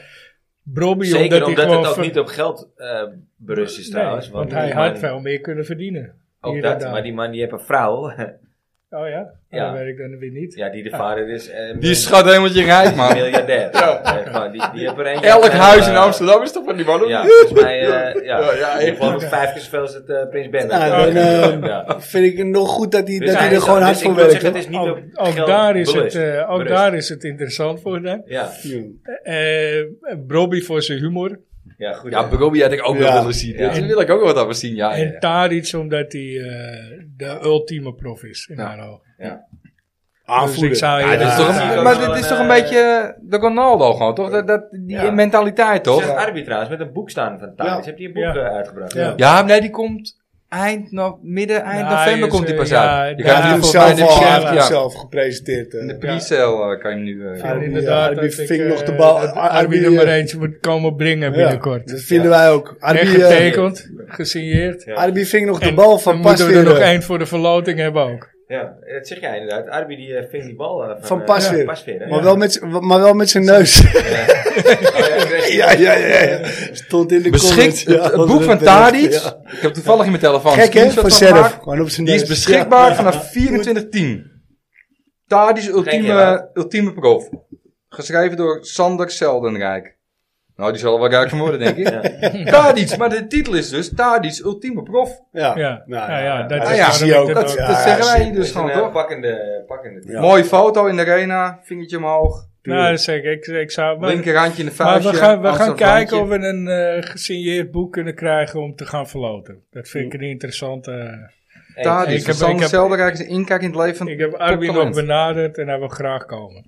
Brobby,
Zeker omdat,
omdat hij gewoon...
het ook
ver-
niet op geld eh, berust is
Nee,
trouwens.
want
die
hij had
man-
veel meer kunnen verdienen.
Ook
hier
dat,
en daar.
maar die man die heeft een vrouw,
Oh ja?
Ja.
Dat weet ik dan weer niet.
ja, die de vader is. en
Die schat helemaal je rijk, man.
miljardair. Ja. gewoon, die, die heeft er eentje.
Elk huis in
Eh,
Amsterdam is toch van die man? of
Ja,
niet?
volgens mij, eh, ja.
Ja, ja,
In ieder geval
echt.
nog vijf keer zoveel als het eh, Prins Bernhard.
Ja, dan, eh,
Ja.
Vind ik het nog goed dat hij,
Dus
dat hij
hij
er
is-
gewoon
dus
hard
ik
voor
wil
werkt.
zeggen,
hè?
het is niet
Ook,
op
ook
geld
daar is
berust.
het, eh, ook
Berust.
daar is het interessant voor hem.
Ja,
Oh. Ja.
Eh Brobby voor zijn humor.
ja, goed.
Ja, Brobbey had ik ook wel
Ja.
willen zien.
Ja.
Dat wil ik ook wel wat over zien, ja. ja,
En
ja.
Tadic omdat hij eh, de ultieme prof is in
Ja.
haar ogen. Dus
Aanvoerder.
ik zou
Ja,
je-
dit is toch een-
Ja.
maar dit is toch een
Ja.
beetje eh, de Ronaldo gewoon, toch? Dat, dat, die
Ja.
mentaliteit, toch?
Zegt Arby trouwens, met een boek staan van Thijs.
Ja.
Heb je een boek
Ja.
eh, uitgebracht?
Ja.
Ja, nee, die komt eind, no midden, eind
Ja, hij
november
is,
komt die
eh,
pas
ja,
uit.
hij
Je kan
Ja,
hem
hij heeft
volgens mij
hem
in de
zelf, al, hij
pre-sale,
heeft
ja.
hem zelf gepresenteerd. eh.
In de
Ja.
pre-sale eh, kan je hem nu... eh,
Ik vind
Arby,
inderdaad
Arby
dat ik,
ving
eh,
nog de bal.
dat
Ar-
Arby
Arby,
nummer
eh,
1 moet komen brengen binnenkort.
Dat vinden wij ook. Dus Arby,
en
eh,
getekend, gesigneerd.
Ja.
Arby ving nog de
En
bal van
dan moeten we er nog
Pasveer. eh.
één voor de verloting hebben ook.
Ja, dat zeg jij inderdaad. Arby die eh, ving die bal eh, van,
Van
eh,
Pasveer.
Pasveer, hè?
Maar, wel met z'n- maar wel met zijn neus. ja, ja, ja, ja. Stond in de
Beschikt,
comments.
het,
Ja,
het
was
boek
er
van
een terecht,
Tadic.
ja.
Ik heb toevallig in mijn telefoon een
Gek hè,
screenshot
van
van
Serf.
gemaakt.
Gewoon op zijn
Die
neus.
is beschikbaar vanaf 2410. Tadi's ultieme,
Gerard.
ultieme prof. Geschreven door Sander Seldenrijk. Nou, die zal er wel rijk van worden, denk ik. Tadic, maar de titel is dus Tadi's ultieme prof.
Ja.
Ja,
Nou,
ja, ja, dat
Nou
is
ja,
waarom
zie je
ik
ook.
dat
Dat,
ook-
ja,
dat zeggen wij
zie-
hier
Dat
dus
is een
gewoon,
eh,
toch?
pakkende, pakkende
Ja.
Mooie foto in de arena, vingertje omhoog.
Nou, zeker. Ik, ik zou, maar,
Linkerhandje in de
maar
vuistje.
we gaan, we gaan
Amsterdam
kijken of
randje.
we een eh, gesigneerd boek kunnen krijgen om te gaan verloten. Dat vind ik een interessante...
Eens.
Tadic,
Ik heb- ik
Sander
heb-
Seldenrijk is een inkijk in het leven van
Ik heb Arby nog
toptalent.
benaderd en hij wil graag komen.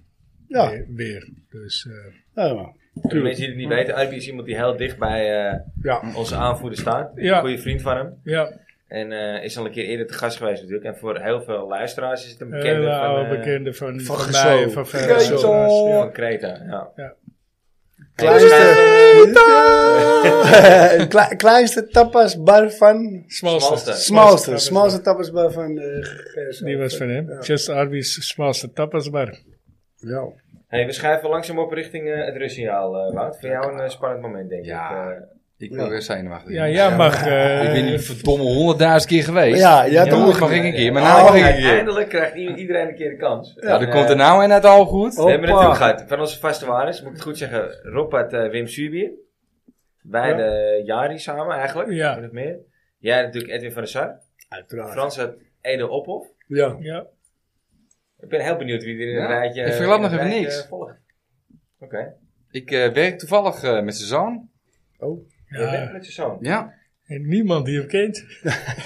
Ja.
Weer. weer. Dus, eh,
Ja, maar-
Voor de mensen die het niet weten, Arby is iemand die heel dicht bij eh,
Ja.
onze aanvoerder staat.
Ja.
Goede vriend van hem.
ja,
En eh, is al een keer eerder te gast geweest natuurlijk. En voor heel veel luisteraars is het een
een
bekende
hele
van,
oude
eh,
bekende van, van,
Gezo.
mij. en Van
Gezo.
Verre Zondaars, ja.
van Creta. Ja.
Ja.
Kleinste, Kle- kleinste tapasbar van
Smalste.
Smalste.
Smalste, smalste tapasbar van eh Gerso.
Die was van hem. Just Arby's smalste tapasbar.
Ja.
Hey, we schrijven langzaam op richting eh, het Russiaal, eh Wout. Voor jou een eh, spannend moment, denk
Ja.
ik.
Ik ben weer zenuwachtig.
Ja, jij mag... eh,
ik ben hier verdomme honderdduizend keer geweest.
Ja, ja,
Ja,
toch.
Toen mag ik een keer, maar
nou,
nou mag ik een keer.
uiteindelijk krijgt iemand- iedereen een keer de kans.
Ja, er
En,
komt
eh,
er nou een uit al goed.
We hebben
Hoppa.
natuurlijk gehad van onze vaste waardes, moet ik het goed zeggen, Rob had eh, Wim Suurbier. Wij
Ja.
de Jari samen eigenlijk,
Ja.
min of meer. Jij had natuurlijk Edwin van der Sar.
Uiteraard.
Frans had Ede Ophof.
Ja.
ja.
Ik ben heel benieuwd wie er in het
Ja.
rijtje...
Ik verklap
in
nog
het
even
rijtje eh,
niks.
volgt. Oké.
Ik eh, werk toevallig eh, met zijn zoon.
Oh.
Je bent
ja.
met je zoon.
Ja.
En niemand die hem kent.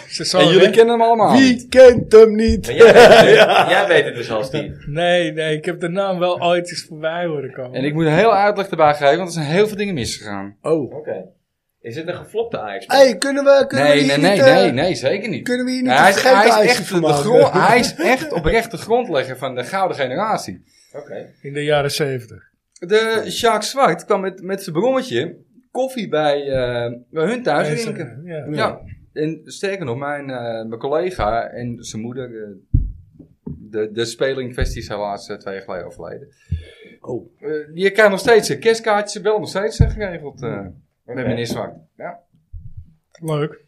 Ze zal
En jullie
weg.
kennen hem allemaal.
Wie kent hem niet?
Maar jij, weet het dus, jij weet het dus al, Steve.
Nee, nee. Ik heb de naam wel ooit eens voorbij horen komen.
En ik moet een heel uitleg erbij geven, want er zijn heel veel dingen misgegaan.
Oh.
Oké. Is het een geflopte ajax
hey, kunnen we, kunnen
Nee,
we
nee,
hier
nee,
niet... eh,
nee, nee, zeker niet.
Kunnen we hier niet
Nee, hij,
een
is, hij,
vergeten
is
ijsje
echt
van
de
maken?
grond- hij is echt oprecht de grondlegger van de gouden generatie.
Oké.
In de jaren zeventig.
De Sjaak Zwart kwam met, met zijn brommetje koffie bij, eh, bij hun thuis drinken.
Ja.
Ja. En sterker nog, mijn, eh, mijn collega en zijn moeder, eh, de, de speler in kwestie is helaas eh, twee jaar geleden overleden.
Oh.
Eh, je krijgt nog steeds een kerstkaartje, wel nog steeds eh, geregeld eh, met
Oké.
meneer Zwart. Ja.
Leuk.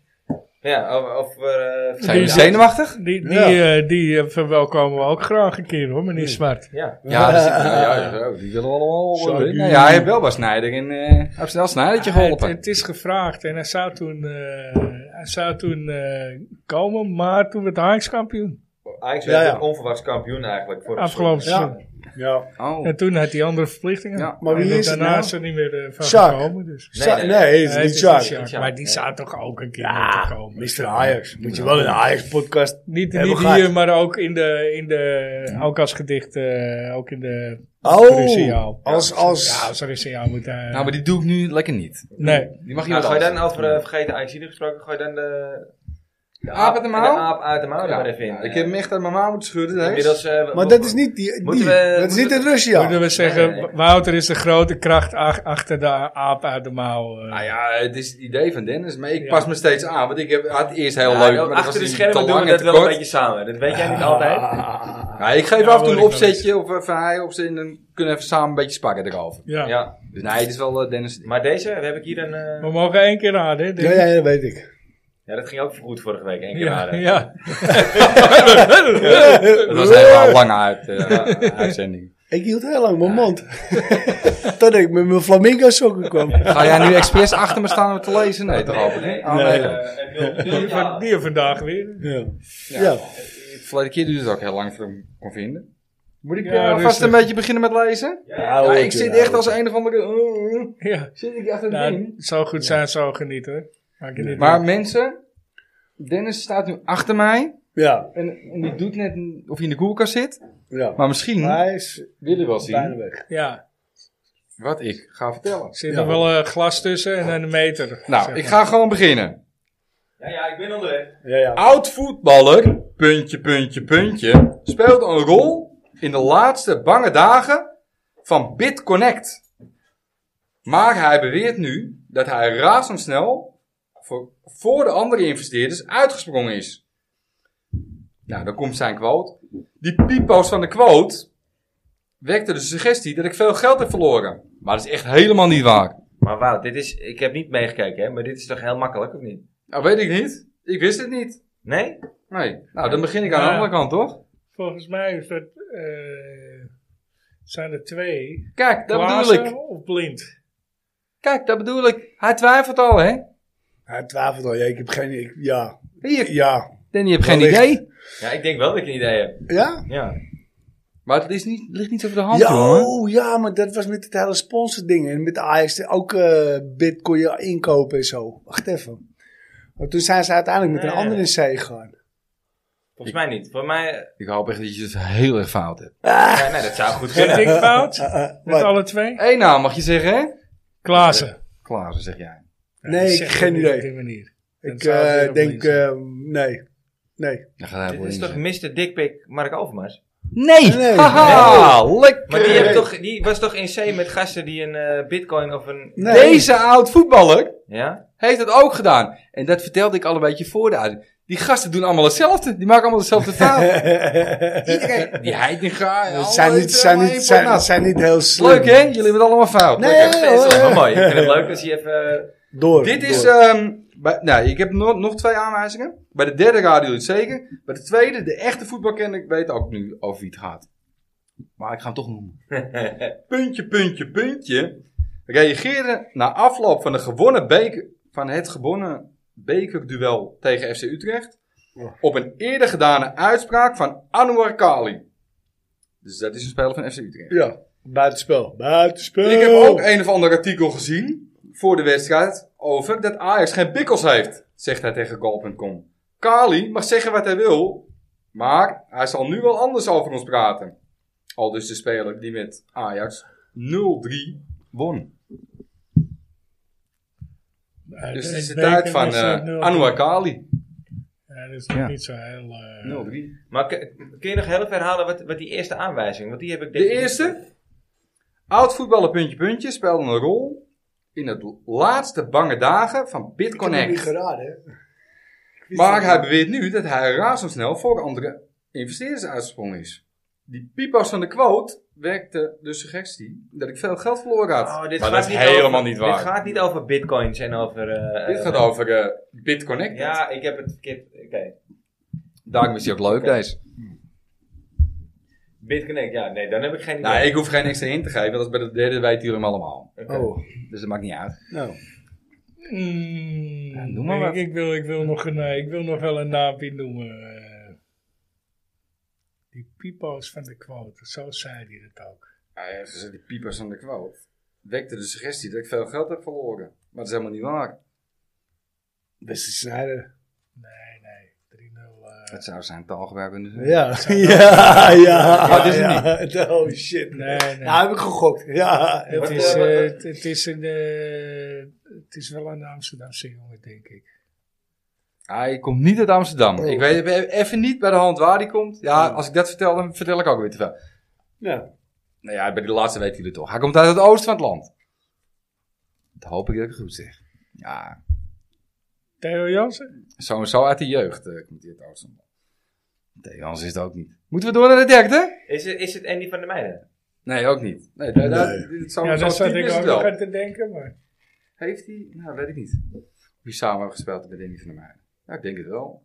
Ja, of... of eh,
Zijn jullie
ja.
zenuwachtig?
Die, die,
Ja.
eh, die eh, verwelkomen we ook graag een keer hoor, meneer Zwart.
Ja.
Ja, dat is- ja, ja, ja, die willen we allemaal.
Zou
eh,
ik-
nou ja, hij heeft wel bij Snijder en eh heeft snel Snijdertje
Ah, het,
geholpen.
het is gevraagd en hij zou toen, eh, hij zou toen eh, komen, maar toen werd Ajax kampioen.
Ajax
Ja,
werd
ja.
een onverwachts kampioen eigenlijk. Voor het
Afgelopen
seizoen.
seizoen.
Ja.
oh.
En toen had hij andere verplichtingen.
Ja,
maar wie
En
is het
daarna
nou?
is er niet meer eh, van
Sjaak.
gekomen. Dus.
Nee,
Sa-
nee.
nee, het is
Nee,
niet
het is niet
Sjaak.
Sjaak,
Sjaak,
Maar die
ja.
zou toch ook een keer
Ja,
moeten komen.
Mr. Ajax. Moet je wel in een Ajax-podcast
Niet,
hebben
niet
gehad.
hier, maar ook, in de, in de, ook als gedicht. eh, ook in de
Oh,
Russiaal.
als-
Ja,
als-
Ja, als Russiaal moet hij...
Nou, maar die doe ik nu lekker niet.
nee.
Die mag je
Nou,
wel
ga je dan
anders.
over eh, vergeten Ajax gesproken, gooi dan de... De
aap uit de mouw?
De aap uit de mouw er
Ja,
maar even in. eh,
ja, Oh, nou, ik heb hem echt uit mijn mouw moeten schudden. hè.
Inmiddels... eh, we-
Maar dat is niet die, die.
Moeten we-
dat is niet
moeten
het
we-
Moeten
Russia.
we zeggen,
nee, nee.
Wouter is de grote kracht ach- achter de a- aap uit de mouw. eh.
Nou ja, het is het idee van Dennis, maar ik
Ja.
pas me steeds aan. Want ik heb, had het eerst heel
Ja, nou,
leuk, maar dat was
achter de
niet
schermen
te
doen we
lang
dat
en
wel
te
een
kort.
beetje samen. Dat weet jij niet altijd.
Ja, ik geef
Ja,
af en toe
hoor
een
ik wel
opzetje of even hij of ze en dan kunnen we even samen een beetje sparren erover.
ja.
Ja,
Dus nee, het is wel eh, Dennis.
maar deze heb ik hier een... eh,
We mogen één keer raden, hè?
Ja,
Dennis?
ja, ja, dat weet ik.
Ja, dat ging ook goed vorige week. één keer
Ja,
raden.
ja.
Het was helemaal lang uit, eh, uitzending.
Ik hield heel lang mijn mond. Tot ik met mijn flamingo sokken kwam.
Ga jij nu expres achter me staan om te lezen? Nee, toch hoop ik niet. Oh, nee.
Nee.
Eh, en wil- wil
Die
je
van-
halen?
Die vandaag weer.
Ja.
Ja.
Ja.
De Verleden keer duurde het ook heel lang voor hem kon vinden. Moet ik
Ja,
eh, alvast
rustig.
een beetje beginnen met lezen?
Ja,
Ja,
hoor,
ik zit
ja,
echt
hoor.
als een of andere... Oh,
Ja.
Zit ik achter het
Nou,
ding?
zo goed zijn, zo genieten hoor. Maak je niet
Maar
uit.
mensen, Dennis staat nu achter mij.
Ja,
En, en die doet net n- of hij in de koelkast zit.
ja.
Maar misschien
Maar hij is
willen wel
bijna weg.
Ja,
wat ik ga vertellen.
er zit
Ja.
er wel een glas tussen en een meter.
Nou,
zeg
ik
maar.
ga gewoon beginnen.
Ja, ja, ik ben onderweg.
Ja, ja.
Oud voetballer, puntje, puntje, puntje, speelde een rol in de laatste bange dagen van BitConnect. Maar hij beweert nu dat hij razendsnel voor, voor de andere investeerders uitgesprongen is. Nou, dan komt zijn quote. Die pipo's van de quote wekte de suggestie dat ik veel geld heb verloren. Maar dat is echt helemaal niet waar.
Maar wauw, dit is, ik heb niet meegekeken, hè, maar dit is toch heel makkelijk, of niet?
Nou, weet ik niet. Ik wist het niet.
Nee?
Nee. Nou, dan begin ik aan de
Ja.
andere kant, toch?
Volgens mij is dat, eh, zijn er twee.
Kijk, dat bedoel
Klaassen
ik.
of blind?
Kijk, dat bedoel ik. Hij twijfelt al, hè?
Hij twijfelt al. Ja, ik heb geen. Ik, ja.
Hier,
Ja.
Danny, je hebt geen
Wellicht.
idee.
Ja, ik denk wel dat ik een idee heb.
Ja?
Ja.
Maar het is niet, ligt niet over de hand,
Ja,
hoor.
oh, ja, maar dat was met het hele sponsording. En met Ajax ook eh bid kon je inkopen en zo. Wacht even. Maar toen zijn ze uiteindelijk met een
Nee.
andere in zee gegaan.
Volgens mij niet. Voor mij... eh,
Ik hoop echt dat je het heel erg fout hebt.
ja, nee, dat zou goed
Zit
kunnen.
ik fout?
Eh, eh,
Met
wat?
alle twee?
Eén naam mag je zeggen, hè?
Klaassen.
Klaassen, zeg jij.
Ja,
Nee,
die
ik-
zegt het
geen
niet
idee.
op die manier. Dan
Ik
zou het
eh,
weer op
denk,
blind zijn.
eh, nee. Nee.
Dan gaat hij
Dit
wel
is
in
toch
zeggen.
Mr. Dickpick Mark Overmars?
Nee!
Nee.
Haha, lekker!
Maar die,
Nee.
heeft toch, die was toch in zee met gasten die een eh, bitcoin of een...
Nee.
Deze oud voetballer
Ja?
heeft dat ook gedaan. En dat vertelde ik al een beetje voor de uit. Die gasten doen allemaal hetzelfde. Die maken allemaal dezelfde fout. Iedereen. Die Heitinga.
Het zijn niet, zijn, niet, zijn, het zijn niet heel slim.
Leuk, hè? Jullie hebben het allemaal fout.
Nee,
Lekker.
Dat is
hoor.
toch wel Oh, mooi. Ik vind het leuk als je even... eh,
Door.
Dit is,
door.
ehm, bij- nou, ik heb nog, nog twee aanwijzingen. Bij de derde radio het zeker. Bij de tweede, de echte voetbalkenner, ik weet ook nu over wie het gaat. Maar ik ga hem toch noemen. puntje, puntje, puntje. Reageerde na afloop van, de gewonnen beker, van het gewonnen bekerduel tegen FC Utrecht. Op een eerder gedane uitspraak van Anouar Kali. Dus dat is een speler van FC Utrecht.
Ja, buitenspel. Buitenspel.
eh, Ik heb ook een of ander artikel gezien voor de wedstrijd over dat Ajax geen bikkels heeft, zegt hij tegen goal.com. Kali mag zeggen wat hij wil, maar hij zal nu wel anders over ons praten. Al dus de speler die met Ajax 0-3 won.
Ja,
Dus het is de
beker
tijd van
was, eh,
eh,
nul.
Anouar Kali.
Ja, dat is nog
Ja.
niet zo heel... eh,
0-3.
Maar k- kun je nog heel even herhalen wat, wat die eerste aanwijzing? Want die heb ik... denk
De
ik-
eerste. Oud voetballer puntje puntje speelde een rol in het laatste bange dagen van
Ik heb hem niet
BitConnect.
geraden.
Maar hij beweert nu dat hij razendsnel voor andere investeerders uitgesprongen is. Die pipas van de quote werkte dus de suggestie dat ik veel geld verloren had.
Oh, dit
maar
gaat
dat is
niet
helemaal
over-
niet waar.
Dit gaat niet over bitcoins en over... eh,
Dit
eh,
gaat over eh, BitConnect.
Ja, ik heb het verkeerd... Oké.
Daarom is hij ook leuk,
Oké.
deze.
BitConnect, ja. Nee, dan heb ik geen idee.
Nou, ik hoef geen extra hint te geven, want als bij de derde weet jullie hem allemaal.
Oké.
Oh,
Dus dat maakt niet uit.
nou.
Mm,
Ja, noem maar
ik-
wat.
Ik, wil, ik, wil nog een, eh, ik wil nog wel een naampje noemen. eh. die pipo's van de quote, zo zei hij het ook.
Ja, ja, dus die piepers aan de quote wekte de suggestie dat ik veel geld heb verloren. Maar dat is helemaal niet waar.
Beste Snijder.
Nee, nee, 3-0. eh.
Het zou zijn taalgebruik kunnen zijn.
Ja, ja, ja.
Ah, dit is hem
ja. Oh shit.
nee, nee.
Nou heb ik gegokt. Ja.
het,
wat-
is,
eh, wat-
eh,
wat-
het, het is een, eh, het is wel een Amsterdamse jongen, denk ik.
Hij Ah, komt niet uit Amsterdam.
Oh.
Ik weet even niet bij de hand waar hij komt. Ja, als ik dat vertel, dan vertel ik ook weer te veel.
Ja.
Nou ja, bij die laatste weten jullie het toch. Hij komt uit het oosten van het land. Dat hoop ik dat ik het goed zeg. Ja,
Theo Jansen?
sowieso uit de jeugd eh, komt hij uit het oosten van het land. Nee, anders is het ook niet. Moeten we door naar de derde?
Is, het, is het Andy van der Meijden?
Nee, ook niet. Nee, daar, daar- dit- zo,
ja,
zo'n
daar zat
type
ik
is
ook
het wel.
nog aan te denken, maar...
Heeft hij? Nou, weet ik niet. Wie samen hebben gespeeld met Danny van der Meijden. Ja, ik denk het wel.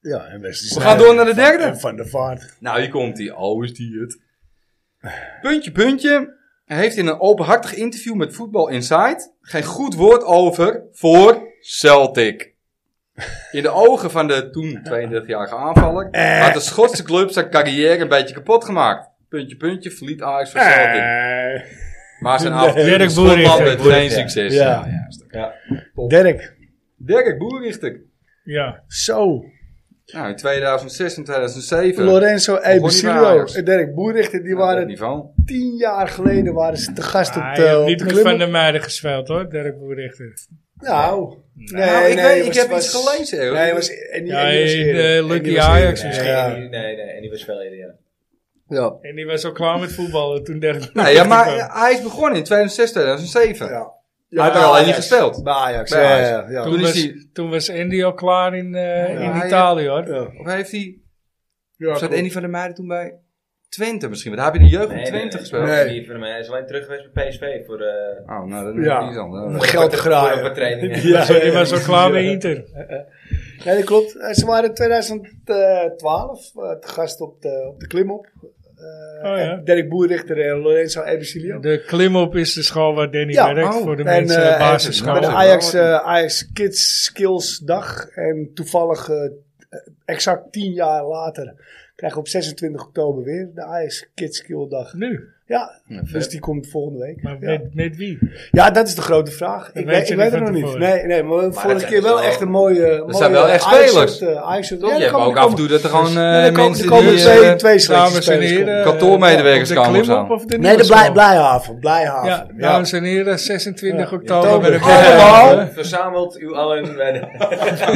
Ja, en Wesley
We gaan door naar de derde.
En Van de Vaart.
Nou, hier komt hij. Oh, is die het. Puntje, puntje. Hij heeft in een openhartig interview met Voetbal Insight geen goed woord over voor Celtic. In de ogen van de toen 32-jarige aanvaller
Eh.
had de Schotse club zijn carrière een beetje kapot gemaakt. Puntje, puntje, verliet Ajax voor Celtic.
Eh,
Maar zijn
Nee.
avontuur in
Dirk Boerichter.
Schotland werd
Boerichter,
geen
ja.
succes. Nou,
Ja.
Ja, ja, is dat-
Dirk.
Dirk Boerichter.
Ja,
Zo.
Nou, in 2006 en 2007.
Lorenzo
niet bij
Ebesilio
Ajax.
en Dirk Boerichter, die
Ja, dat
waren
niveau.
tien jaar geleden waren ze te gast op
Ah, hij
eh,
heeft
op
niet
de
met
club.
Van der Meijden gespeeld, hoor, Dirk Boerichter.
Nou, nee,
Nou, ik weet-
het
ik
was-
heb
was-
iets gelezen, hoor.
Nee, het was, en die,
Ja,
en die was
in,
eerder.
eh,
En die
Lucky
was
Ajax
eerder.
misschien.
Ja.
Nee, nee, nee. Andy was veel eerder, ja.
Ja.
En die was al klaar met voetballen toen Dirk
Nou ja, maar
kwam.
hij is begonnen in 2006, 2007.
Ja.
Hij heeft er alleen niet gespeeld.
Bij Ajax.
Bij
ja,
Ajax.
ja, ja.
Toen
Toen
is
was,
hij-
toen was Andy al klaar in, eh,
Ja, hij-
in Italië, hoor.
Ja.
Of heeft hij...
Ja,
zat
klopt.
Andy van der Meijden toen bij Twente misschien? Want daar heb je de jeugd van
Nee,
Twente gespeeld.
nee.
Andy van der Meijden is alleen terug geweest bij PSV voor... eh
Oh, nou, dat
Ja.
is iets
Om
anders.
geld te graaien.
Voor een training.
Ja,
Zo, die
ja,
was al
precies,
klaar
ja.
bij Inter. Oh,
Ja, dat klopt. Eh, Ze waren in 2012 eh, te gast op de, op de klimop. Eh
Oh, ja.
en Dirk Boerrichter en eh, Lorenzo Ebesilio.
De klimop is de school waar Danny
Ja,
werkt
oh,
voor de
en,
mensen
eh,
basisschool.
Bij de
Oh,
Ajax,
wel.
eh, Ajax Kids Skills Dag. En toevallig, eh, exact tien jaar later, krijgen we op 26 oktober weer de Ajax Kids Skill Dag.
Nu?
Ja,
Ja, vet.
dus die komt volgende week.
Maar
ja.
met, met wie?
Ja, dat is de grote vraag. Ik,
weet
weet,
je
ik weet
niet
het nog
van
niet.
tevoren.
Nee, nee, maar we vorige
zijn
keer wel
wel-
echt een mooie. mooie
zijn wel echt
Ajax-shirt,
spelers.
eh, Ajax-shirt.
Toch?
Ja,
je
er
hebt
komen-
ook
er
af en
komen-
toe dat er gewoon eh,
Nee, er komen-
mensen
er komen
die...
twee,
eh,
twee selecties
Dames en
spelers komen.
heren.
kantoormedewerkers
eh, op de
komen of zo.
klimop of de
Nee, de
nieuwe
blij,
school?
Blijhaven. Blijhaven.
Ja,
Ja,
dames en heren, 26 eh, oktober
Oktober.
bij de
Allemaal.
Klimop.
Verzamelt u allen bij de...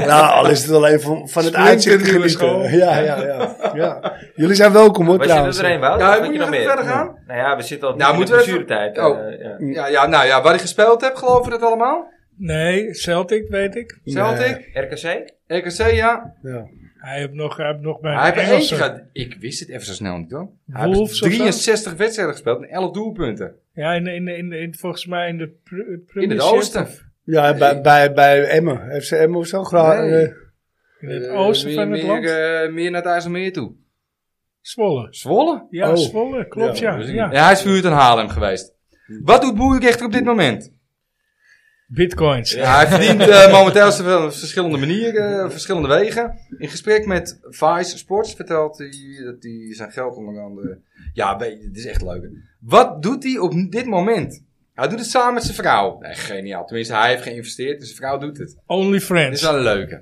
Nou, al is het alleen van, van het
Splinter
uitzicht
nieuwe school.
genieten. Ja, ja, ja, ja. Jullie zijn welkom hoor
Was je
trouwens.
er een, Wout?
Ja,
Of had
moet je
nog
nog
meer?
verder gaan?
Nou ja, we zitten al
Nou,
in de
moeten we even-
blessuretijd.
Oh.
eh, ja.
Ja, ja, nou ja, waar hij gespeeld hebt, geloven we dat allemaal?
Nee, Celtic weet ik.
Celtic,
RKC?
RKC, ja.
Ja.
hij heeft nog, hij heeft nog bij
Hij heeft er eentje
Engelsen.
gehad. Ik wist het even zo snel niet hoor. Hij
Wolves of
heeft
zo?
63 wedstrijden gespeeld en 11 doelpunten.
Ja, in, in, in, in- volgens mij in de pr-
In het
Premiership.
oosten.
Ja, bij, bij, bij Emmen. FC Emmen of zo. Graag.
Nee.
eh,
In het
Eh,
oosten
meer-
van het land.
Meer, eh, meer naar het IJsselmeer toe.
Zwolle.
Zwolle?
Ja,
Oh.
Zwolle, klopt ja. ja,
Ja, hij is verhuurd aan Haarlem geweest. Wat doet Boerrechter op dit moment?
Bitcoins.
Ja, hij verdient eh, momenteel zoveel op verschillende manieren, eh, verschillende wegen. In gesprek met Vice Sports vertelt hij dat hij zijn geld onder andere... Ja, weet je, dit is echt leuk. Wat doet hij op dit moment? Hij doet het samen met zijn vrouw. Nee, geniaal. Tenminste, hij heeft geïnvesteerd en zijn vrouw doet het.
Only
Dit is
Friends.
wel een leuke. Er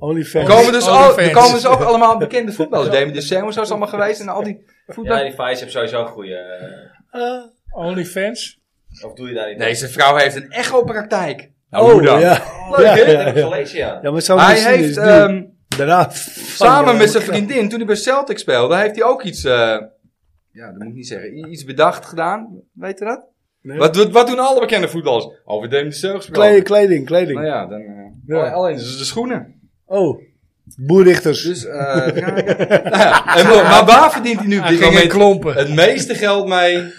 Onlyfans.
komen dus,
Only
al,
fans.
er komen dus ook allemaal bekende voetballers. Damien de Samuel is allemaal geweest en al die voetballers.
Ja, die Vice heeft sowieso een goede... eh,
Eh,
Only Fans.
of doe je daar niet
Deze vrouw heeft een echo-praktijk. Nou,
oh,
hoe dan?
ja.
Leuk, hè?
Ja,
Dat heb ik
ja.
gelezen, ja.
Ja, maar zo
Hij
misschien
heeft
is het duur.
ehm,
Daarna. eh,
samen met zijn vriendin, toen hij bij Celtic speelde, heeft hij ook iets, eh, ja, dat moet ik niet zeggen, i- iets bedacht gedaan. Weet je dat?
Nee.
Wat, wat, wat doen alle bekende voetballers? Over Damien de Zeug gesproken. Oh,
Kleding, kleding. kleding.
Nou ja, dan, eh,
Ja.
Alleen, alleen dus de schoenen.
Oh, Boerrichters.
Dus, eh nou ja, en, maar- maar waar verdient hij nu op dit
Eigenlijk
moment
in klompen.
het meeste geld mee?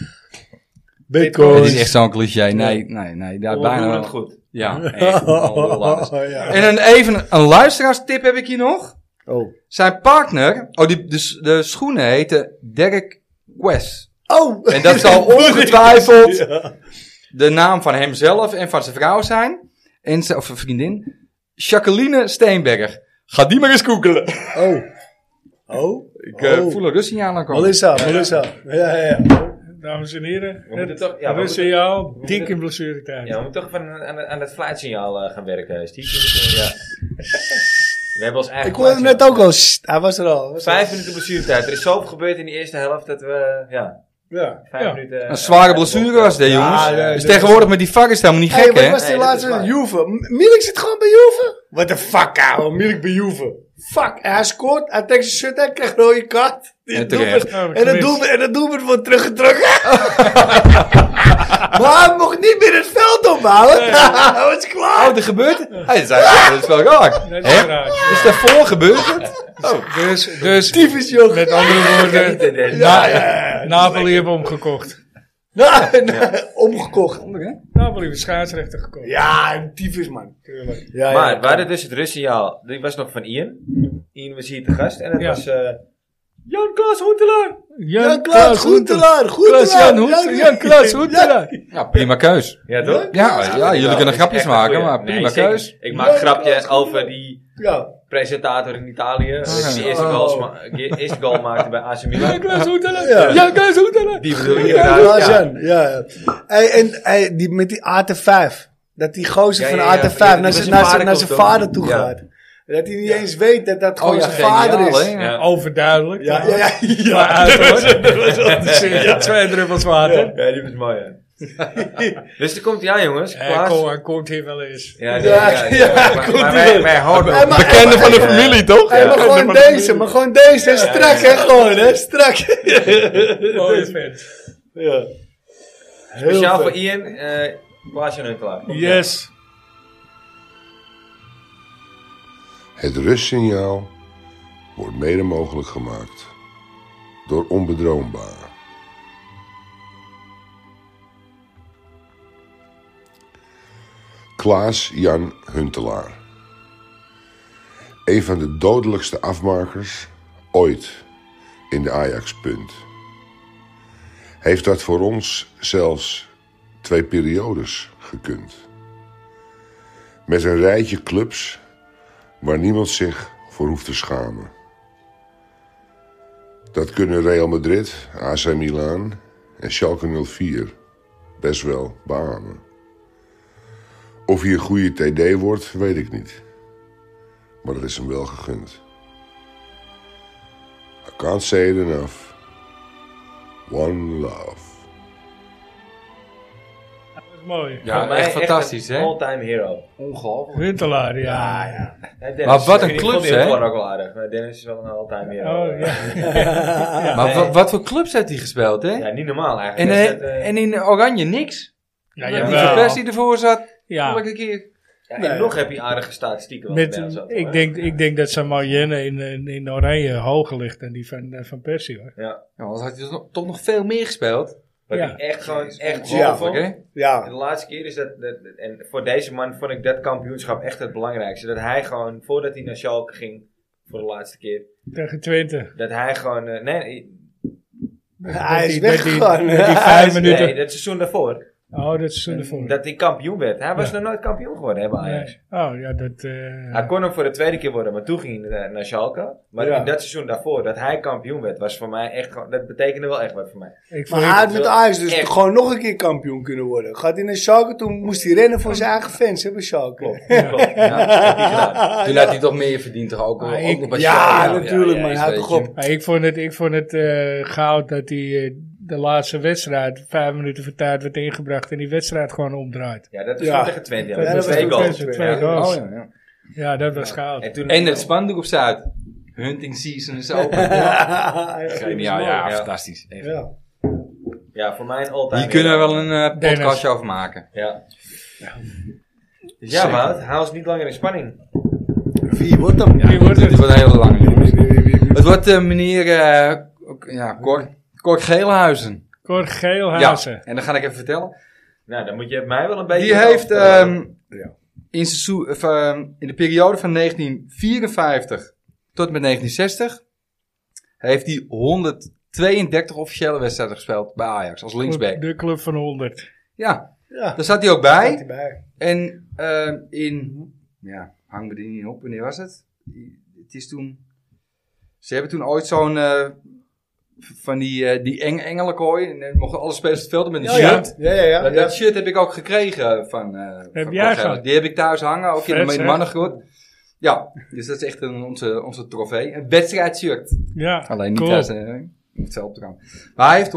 Bitcoin.
Het is echt zo'n cliché. Nee, nee, nee. Daar bijna
Onroerend
wel.
goed.
Ja, echt.
Oh,
En
ja.
een, even een luisteraarstip heb ik hier nog.
Oh.
Zijn partner, oh, die, de, s- de schoenen heten Derek Quest.
Oh.
En dat zal ongetwijfeld de naam van hemzelf en van zijn vrouw zijn. En zijn, of een vriendin. Jacqueline Steenberg. Ga die maar eens googelen.
Oh. Oh.
Ik eh,
Oh.
voel een rustsignaal aankomen.
Melissa, Melissa. Ja, ja, ja.
Dames en heren,
We moeten
het
toch- ja, we
rustsignaal,
moeten-
dik in blessuretijd.
Ja, we moeten toch even aan, aan, aan het fluitsignaal eh, gaan werken, Steve. Ja. We hebben ons eigen
Ik hoorde hem net
fluitsignaal.
ook al. Sst, Hij was er al. Was er al.
Vijf minuten blessuretijd. Er is zoveel gebeurd in de eerste helft dat we... Ja,
Ja.
vijf
Ja.
minuten... eh,
Een zware
eh,
blessure was dit,
Ja,
jongens.
ja, ja.
dus tegenwoordig met die varkens is het helemaal niet
Hey,
gek,
wat
hè?
was die
Nee, dat
laatste?
is waar.
Juve. M- Milik zit gewoon bij Juve. What the fuck, ouwe. Milik bij Juve. Fuck. En hij scoort. Hij trekt zijn shirt aan. Krijgt een rode kaart. Die
En
doelpunt-
terecht.
Oh,
En het
gemist.
doelpunt, en het doelpunt wordt teruggetrokken. maar hij mocht niet meer het veld opbouwen. hij was klaar.
Oh, er gebeurt het? Hey, dat, is eigenlijk- dat is wel raar.
Dat is
Hè?
raar.
Dus daarvoor gebeurt het?
Dus, dus
Typisch, Oh, joh.
met andere
Niet
woorden,
in deze-
Ja, ja, ja.
Napoli hebben we omgekocht.
Nou, nou, Omgekocht.
Napoli hebben schaatsrechten gekocht.
Ja, een tyfus, man.
Tuurlijk.
Ja, ja.
Maar we hadden dus het rustsignaal. Die was nog van Ian. Ian was hier te gast. En het
Ja.
was... eh, Jan-Klaas Hoentelaar.
Jan Klaas Goentelaar.
Klaas-Jan
Goentelaar.
Hoentelaar. Klaas Hoentelaar. Ja, prima keus.
Ja, toch?
Ja, ja, jullie kunnen
dat is
grapjes
echt een
maken,
goeie.
maar prima
Nee, zeker.
keus.
Ik maak een grapje
Jan-Klaas
over die
Ja.
presentator in Italië.
ja.
Die eerste,
Oh.
goals ma- ge- eerste goal maakte bij AC Milan.
Klaas
Ja.
Hoetelaar. Ja, Klaas Hoetelaar.
Die bedoel je
Ja,
inderdaad,
Klaas Jan. Ja, ja. Hey, en hey, die, met die AT5. Dat die gozer
Ja,
van
ja, ja.
AT5
Ja,
naar
dat
zijn-
zijn
naar
vader
zijn naar
komt
zijn
ook.
vader toe
Ja.
gaat. Dat hij niet eens weet dat dat gewoon
Oh ja,
zijn vader
geniaal,
is.
hè?
Ja.
Overduidelijk.
Ja, ja, ja.
Maar uit, hoor. Dat is, eh, Twee druppels water.
Ja, die was mooi, hè. dus die komt hij aan, jongens.
Eh,
Klaas.
kom, hij komt hier wel eens.
Ja,
Ja, ja,
maar,
komt
maar
ie
wij,
wel.
wij houden
Hey, maar-
Bekende van de familie, toch?
Hey, maar gewoon deze, maar gewoon deze. hè, Strak, hè? Gewoon, hè? Strak.
Mooie vent.
ja.
Speciaal voor Ian, eh Klaasje Nuntelaar.
Yes.
Het rustsignaal wordt mede mogelijk gemaakt door onbedroombaar. Klaas-Jan Huntelaar. Een van de dodelijkste afmakers ooit in de Ajax-punt. Heeft dat voor ons zelfs twee periodes gekund. Met een rijtje clubs waar niemand zich voor hoeft te schamen. Dat kunnen Real Madrid, AC Milan en Schalke 04 best wel beamen. Of hij een goede TD wordt, weet ik niet. Maar dat is hem wel gegund. I can't say it enough. One love.
Dat is mooi.
Ja,
Voor mij
echt fantastisch,
een
hè?
all-time hero.
Ongelooflijk.
Huntelaar, ja. ja.
Hè, Dennis,
Maar wat een
ik vond die
clubs, hè?
Huntelaar ook wel aardig. Maar Dennis is wel een all-time hero.
Oh, ja.
Maar wa- wat voor clubs heeft hij gespeeld, hè?
Ja, niet normaal eigenlijk.
En,
Hij
eh,
staat, eh,
en in Oranje niks.
Ja,
Die
jawel.
verpers die ervoor zat,
Ja.
elke keer.
ja, en
nee.
nog heb je aardige statistieken. wat
Met,
erbij zat,
ik,
hè?
denk, ik denk dat zijn Marianne in, in, in Oranje hoger ligt dan die van, eh, van Persie hoor.
Ja,
Ja, want had hij toch- toch nog veel meer gespeeld.
wat
Ja.
ik echt gewoon echt
Ja.
ja,
Ongelooflijk, hè?
En
Ja.
de laatste keer is dat, dat- dat- En voor deze man vond ik dat kampioenschap echt het belangrijkste. Dat hij gewoon, voordat hij naar Schalke ging, voor de laatste keer.
Tegen Twente.
Dat hij gewoon... eh, nee,
Hij is
Met die- met die-
weggegaan.
met die
Hij
vijf
is-
minuten.
nee, dat seizoen daarvoor.
Oh, dat is ervoor.
Dat hij kampioen werd. Hij was nog nooit kampioen geworden, hè, bij Ajax.
Nee. Oh ja, dat. eh,
Hij kon hem voor de tweede keer worden, maar toen ging hij naar, naar Schalke. Maar
Ja.
in dat seizoen daarvoor, dat hij kampioen werd, was voor mij echt gewoon... Dat betekende wel echt wat voor mij.
ik vond
Maar hij had
het
met
wel
Ajax dus
echt.
gewoon nog een keer kampioen kunnen worden. Gaat hij naar Schalke, toen moest hij rennen voor zijn eigen fans, hè, bij Schalke.
Klopt. klopt. Ja, dat heb hij gedaan.
Toen had hij toch meer verdiend, toch ook,
Maar
ook
ik-
nog bij
Ja,
Schalke.
natuurlijk, man.
jezus,
Hou
weet
toch
je.
op.
Maar ik vond het, ik vond het eh, goud dat hij eh, de laatste wedstrijd, vijf minuten voor tijd, werd ingebracht en die wedstrijd gewoon omdraait.
Ja, dat was
Ja.
gewoon tegen Twente. Ja,
Dat
dat
was
was twee
toen
goals.
tegen
Twee
Ja.
goals.
Oh, ja, ja.
Ja, dat was goud.
En, toen,
En het spandoek op staat. Hunting season is open. Geniaal, ja,
Ja.
fantastisch. Echt.
Ja.
Ja, voor mij een all-time
Hier kunnen we
hero.
wel een eh,
Dennis.
podcastje over maken.
Ja, Dus
Zeker.
ja Wout, haal ons niet langer in spanning.
Wie wordt hem?
Ja,
Wie wordt het?
Dit wordt heel lang.
Wie, wie, wie, wie?
Het wordt eh, meneer eh, ook- ja, Cor, Cor Geelhuizen.
Cor
Ja,
Geelhuizen.
en dan ga ik even vertellen.
Nou, dan moet je mij wel een beetje...
Die heeft
helpen.
ehm,
Ja.
in, seizoen, of, ehm, in de periode van 1954 tot en met 1960 heeft hij 132 officiële wedstrijden gespeeld bij Ajax als linksback.
De club van 100.
Ja,
Ja,
daar zat hij ook
staat
bij.
hij bij.
En ehm, in, ja, hang me die niet op, wanneer was het? Het is toen, ze hebben toen ooit zo'n, eh, van die, eh, die eng engelenkooi. En dan mochten alle spelers het veld op met een
Oh, ja.
shirt.
Ja, ja, ja.
Dat,
ja.
dat shirt heb ik ook gekregen van, eh van Cor
jij
Gelder.
gehad?
Die heb ik thuis hangen, ook
Vet,
in de- in de
zeg.
mannengroep. Ja, dus dat is echt een, onze, onze trofee. Een wedstrijdshirt.
Ja,
Alleen niet
cool.
thuis, eh, in het veld op te komen. Maar hij heeft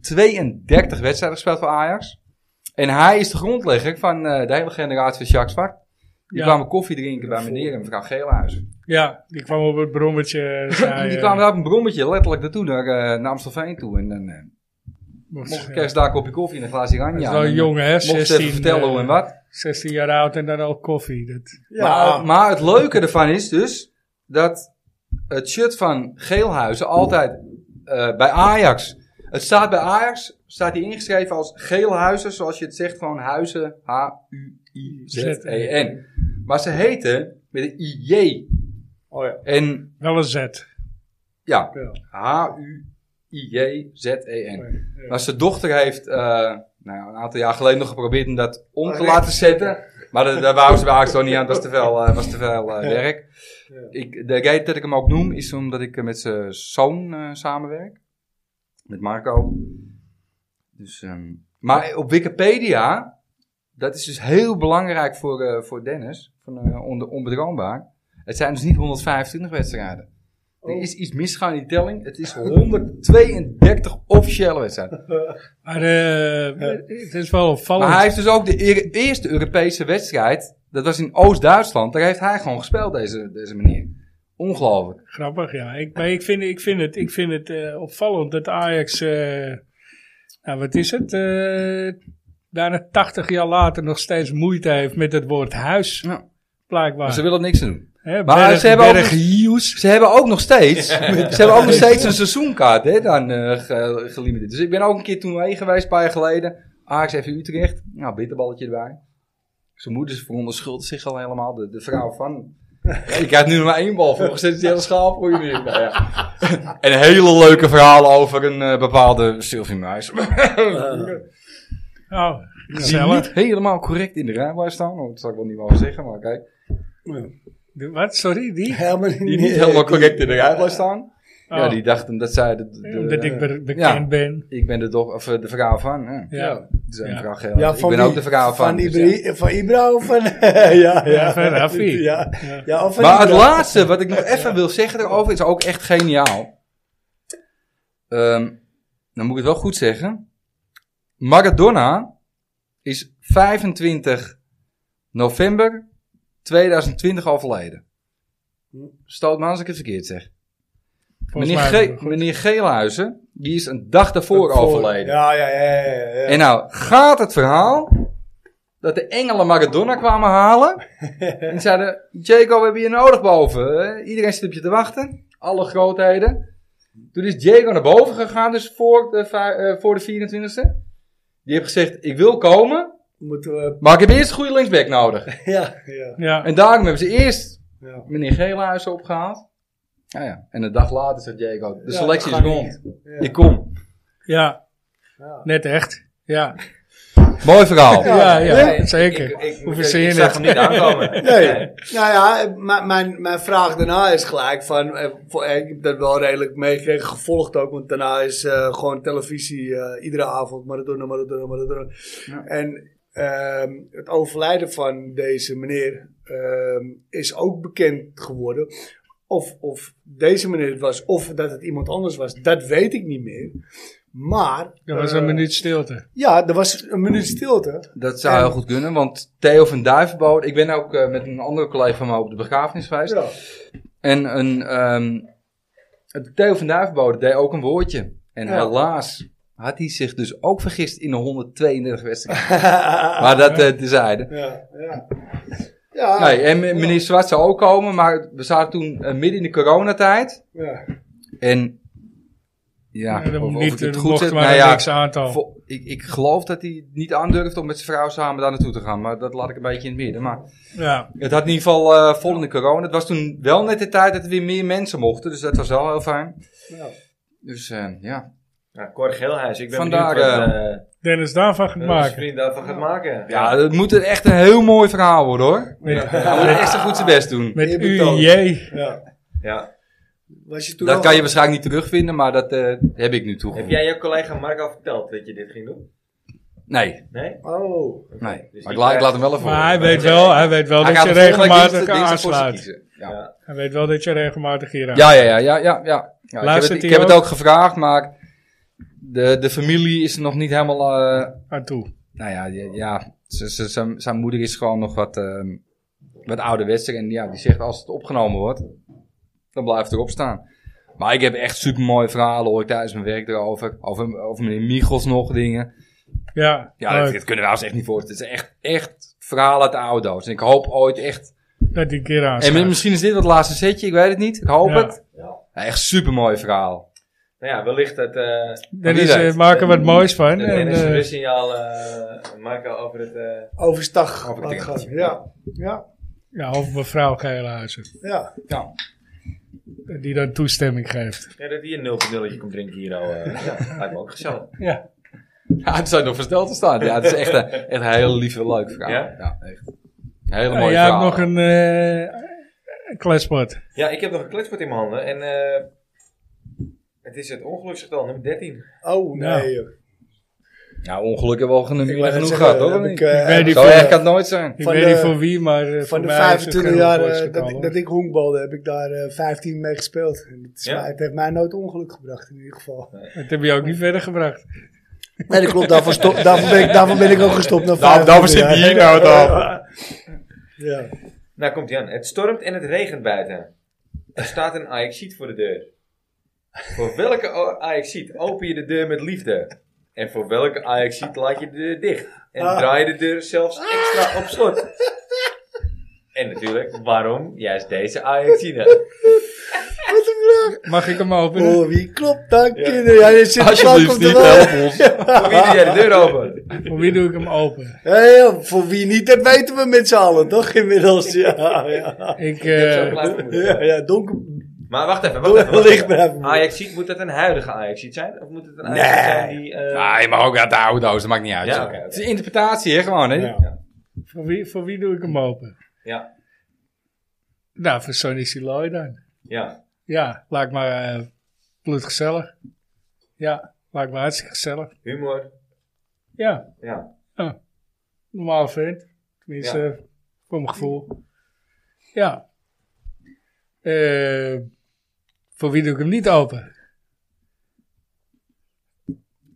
132 wedstrijden gespeeld voor Ajax. En hij is de grondlegger van eh, de hele generatie van Jacques Zwart. Die
Ja.
kwamen koffie drinken bij meneer en mevrouw Geelhuis.
Ja, die kwam op het brommetje. zei,
die
eh,
kwamen daar op een brommetje letterlijk naartoe, naar, eh naar Amstelveen toe. En dan eh
mocht-
mocht
ja.
ik kerst daar een kopje koffie en een glaasje oranje.
Dat is
aan.
wel
En, eh,
jong, hè?
Mocht ze even
16,
vertellen
eh,
hoe en wat.
16 jaar oud en dan al koffie. Dat,
Maar, maar het leuke ervan is dus dat het shirt van Geelhuizen altijd eh, bij Ajax. Het staat bij Ajax, staat hij ingeschreven als Geelhuizen, zoals je het zegt, gewoon Huizen, H-U-I-Z-E-N. E Maar ze heten met een I-J.
Oh ja.
En
wel een zet.
ja,
Ja.
H-U-I-J-Z-E-N.
Ja.
Maar zijn dochter heeft eh, nou ja, een aantal jaar geleden nog geprobeerd om dat om te
Recht
laten zetten. Maar dat- daar wou ze bij Ajax ook niet aan. Dat was te veel, eh, was te veel eh, werk.
Ja.
Ik, de reden dat ik hem ook noem is omdat ik eh, met zijn zoon eh, samenwerk. Met Marco. Dus, ehm, maar op Wikipedia, dat is dus heel belangrijk voor, eh, voor Dennis, van eh, onbe- Onbedroombaar. Het zijn dus niet 125 wedstrijden.
Oh.
Er is iets misgaan in die telling. Het is 132 officiële wedstrijden.
Maar eh, het is wel opvallend.
Maar hij heeft dus ook de eer- eerste Europese wedstrijd. Dat was in Oost-Duitsland. Daar heeft hij gewoon gespeeld, deze, deze meneer. Ongelooflijk.
Grappig, ja. Ik, maar ik vind, ik vind het, ik vind het eh, opvallend dat Ajax, eh, nou wat is het, eh, bijna 80 jaar later nog steeds moeite heeft met het woord huis,
Ja. Maar
blijkbaar.
Dus ze willen er niks aan doen.
Hè,
Maar
berg-
ze, hebben ook,
berg-
nog- ze hebben ook nog steeds, ze hebben ook nog steeds een seizoenkaart hè, dan, eh, ge- gelimiteerd. Dus ik ben ook een keer toen mee geweest, een paar jaar geleden. Ajax even Utrecht. Nou, bitterballetje erbij. Zijn moeder ze verontschuldigt zich al helemaal. De, de vrouw van... Ja, je krijgt nu nog maar één bal. Vroeger zit die hele schaal voor je neer. Nou ja. En hele leuke verhalen over een eh, bepaalde Sylvie Muis.
Oh,
Die
gezellig.
niet helemaal correct in de rij blijft staan. want Dat zal ik wel niet mogen zeggen, maar kijk.
De- Wat, sorry, die? Oh,
Helemaal niet,
Die niet helemaal correct in de rij blijft staan. Ja, die dachten dat zij... De, de-
Omdat ik be- bekend
Ja.
ben.
Ik ben de, doch, of, eh, de vrouw van. Ja. Dus
Ja.
Ja.
Ze zijn
Ja.
vrouw Geel. eh, ik ben ook de vrouw van.
Van,
dus
Ibra,
ja.
van Ibra of van... ja, ja.
Ja, van Raffi.
Ja,
Ja.
ja of van
Maar het
Ibra.
laatste wat ik nog even wil zeggen daarover is ook echt geniaal. Ehm, dan moet ik het wel goed zeggen. Maradona is 25 november 2020 overleden. Stoot me aan als ik het verkeerd zeg.
Volgens
Meneer,
mij-
Ge- meneer Geelhuizen, die is een dag daarvoor
Voor-
overleden.
Ja, ja, ja. ja, ja, ja.
En nou gaat het verhaal dat de engelen Maradona kwamen halen. en zeiden, Jaco, we hebben je nodig boven. hè? Iedereen zit op je te wachten. Alle grootheden. Toen is Jaco naar boven gegaan, dus voor de, vij- eh, voor de 24e. Die heeft gezegd, ik wil komen,
Moeten we...
maar ik heb eerst een goede linksback nodig.
Ja, ja,
Ja,
En daarom hebben ze eerst
ja.
meneer Geelhuizen opgehaald. Nou ja, en een dag later zegt Jaco, de
Ja,
selectie
ga
is
ik.
rond.
ja.
Ik kom.
ja,
ja.
net echt. Ja,
Mooi verhaal.
ja, ja,
Ja.
zeker.
Ik, ik,
Hoe
ik,
verzin je
ik zag
het?
hem niet aankomen.
Nee. Nou ja, m- mijn, mijn vraag daarna is gelijk van, eh, voor- eh, ik heb dat wel redelijk meegekregen, gevolgd ook, want daarna is eh, gewoon televisie eh, iedere avond Maradona, Maradona, Maradona.
Ja.
En ehm, het overlijden van deze meneer ehm, is ook bekend geworden. Of, of deze meneer het was, of dat het iemand anders was, dat weet ik niet meer. Maar...
Er was een
eh,
minuut stilte.
Ja, er was een minuut stilte.
Dat zou heel goed kunnen, want Theo van Duivenboot... Ik ben ook eh, met een andere collega van mij op de begrafenis geweest.
Ja.
En een, ehm, het- Theo van Duivenboot deed ook een woordje. En
Ja.
helaas had hij zich dus ook vergist in de 132 wedstrijden. maar dat eh tezijde.
Ja, ja. Ja,
Nee, eh- en me- meneer Zwart zou ook komen, maar we zaten toen eh, midden in de coronatijd.
ja.
En ja,
Ja, dan
of, of
niet,
ik het
er
goed
mocht
zeg,
maar
nou ja,
niks aantal.
vo- ik, ik geloof dat hij het niet aandurft om met zijn vrouw samen daar naartoe te gaan, maar dat laat ik een beetje in het midden. Maar
ja.
het had in ieder geval eh vol in de corona. Het was toen wel net de tijd dat er weer meer mensen mochten, dus dat was wel heel fijn.
Ja.
Dus eh, ja,
Nou, Cor Geelhuis, ik ben
Vandaar,
benieuwd wat,
eh,
eh,
Dennis daarvan gaat
wat onze
maken.
vriend daarvan gaat maken.
ja, het moet een- echt een heel mooi verhaal worden hoor.
Met,
Hij moet echt zijn goed zijn best doen.
met
Eer betoond.
UJ.
Ja.
Ja.
Was je toen
Dat
al-
kan je waarschijnlijk niet terugvinden, maar dat eh, heb ik nu
Heb
toegevoegd.
jij je collega Marco verteld dat je dit ging doen?
Nee,
Nee?
Oh.
nee.
Dus
Maar ik,
die
la- ik
krijgt-
laat hem wel even
Maar hij
horen.
weet wel, hij weet wel
Hij
dat
gaat
je
de volgende week
regelmatig
dinsdag- dinsdag voor zich
aansluit.
kiezen. Ja.
Hij weet wel dat je regelmatig hier aan.
Ja, ja, ja, ja, ja. ja. ja ik heb,
Luistert
het, ik
hij
heb het
ook?
ook gevraagd, maar de, de familie is er nog niet helemaal. eh,
aan toe.
nou ja, ja, ja ze- ze- zijn- zijn moeder is gewoon nog wat, ehm wat ouderwetser. En ja, die zegt als het opgenomen wordt, dan blijft het erop staan. Maar ik heb echt super mooie verhalen, hoor ik tijdens mijn werk erover. Over, over meneer Michels nog dingen.
Ja,
Ja, dat,
leuk.
dat kunnen we ons echt niet voorstellen. Het is echt, echt verhalen uit de oude doos. En ik hoop ooit echt
dat die een keer
en
aansluit.
mi- misschien is dit het laatste setje, ik weet het niet. Ik hoop
Ja.
het. Ja, echt super mooi verhaal.
Nou ja, wellicht dat eh
wie
Dennis
weet.
eh, maakt er wat moois van.
dat
en,
Dennis
eh,
een rustsignaal eh, Marco over het... eh,
Overstag.
Over
laat
het ding.
gaan. Ja. Ja.
ja, of mevrouw Geelhuizen.
Ja.
Ja.
Die dan toestemming geeft.
ja, dat hij een 0 nulletje komt drinken hier al. eh, ja, lijkt me ook gezellig.
Ja.
Ja, het zou nog versteld te staan. Ja, het is echt een, echt een heel lieve, leuk verhaal.
Ja?
Ja, echt. Een hele
Ja,
mooie
jij hebt
verhaal.
nog een eh kletsbord.
Ja, ik heb nog een kletspot in mijn handen en... eh, het is het ongeluksgetal, nummer 13.
Oh,
Ja.
nee. joh.
Ja, ongelukken wel genoeg,
Ik wou net
genoeg
zeggen,
gehad, hoor.
heb
of
ik,
niet?
eh,
Ik weet niet
Zo
voor-
erg kan het nooit zijn.
Ik
Van
weet
de-
niet voor wie, maar eh, voor
Van de
mij is het
25
geen
jaar eh,
voorstel,
dat, ik-
hoor.
dat ik honkbalde, heb ik daar eh, 15 mee gespeeld. En het, is
Ja?
mij- het heeft mij nooit ongeluk gebracht, in ieder geval.
Dat heb je ook niet verder gebracht.
Nee, dat klopt. Daarvoor, stop, daarvoor, ben, ik, daarvoor ben ik ook gestopt. Na
Daarvoor-
25
daarvoor zit hij
jaar.
hier nou dan.
Ja.
Nou komt Jan, het stormt en het regent buiten. Er staat een Ajaxiet voor de deur. Voor welke o- Ajaxiet open je de deur met liefde? En voor welke Ajaxiet laat je de deur dicht? En
Ah.
draai je de deur zelfs extra op slot? En natuurlijk, waarom juist deze Ajaxide?
Wat een vraag.
Mag ik hem openen?
Oh, wie klopt dan, kinderen? Ja, dit zit
Alsjeblieft
op de
niet,
wal.
help ons.
Voor wie doe jij de deur open?
Voor wie doe ik hem open?
Ja, ja, voor wie niet, dat weten we met z'n allen, toch? Inmiddels, ja. Ja,
Ik,
Zo
eh,
klaar voor me.
ja, ja donker.
Maar wacht even, wacht even.
Licht
Wacht
blijven.
even. Ajaxiet, moet dat een huidige Ajaxiet zijn? Of moet het een Ajaxiet zijn die... eh,
Nee, maar ook uit de oude doos, dat maakt niet uit.
Ja,
joh.
oké, oké.
Het is interpretatie, hè, gewoon, hè.
voor, wie, voor wie doe ik hem open?
Ja,
Nou, voor Sonny Siloy dan.
ja.
Ja, lijkt me eh bloedgezellig. Ja, lijkt me hartstikke gezellig.
Humor.
Ja,
Ja.
normaal vent. Tenminste,
Ja.
eh, voor mijn gevoel. Ja. Eh, voor wie doe ik hem niet open?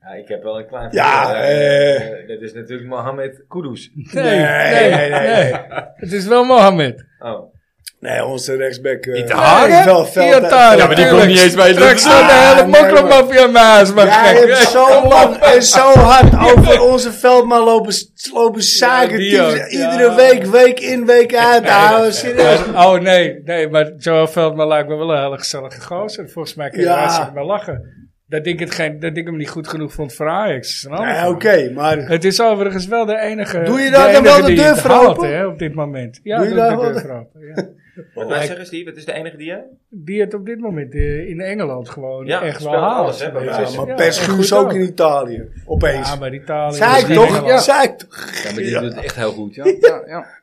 ja, ik heb wel een klein...
Ja,
voorbeeld,
eh.
eh, dat is natuurlijk Mohamed Kudus.
Nee, nee, nee. Het is wel Mohammed.
Nou,
Oh.
Nee, onze rechtsback. eh,
Niet te
Ah,
hard,
nee,
hè?
wel veld.
Ja, daar,
Ja, maar die
tuurlijk.
komt niet eens bij de-
Straks staat de hele
Ah, nee,
makromafia naast me.
Jij
gek.
hebt zo lang en zo hard over onze veldman lopen, lopen zaken.
die
typen.
ook,
Iedere
ja.
week, week in, week uit. Nou, serieus.
Maar- oh nee, nee, maar Joel Veldman lijkt me wel een hele gezellige gozer. Volgens mij kun je
Ja.
daar hartstikke mee lachen. Dat ik, het geen, dat ik hem niet goed genoeg vond voor Ajax. is een ander
Nee,
verhaal.
Oké, maar
Het is overigens wel de enige.
Doe je daar dan
enige
wel de
die
deur
het
voor
haalt,
open?
Hè, op dit moment. Ja,
Doe je
doe ik
daar
de
wel
deur
de-
voor open, ja.
Wat wij zeggen, Steve, het is de enige die je...
Die het op dit moment eh, in Engeland gewoon
Ja,
echt wel
speelt
haalt.
alles, hè, bij
Weet
Ajax.
je.
maar
Ja,
best
en
Guus
goed
ook in Italië. Opeens.
Ja, maar Italië.
Zei ik
in
toch?
Engeland.
Ja.
Zei ik toch?
Ja, maar die doet het echt heel goed, ja. ja,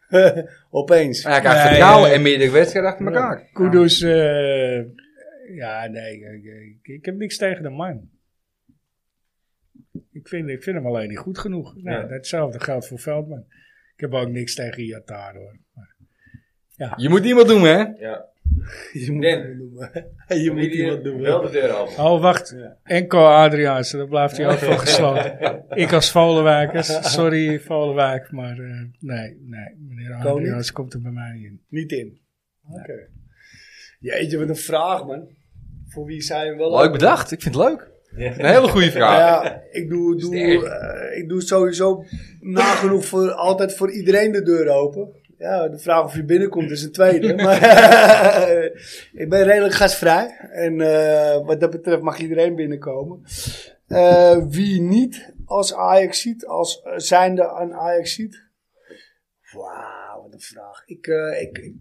ja.
Opeens.
Hij krijgt
Nee,
vertrouwen
nee.
en meerdere wedstrijden achter elkaar.
Kudus, eh, ja, nee, ik, ik- ik heb niks tegen de man. Ik vind, ik vind hem alleen niet goed genoeg. Nou,
Ja.
Hetzelfde geldt voor Veldman. Ik heb ook niks tegen Iatar hoor.
Je moet iemand doen, hè.
Ja.
Je moet
Den.
iemand noemen. Je moet iemand
Wel
noemen.
de deur open.
Oh, wacht. Enco Adriaanse, daar blijft hij ook voor gesloten. ik als Volenwijkers, sorry Volenwijk, maar eh, nee, nee, meneer
niet?
Adriaanse komt er bij mij niet in.
Niet in. Oké. Jeetje, wat een vraag, man. Voor wie zijn we wel...
Leuk bedacht, ik vind het leuk.
Ja.
Een hele goede
Nou
vraag.
ja, ik doe, doe,
erg.
eh, ik doe sowieso nagenoeg voor, altijd voor iedereen de deur open. Ja, de vraag of je binnenkomt is een tweede. maar ik ben redelijk gastvrij. En eh, wat dat betreft mag iedereen binnenkomen. Eh, wie niet als Ajax ziet, als eh, zijnde aan Ajax ziet. Wauw, wat een vraag. Ik, eh ik, ik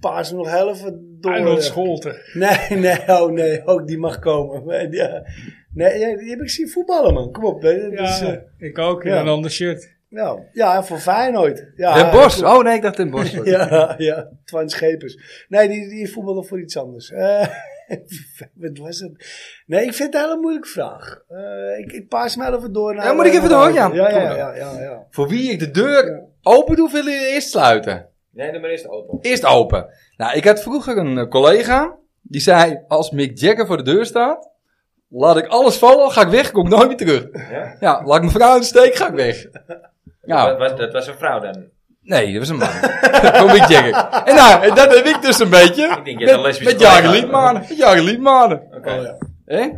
paas hem nog heel even door.
Arnold Scholte.
Nee, nee, oh nee, ook die mag komen. Maar Ja. Nee, ja, die heb ik zien voetballen, man. Kom op. Hè. Dat
Ja,
is, eh,
ik ook, in
ja.
een ander shirt.
nou, ja, en voor Feyenoord. Ja,
Den Bos. Oh nee, ik dacht Den Bos.
Ja, ja, Twan Schepers. Nee, die, die voetbalde voor iets anders. Eh, wat was het? Nee, ik vind het een hele moeilijke vraag. Eh, ik, ik paas mij even door. naar-
Ja, moet ik even door? Ja,
ja,
kom
ja,
maar.
ja, ja, ja.
Voor wie ik de deur open doe, wil je eerst sluiten.
Nee, dan maar eerst de auto.
Eerst open. Nou, ik had vroeger een eh, collega. Die zei, als Mick Jagger voor de deur staat, laat ik alles vallen, ga ik weg, kom ik nooit meer terug.
Ja?
Ja, laat ik mijn vrouw in de steek, ga ik weg.
Dat,
Nou,
was, dat was een vrouw dan.
nee, dat was een man. Van Mick Jagger. En nou, en dat heb ik dus een beetje.
Ik denk, je hebt een
met
lesbische
met Jagger
collega.
Liedmanen. Met Jagger Liedmanen.
Oké.
Oh, ja.
Hè? Het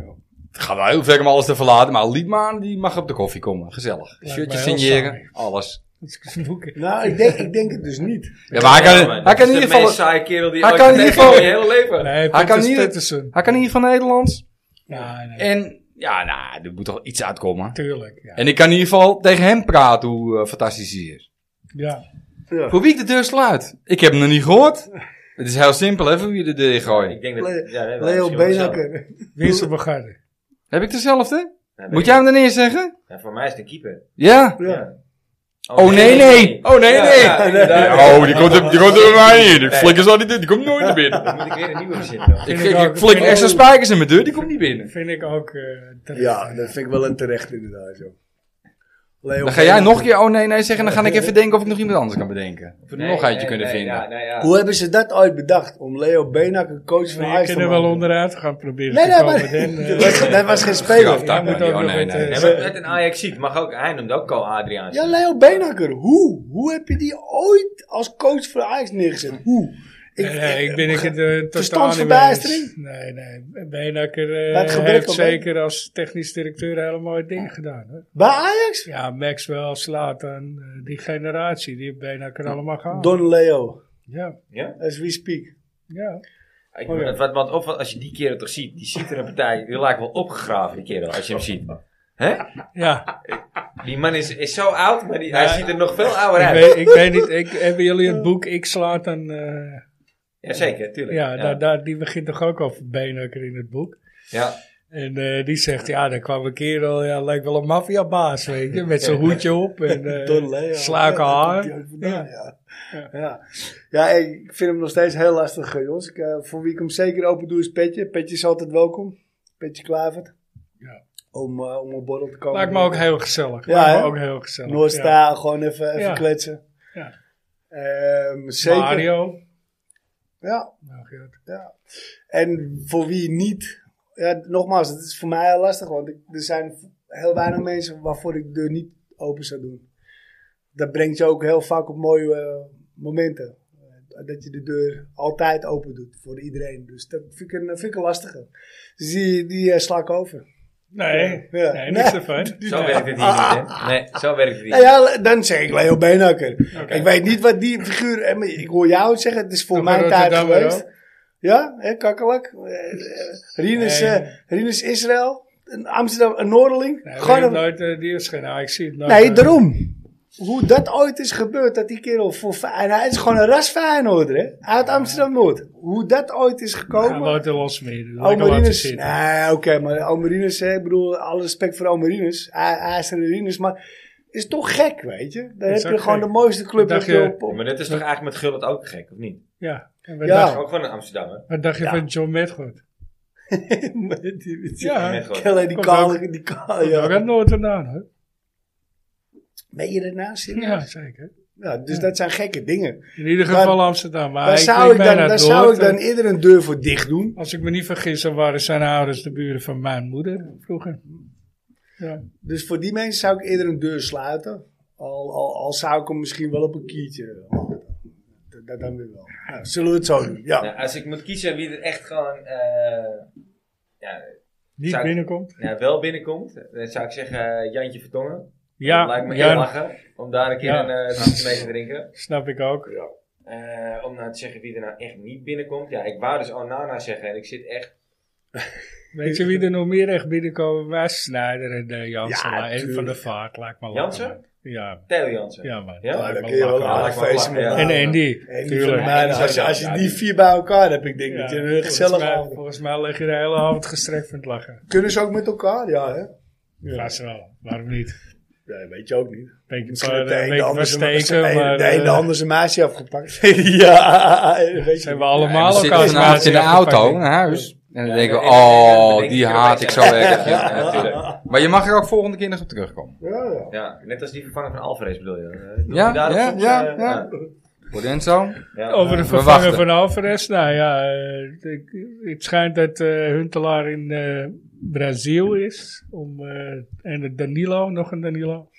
gaat wel heel ver om alles te verlaten, maar Liedmanen die mag op de koffie komen. Gezellig.
mij
Shirtjes
heel
signeren,
saai.
alles.
Dat is een boek.
Nou, ik denk, ik denk het dus niet.
Ja, maar hij
Ja,
kan,
man,
hij
dat is
kan in
de
ieder geval...
meest saaie kerel die
Hij
ooit
kan in
tegen
ieder geval-
je hele leven.
Nee,
Hij kan
Petters
niet-
Pettersen.
Hij kan in ieder geval Nederlands.
Nee, nee,
En ja, nou, er moet toch iets uitkomen.
tuurlijk. Ja.
En ik kan in ieder geval tegen hem praten hoe eh, fantastisch hij is.
ja.
Voor wie ik de deur sluit? Ik heb hem nog niet gehoord. Het is heel simpel, hè, voor wie de deur gooit.
Ik denk dat... Ja, nee, wel,
Leo
misschien wel
Benakker.
Winston Bogarde.
Heb ik dezelfde?
hetzelfde.
Moet jij hem dan eerst zeggen?
Ja, voor mij is het een keeper.
Ja.
Ja.
Oh nee, nee. Oh nee,
Ja,
nee.
ja, inderdaad.
Oh, die komt er, die komt er bij mij in. Ik
Nee.
flikker zo niet in. Die komt nooit naar binnen.
Dan moet ik weer een nieuwe verzinnen.
Ik,
Vind
ik,
ik ook.
ik flikker extra spijkers in mijn deur. Die komt niet binnen.
Vind ik ook eh terecht.
ja, dat vind ik wel een terecht inderdaad. Joh. Leo
Dan ga jij
Benakker.
nog een keer oh nee, nee zeggen. Dan ga ik even denken of ik nog iemand anders kan bedenken. Of we er nog eentje kunnen vinden.
Ja, nee, ja.
Hoe hebben ze dat ooit bedacht? Om Leo Benakker coach van
Maar je
Ajax te
kunt er wel
maken?
onderuit gaan proberen
Nee,
te
nee,
komen.
maar
Dan, eh,
dat, was, dat was geen speler.
Graftak,
moet
maar die-
ook
oh,
nog
nee,
met,
nee.
eh,
Nee, maar met een Ajax-ziet mag ook... Hij noemt ook Co-Adriaans.
Ja, Leo Benakker, hoe? Hoe heb je die ooit als coach voor Ajax neergezet? Hoe?
Nee, nee, ik ben ik het eh, totaal niet mee
verstandsverbijstering?
eens. Nee, nee. Benakker
Bij het
eh
gebrek
heeft
aan-
zeker als technisch directeur hele mooie dingen gedaan. Hoor.
Bij Ajax?
Ja, Maxwell, Slatan, die generatie, die heeft Benakker allemaal gehad.
Don Leo,
Ja,
Ja?
as we speak.
ja.
Ik,
Oh, ja.
wat, wat opvalt, als je die kerel toch ziet, die ziet er een partij, die lijkt wel opgegraven, die kerel, als je hem ziet. Hè?
ja.
Die man is, is zo oud, maar die, hij
Ja.
ziet er nog veel ouder
Ik,
uit.
weet, ik weet niet, ik, hebben jullie het boek Ik Slatan? eh
Jazeker, tuurlijk.
ja,
ja.
Daar, daar, die begint toch ook over Benakker in het boek.
Ja.
En eh, die zegt, ja, daar kwam een kerel, ja, lijkt wel een maffiabaas, weet je. Met zijn hoedje op en
Don Leo.
eh slaken
Ja, daar
haar.
komt hij ook vandaan,
Ja.
Ja. Ja. ja, ik vind hem nog steeds heel lastig, eh, jongens. Ik, eh, voor wie ik hem zeker open doe is Petje. Petje is altijd welkom. Petje Klavert.
Ja.
Om, eh, om op borrel te komen.
Lijkt me ook heel gezellig.
Ja,
Lijkt
hè?
me ook heel gezellig.
Noorsta, gewoon even, even
Ja.
kletsen.
Ja.
Ehm,
ja.
zeker.
Mario.
Ja,
Nou, Geert.
En voor wie niet, ja, nogmaals, het is voor mij heel lastig, want ik- er zijn heel weinig mensen waarvoor ik de deur niet open zou doen. Dat brengt je ook heel vaak op mooie eh, momenten. Eh, Dat je de deur altijd open doet voor iedereen. Dus dat vind ik een, vind ik een lastige. Dus die, die eh, sla ik over.
Nee,
Ja.
nee, niks
Nee.
ervan.
Zo
Nee.
werkt het hier niet, hè? Nee, zo werkt het hier
Ja,
niet.
Nou ja, dan zeg ik Leo Beenhakker. Ik weet niet wat die figuur... eh, maar Ik hoor jou het zeggen, het is voor
Nog
mijn
een
tijd
Rotterdammer
geweest. Ja, hè, kakkelak. Eh, eh, Rinus,
Nee.
eh, Rinus Israël. Een Amsterdam, een Noorderling.
Nee,
Gewoon een-
Gewoon nooit, eh, die is geen ah, ik zie het nooit.
Nee,
eh,
daarom. Hoe dat ooit is gebeurd, dat die kerel voor Fe- en hij is gewoon een ras Feyenoorder, hè? Uit Amsterdam-Noord. Hoe dat ooit is
Hij
gekomen.
woont in Losmeer.
Oh, Ja,
Almerinus.
Nee, oké, maar Almerinus, hè, ik bedoel, alle respect voor Almerinus. Hij hij is een Rinus, maar is toch gek, weet je? Dan
Is
heb je
ook
gewoon
gek.
de mooiste club.
Dacht eh,
dat je
je-
op- op-
Maar dat is toch eigenlijk met Gullit ook gek, of niet?
Ja. En wat,
Ja.
Dat
Dacht,
is ook gewoon een Amsterdammer.
wat dacht je
Ja.
van John Medgood?
Met die- met die-
Ja,
Met
Ik
Gullit.
ken alleen die
Komt
kale, die kale,
ja. ook
ja.
uit Noord-Vandaan, hè?
Meen je daarnaast?
Ja, zeker.
Ja, dus dat zijn gekke dingen.
In ieder
Daar-
geval Amsterdam. Maar
Daar
ik
zou
denk
ik dan,
bijna
daar
het
zou ik
Noord,
dan
eh,
eerder een deur voor dicht doen.
Als ik me niet vergis, dan waren zijn ouders de buren van mijn moeder vroeger. Ja.
Dus voor die mensen zou ik eerder een deur sluiten. Al, al, al zou ik hem misschien wel op een kiertje laten. Dat, dat dan weer wel. Nou, zullen we het zo doen? Ja.
Nou, als ik moet kiezen wie er echt gewoon eh, ja,
Niet
Zou-
binnenkomt.
nou, wel binnenkomt, dan zou ik zeggen eh, Jantje Vertongen.
Ja,
dat lijkt me
ja,
heel lachen om daar een keer
Ja.
een eh, drankje mee te drinken.
snap ik ook.
Eh, om nou te zeggen wie er nou echt niet binnenkomt. Ja, ik wou dus Onana zeggen en ik zit echt...
Weet je wie er nog meer echt binnenkomen? Waar Snijder en eh, Jansen.
Ja,
maar één van
tuurlijk.
de vaart, lijkt me
Jansen?
lachen. Ja,
Theo Jansen.
ja man.
Ja,
Lijkt
Nou, dan
me
kun je wel
lachen.
een
Lijkt me
aardig
wel
feestje
lachen, ja.
mee
En
maken.
Andy,
En die van
tuurlijk.
mij, nou, als, je, als je die vier bij elkaar hebt, ik denk
Ja,
dat je een
volgens
gezellig
mij-
avond
Volgens mij leg je de hele avond gestrekt van het lachen.
Kunnen ze ook met elkaar? Ja, hè?
Ja, ze wel. Waarom niet?
Ja, weet je ook niet.
Denk je
Misschien
een
heeft de
paar
een de
weken
ander
van
zijn ma-
eh, steken,
zijn-
maar...
de een de
eh,
ander zijn meisje afgepakt. ja, weet je.
Zijn we allemaal
we
elkaar
zitten vanavond in de auto naar huis. En dan denken we, oh, die haat ik zo erg. Ja, natuurlijk. Maar je mag er ook volgende keer nog op terugkomen.
Ja, ja.
Ja, net als die vervanger van Alvarez bedoel je. Eh, doe
Ja,
je daar
ja,
soms,
ja,
eh,
ja. Lorenzo?
ja.
Over de
we
vervanger
wachten.
van Alvarez. Nou ja, eh, ik- het schijnt dat eh, Huntelaar in eh, Brazil is. Om, eh, en de Danilo, nog een Danilo.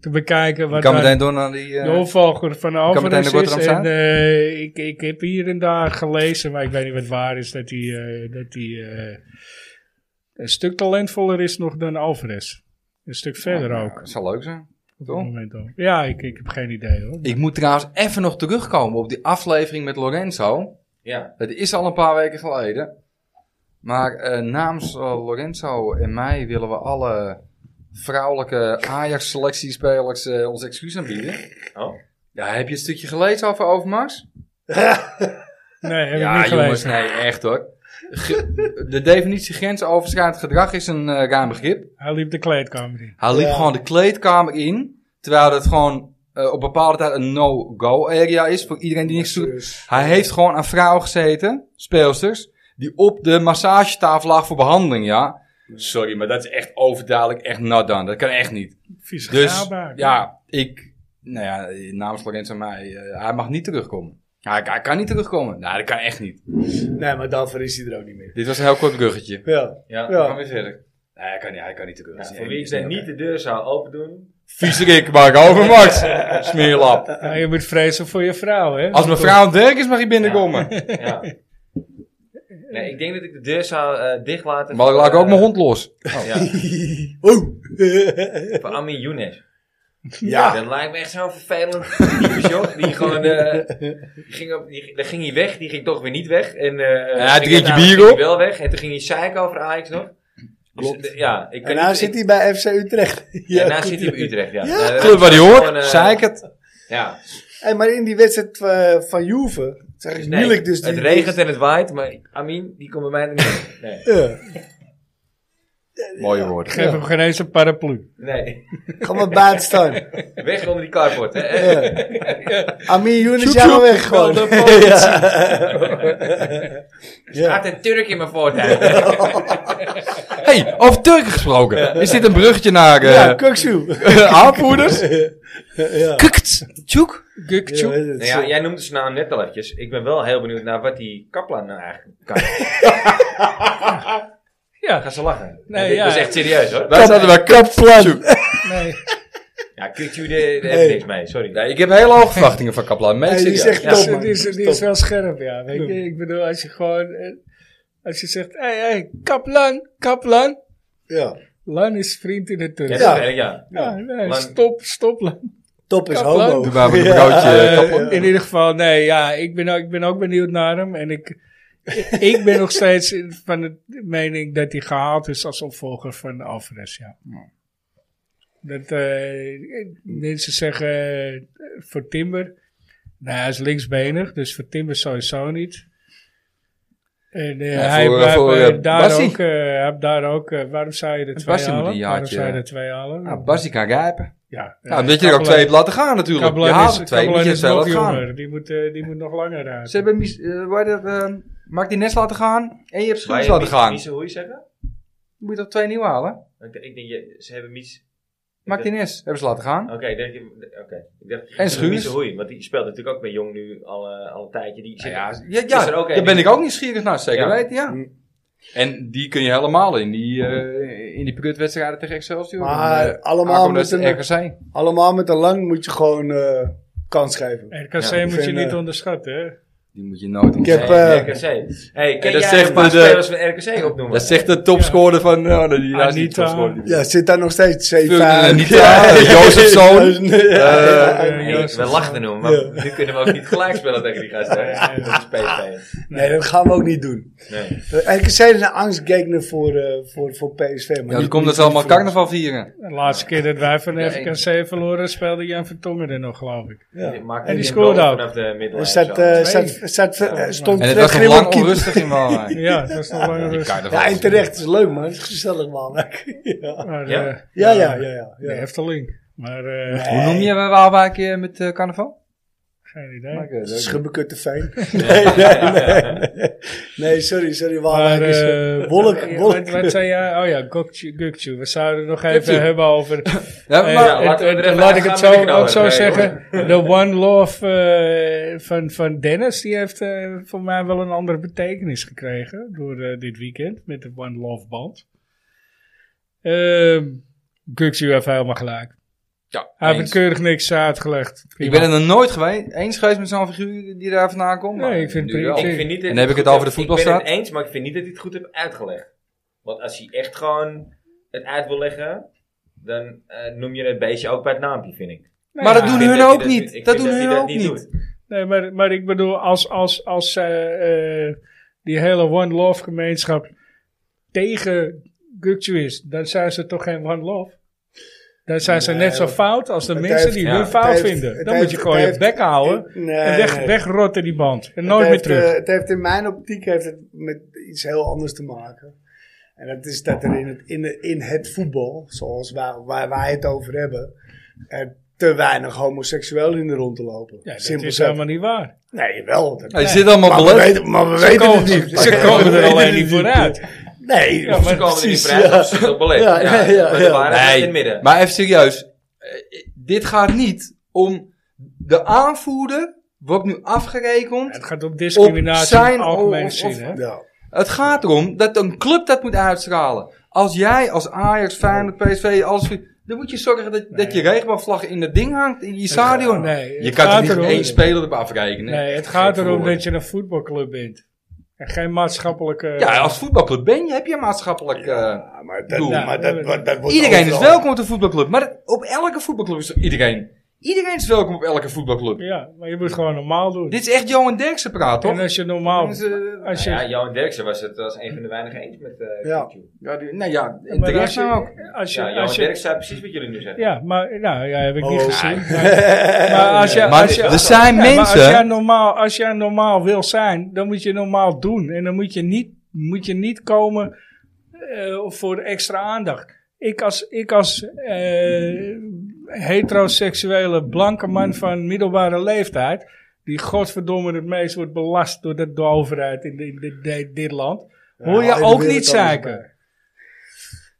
Te bekijken
Ik
wat
kan
dan
meteen door naar die... eh,
de opvolger van Alvarez
meteen de
is.
boterham
En
staan?
eh, ik, ik heb hier en daar gelezen, maar ik weet niet wat waar is, dat hij, eh, dat hij eh, een stuk talentvoller is nog dan Alvarez. Een stuk verder
nou,
ook. Mm.
Dat zal leuk zijn.
Op
toch?
het moment ook. Ja, ik, ik heb geen idee hoor.
Ik moet trouwens even nog terugkomen op die aflevering met Lorenzo.
Ja,
Dat is al een paar weken geleden. Maar eh, namens eh, Lorenzo en mij willen we alle vrouwelijke Ajax-selectiespelers eh, ons excuus aanbieden.
oh.
Ja, heb je een stukje gelezen over Overmars?
Nee, heb ik
ja,
niet
jongens,
gelezen.
nee, echt hoor. Ge- de definitie grensoverschrijdend gedrag is een eh, ruim begrip.
Hij liep de kleedkamer in.
Hij liep
Ja.
gewoon de kleedkamer in. Terwijl dat gewoon eh, op bepaalde tijd een no-go area is voor iedereen die niks doet.
Dus-
Hij heeft gewoon aan vrouwen gezeten, speelsters, die op de massagetafel lag voor behandeling, ja. Sorry, maar dat is echt overduidelijk echt nat dan. Dat kan echt niet.
Vieze
Dus
gaarbaar.
ja, ik, nou ja, namens Lorenzo en mij, eh, hij mag niet terugkomen. Hij, hij kan niet terugkomen. Nou, dat kan echt niet.
Nee, maar daarvoor is hij er ook niet meer.
Dit was een heel kort bruggetje.
Ja.
Ja,
Ja.
we gaan weer verder.
Nee, hij kan niet, hij kan niet terug.
Ja, voor wie ik dan niet de deur zou open doen.
Viezerik, maar overmars. Smeerlap.
Ja, je moet vrezen voor je vrouw, hè?
Als mijn vrouw Dirk is, mag je binnenkomen.
Ja. Nee, ik denk dat ik de deur zou eh, dicht laten.
Maar ik
voor,
laat ik ook
eh,
mijn hond los.
Ja,
Oh.
voor Amin Younes.
ja.
Dat lijkt me echt zo'n vervelend type, joh. Die gewoon, eh, die ging op, die, dan ging hij weg, die ging toch weer niet weg. En, eh,
Ja,
ging
drink je
daarna
bier
ging hij
op.
wel weg en toen ging hij zeiken over Ajax nog. Dus,
Klopt.
eh, ja, ik kan
En nou
niet-
zit hij bij FC Utrecht.
Ja,
Ja,
nou
goed.
zit hij bij Utrecht, ja.
Ja.
Eh,
Club waar die hoort,
gewoon, eh,
zei ik het.
Ja.
Hey, maar in die wedstrijd eh, van Juve, zeg ik
Dus nee,
moeilijk dus. Die,
het regent en het waait, maar Amin, die komt bij mij er niet. Nee.
Ja.
Mooie woorden.
Geef hem geen eens een paraplu.
nee.
Ga maar buiten staan.
Weg onder die carport, hè. Eh,
Ja. Amin Younes,
Tjoep,
jij maar
tjoep.
weg gewoon.
Bel
Ja.
Gaat
Ja.
een Turk in mijn voortuin.
hey, over Turken gesproken. Is dit een bruggetje naar
Ja,
eh
Kuksu.
aanvoerders?
Ja.
Kukt, tjoek.
Ja,
Gukchuk.
dat
Nou
is-
ja, jij noemde zijn naam net al eventjes. Ik ben wel heel benieuwd naar wat die Kaplan nou eigenlijk kan.
Ja,
Gaan ze lachen?
Nee,
Nee, ja.
ja.
Dat is echt serieus hoor.
Wij zaten bij Kaplan.
nee.
Ja, Kukju, daar daar heb
Nee.
ik niks mee, sorry.
Nee, ik heb hele hoge verwachtingen van Kaplan. Meen ik
Hey, die
serieus.
zegt
Ja.
Die is,
top, man.
die is, die is wel scherp, ja. Weet je, ik bedoel, als je gewoon... eh, Als je zegt, hey, hey, Kaplan, Kaplan.
Ja.
Lan is vriend in het
ja,
Turks. Ja,
dat weet ik, ja.
nee,
Lan-
stop, stop, Lan.
Top is
Kaplan.
homo.
Doe maar met een
Ja.
broodje
Eh,
Kaplan.
in ieder geval, nee, ja, ik ben, ook- ik ben ook benieuwd naar hem. En ik, ik ben nog steeds in- van de mening dat hij gehaald is als opvolger van Alvarez, ja. Dat eh, mensen zeggen eh, voor Timber, nou hij is linksbenig, dus voor Timber sowieso niet. En eh,
Ja,
hij
voor-
heeft
voor,
eh,
eh,
daar,
Bassie.
ook, eh, hij heeft daar ook, eh, waarom zou je er twee
Bassie moet
halen?
een
Waarom
jaartje-
zou je er twee halen?
Nou, Bassie kan rijpen.
ja, eh,
Nou, omdat je er ook twee hebt laten gaan natuurlijk. Je
Kablan
haalt er
is,
twee,
Kablan
moet je er
is
twee
nog
laten gaan.
jonger. Die moet, eh, die moet nog langer raken.
Ze hebben Mis- eh, hoe heet dat, eh, Martinez laten gaan en je hebt
Maar
Schuurs
je
laten
Mies-
gaan.
Mies- hoe je zeggen?
Moet je toch twee nieuw halen?
Ik denk, ik denk, je- ze hebben Mies...
Martinez hebben ze laten gaan.
Oké, ik denk je... Oké. Ik dacht,
En Schuurs.
Mies- Hoei, want die speelt natuurlijk ook bij Jong nu al, eh, al een tijdje. Die
Ja,
zit,
ja, ja,
is er ook
daar
één.
ben ik ook nieuwsgierig naar, zeker
Ja.
weten, ja.
Mm.
En die kun je helemaal in die, eh in die prutwedstrijden tegen Excelsior.
Maar
En, eh,
allemaal
Ajax
met een-
RKC.
Allemaal met een lang moet je gewoon eh, kans geven.
RKC
Ja,
moet
ik
je
vind,
niet
eh,
onderschatten, hè?
Die moet je nooit
Ik heb,
ontzetten.
Hey,
eh,
RKC. Hey, ken
dat
jij
zegt
een paar
de-
spelers van RKC opnoemen?
Dat zegt de topscorer van... Nou, die hij is niet
Anita.
topscorer. Die-
Ja, zit daar nog steeds
Fuck,
7
Anita, Jozefzoon.
Ja,
eh,
ja, ja,
Joost.
we lachten hem, maar nu kunnen we ook niet gelijk spelen tegen die gasten. hè? Dat is PSV.
Nee, dat gaan we ook niet doen. Eh,
Nee.
Eigenlijk zijn een angstgegner voor, eh, voor, voor PSV. Maar
Ja,
niet-
dan komt
niet-
dat ze allemaal
niet voor ons.
carnaval vieren.
De laatste keer dat wij van
Ja,
RKC verloren, speelde Jan Vertongen er nog, geloof ik.
Die maakt
En die
een
scoorde
goal
ook.
Vanaf de middellijn.
Er staat,
zo.
eh,
Nee.
staat, staat, eh, stond
En het was nog
Grim op
lang
keeper.
onrustig in Waalwijk.
Ja, dat was nog langer rustig.
Carnaval.
Ja, en terecht. Het is leuk, man. Het is gezellig, man. ja.
Maar,
Ja?
eh,
Ja, ja, ja. ja,
De Efteling. Maar eh,
Hoe noem je Waalwijk eh, met eh, carnaval?
geen idee.
Schubbekuttefijn. Nee, nee, nee, nee. Nee, sorry, sorry. Waalwijk
Maar,
is...
eh,
eh, wolk,
wat-
wolk.
Wat, wat zei jij? Oh ja, Gokchu, Gokchu. We zouden het nog even
Gokchu.
hebben over...
Ja,
eh,
maar-
ja,
het-
laten we er
het-
even
laat ik
gaan nou
het
met de
zo,
knaller.
ook zo
Nee,
zeggen. De One Love eh, van, van Dennis, die heeft eh, voor mij wel een andere betekenis gekregen. Door eh, dit weekend met de One Love band. Ehm Gokchu heeft helemaal gelijk.
ja,
Hij heeft
eens.
keurig niks uitgelegd.
ik ben er nog nooit geweest, eens geweest met zo'n figuur die daar vandaan komt. maar
Nee, ik vind
nu
het prima.
wel.
Ik
Ik vind niet dat
Oh. En
hij
heb ik het
goed
over de
heeft- Ik ben
voetbalstaat?
het eens, maar ik vind niet dat hij het goed heeft uitgelegd. Want als hij echt gewoon het uit wil leggen, dan eh, noem je het beestje ook bij het naampje, vind ik.
Nee,
Maar dat
Ik
ja.
doen
vind
hun
hij
ook niet.
ik
Dat
vind
doen
hij
hun
dat
ook niet.
doet.
Nee, maar, maar ik bedoel, als, als, als eh, eh, die hele One Love gemeenschap tegen Gukju is, dan zijn ze toch geen One Love? Dan zijn ze
Nee,
net zo
hoor.
fout als de
Het
mensen
heeft-
die
ja,
hun
het
fout
heeft-
vinden.
het
Dan
heeft-
moet je gewoon
het
je bek houden
Nee,
en weg,
nee.
wegrotten die band. En
Het
nooit meer
heeft,
terug.
eh, het heeft in mijn optiek heeft het met iets heel anders te maken. En dat is dat er in het, in het, in het voetbal, zoals waar, waar wij het over hebben, er te weinig homoseksuelen in de rond te lopen.
ja, dat
Simpel
is
zat.
helemaal niet waar.
Nee, wel. Dat,
Hij Nou, zit allemaal
maar, we
belet.
weten, maar we
Ze
weten
komen,
het niet.
ze komen
We
er
weten
alleen
het
niet vooruit.
Nee,
Ja, maar
Ze komen er niet dus
precies,
vooruit,
ja.
of ze zijn op ballet.
Ja,
Ja,
ja, ja,
maar
ja.
de waarheid is in het
Nee,
midden.
maar even serieus. Eh, Dit gaat niet om de aanvoerder, wordt nu afgerekend.
Het gaat om discriminatie
zijn
in het algemeen
of- of-
gezien. hè?
Ja.
Het gaat erom dat een club dat moet uitstralen. Als jij als Ajax, Feyenoord, PSV, alles... Dan moet je zorgen dat, dat je regenboogvlag in dat ding hangt, in je stadion.
nee, het
je kan
gaat
er niet
erom-
één speler op afrekenen.
Nee, het gaat erom
verloren.
dat je een voetbalclub bent. En geen maatschappelijke...
Ja, als voetbalclub ben je, heb je een maatschappelijk... eh,
Ja, maar dat,
Doe.
maar dat, dat, dat wordt
Iedereen is
overal-
welkom op de voetbalclub. Maar dat- op elke voetbalclub is er iedereen. Iedereen is welkom op elke voetbalclub.
Ja, maar je moet gewoon normaal doen.
Dit is echt Johan Derksen praat,
en
toch?
als je normaal.
Dus, eh,
Als je,
Ja, Johan Derksen was het was een van de weinigen eens met eh
Ja.
YouTube.
ja, die- nou ja,
maar als
terecht
je,
nou ook.
Als je,
Ja, Johan
als je,
Derksen zei precies wat jullie nu zeggen.
ja, maar nou, ja, heb ik niet
Oh.
gezien. Maar, maar Eh, als je,
Maar
als je,
er zijn
ja, maar
mensen...
als jij, normaal, als jij normaal wil zijn, dan moet je normaal doen. En dan moet je niet, moet je niet komen eh, voor extra aandacht. Ik als, ik als eh, heteroseksuele blanke man van middelbare leeftijd, die godverdomme het meest wordt belast door de, de overheid in, in, dit- dit- dit land, hoor je
Ja, in de
ook
wereld
niet
alles
zeiken.
bij.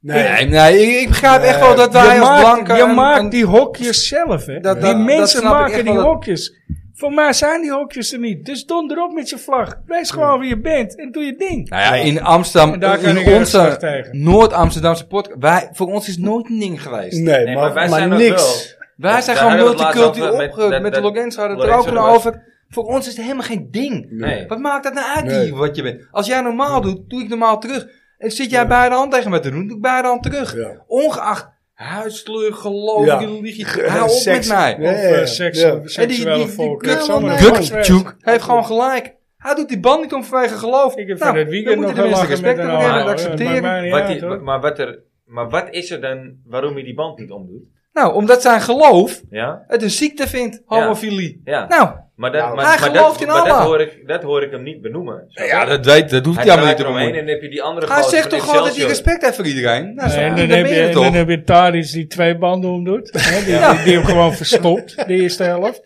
Nee,
Nee, nee, ik, ik begrijp echt wel dat wij
je
als
maakt,
blanken...
je
een-
maakt
een-
die hokjes zelf, hè?
Dat-
die
dat- dat
mensen
snap ik echt
maken die
wel dat-
hokjes. Voor mij zijn die hokjes er niet. Dus donder op met je vlag. Wees gewoon wie je bent en doe je ding.
Nou ja, in Amsterdam,
En daar kan ik
in
erg
onze
slecht tegen.
Noord-Amsterdamse podcast... Wij, voor ons is nooit een ding geweest.
nee,
Nee,
maar, maar,
dat
niks.
wel.
Wij
Ja, daar
zijn gewoon
hadden we het laatst
multicultureel
over met-
opgegroeid.
dat-
Met
dat-
Lorenzo hadden we het er ook
Lorenzo
nog
was-
over. Voor ons is het helemaal geen ding.
Nee.
Wat maakt dat nou uit
Nee.
wie- wat je bent? Als jij normaal doet, doe ik normaal terug. En zit jij bij de hand tegen me te doen, doe ik bij de hand terug.
Ja.
Ongeacht huidskleur, geloof,
Ja.
religie,
Ge-
hou op
seks.
met mij.
Ja,
Of
ja,
eh,
ja.
seks,
Ja.
En die,
seksuele
die, die
volk. Dat is allemaal een
kerel-
Gukchuk
volksfeest.
heeft gewoon gelijk. Hij doet die band niet omwege geloof.
Ik heb
Nou,
van het weekend
dan
nog
moeten
wel
de
lachen
mensen
met
respect
een
hebben en
oude,
dat
oude,
accepteren.
maar mij niet
Wat
uit,
die-
hoor.
maar, wat er, maar wat is er dan waarom je die band niet omdoet?
Nou, omdat zijn geloof
Ja?
het een ziekte vindt, homofilie.
Ja.
Nou,
Maar dat,
Nou,
maar,
hij
maar
gelooft
dat,
in
maar dat,
Allah.
hoor ik, dat hoor ik hem niet benoemen. Snap je?
dat, weet, dat hoeft
hij draait eromheen en dan heb je die andere
Hij
gozer
zegt
van
toch gewoon dat hij
Excelsior.
respect heeft voor iedereen? Nou, zo,
en
dan
dan, heb
ben
je,
je er
en dan
toch.
heb je Tadic die twee banden omdoet. Hè, die,
Ja.
die, die hem gewoon verstopt, de eerste helft.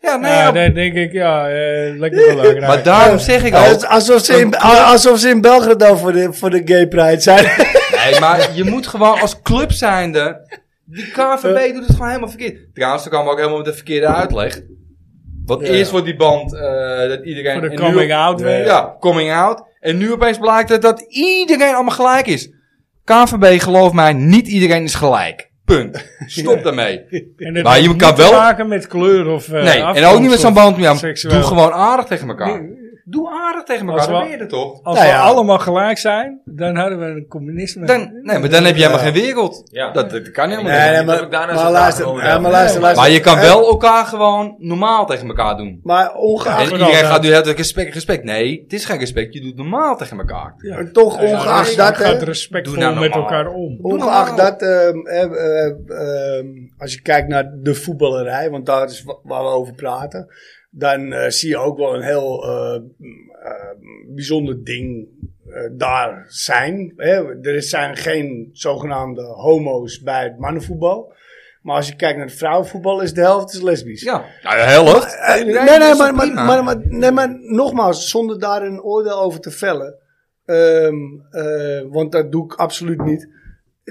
Ja, nee,
Nou,
ja,
dan denk ik, ja, eh, lekker belangrijk.
maar daarom zeg ik al...
Als- Alsof ze in, alsof ze in Belgrado voor de, voor de gay pride zijn.
Nee, maar je moet gewoon als club zijnde... Die KVB doet het gewoon helemaal verkeerd. Trouwens, dan kwam ook helemaal met de verkeerde uitleg. Want
Ja.
eerst wordt die band eh, dat iedereen...
Voor de
en nu
coming
op-
out weer.
Ja, coming out. En nu opeens blijkt dat, dat iedereen allemaal gelijk is. KVB, geloof mij, niet iedereen is gelijk. Punt. Stop daarmee.
En dat
Maar je
heeft
kan
niet
wel-
te maken met kleur of eh,
nee, en ook
afkomst
niet met zo'n
of
band. Ja,
seksueel.
doe gewoon aardig tegen elkaar.
Nee,
Doe aardig tegen
Als
elkaar, dan
we-
ben je er toch?
Als
Nou
we
ja.
allemaal gelijk zijn, dan hadden we een communisme.
Dan, nee, maar dan heb je helemaal geen wereld.
Ja.
Dat, dat kan helemaal
Nee,
niet.
nee, maar- daarna
maar
zit
luister,
daar gewoon
ja,
wel.
maar luister, luister.
Maar je kan
Eh,
wel elkaar gewoon normaal tegen elkaar doen.
Maar ongeacht,
en iedereen gaat nu heel erg respect, respect. Nee, het is geen respect. Je doet normaal tegen elkaar.
en toch
Ja,
ongeacht
je
dat, hè,
gaat
Doe
respectvol
nou
met
normaal.
elkaar om.
ongeacht dat, ehm, eh, eh, ehm, als je kijkt naar de voetballerij, want daar is wa- waar we over praten, dan eh, zie je ook wel een heel eh, mm, eh, bijzonder ding eh, daar zijn. Hè? Er zijn geen zogenaamde homo's bij het mannenvoetbal. Maar als je kijkt naar het vrouwenvoetbal, is de helft is lesbisch.
Ja, nou, de helft.
Eh, nee,
dat
nee,
is
maar,
toch
maar,
prima?
maar, maar- nee, maar nogmaals, zonder daar een oordeel over te vellen. Ehm, eh, want dat doe ik absoluut niet.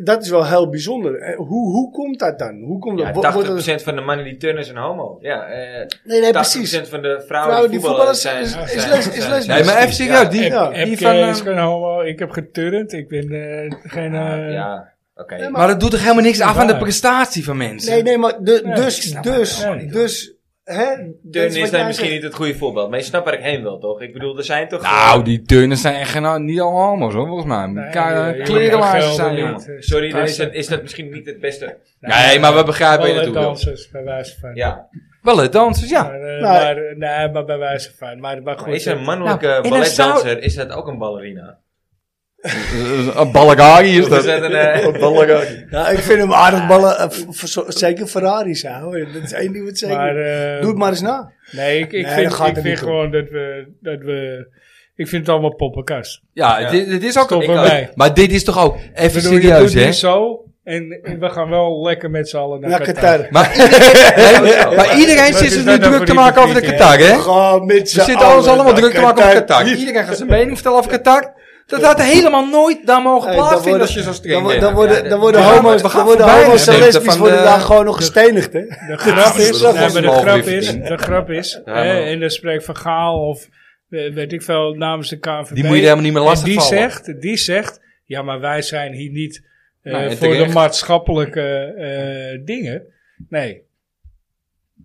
Dat is wel heel bijzonder. Eh, Hoe, hoe komt dat dan? Hoe komt dat?
Ja,
Wo- wordt dat-
80% van de mannen die turnen zijn homo. Ja, eh
nee, nee,
80%
precies.
van de vrouwen,
Vrouwen
die
die
voetballen
voetballers
zijn.
is,
zijn-
is, les, is
zijn-
lesbisch.
Nee, maar even serieus. Die,
Ja.
Ik
die van,
is
eh,
geen homo, ik heb geturnd, ik ben eh, geen...
Ja,
eh,
ja, oké.
Nee,
maar dat doet toch helemaal niks af aan de
Ja.
prestatie van mensen?
Nee, nee, maar de,
Nee, ik
dus,
snap
het
dus,
wel.
dus, hè? dat
Turnen is
wat
daar
jij
misschien
zegt.
niet het goede voorbeeld. Maar je snapt waar ik heen wil, toch? Ik bedoel, er zijn toch...
Nou,
eh,
die turners zijn echt nou, niet al homo's hoor, volgens mij. Nee,
eh, jongen,
Klerenlaarsjes
gelden
zijn
niet.
jongen.
Sorry, dan is, dat, is dat misschien niet het beste.
Nee, maar we begrijpen je
Ballet
naartoe wil.
dansers, bij wijze van.
Ja.
Wel het dansers, ja.
Maar, eh,
Nou,
maar, nee, maar bij wijze van. Maar, maar
Maar
goed.
is een
eh,
mannelijke
Nou, en dan
balletdanser,
zou-
is dat ook een ballerina?
Eh, Een Balagari is
Of is
dat.
dat een... eh,
Ja, ik vind hem aardig ballen, eh, v- v- zeker Ferrari's houden. Dat is één ding wat zeker.
Maar, eh,
Doe het maar eens na.
Nee, ik, ik
Nee, dat
vind,
gaat
ik
er
vind
niet om.
gewoon dat we, dat we... Ik vind het allemaal poppenkast.
Ja, dit, dit is ook
Stop
een-
erbij.
Maar dit is toch ook even
Bedoel, je
serieus,
doet
hè?
niet zo. En, en we gaan wel lekker met z'n allen naar,
Naar
Qatar.
Qatar.
Maar, Nee, maar- maar iedereen
Wat
zit
is dat
zich nu
nou
druk
voor
te maken over de
hypocriet,
Qatar, hè?
Ga met z'n
Ze zitten alles allemaal
naar
druk te maken over Qatar.
Qatar.
Iedereen gaat zijn mening vertellen over Qatar. Dat had helemaal nooit daar mogen
Hey, dan
plaatsvinden
worden-
als je zo
Dan,
streng
wo-
bent.
dan worden, dan worden
We gaan-
homo's,
we gaan
dan worden
voorbij.
homo's en
Nee, dat
lesbisch
van
worden
de-
daar gewoon nog gestenigd, hè?
De grap
dat
is,
is wel
nee, maar de
gewoon
grap
weer
is,
verdiend.
de grap is,
Ja,
hè,
maar-
en dan spreekt Van Gaal of eh, weet ik veel namens de KNVB.
Die moet je helemaal niet meer
En die
lastigvallen.
zegt, die zegt, ja maar wij zijn hier niet eh,
Nee, en
voor de
terecht.
maatschappelijke eh, dingen. Nee.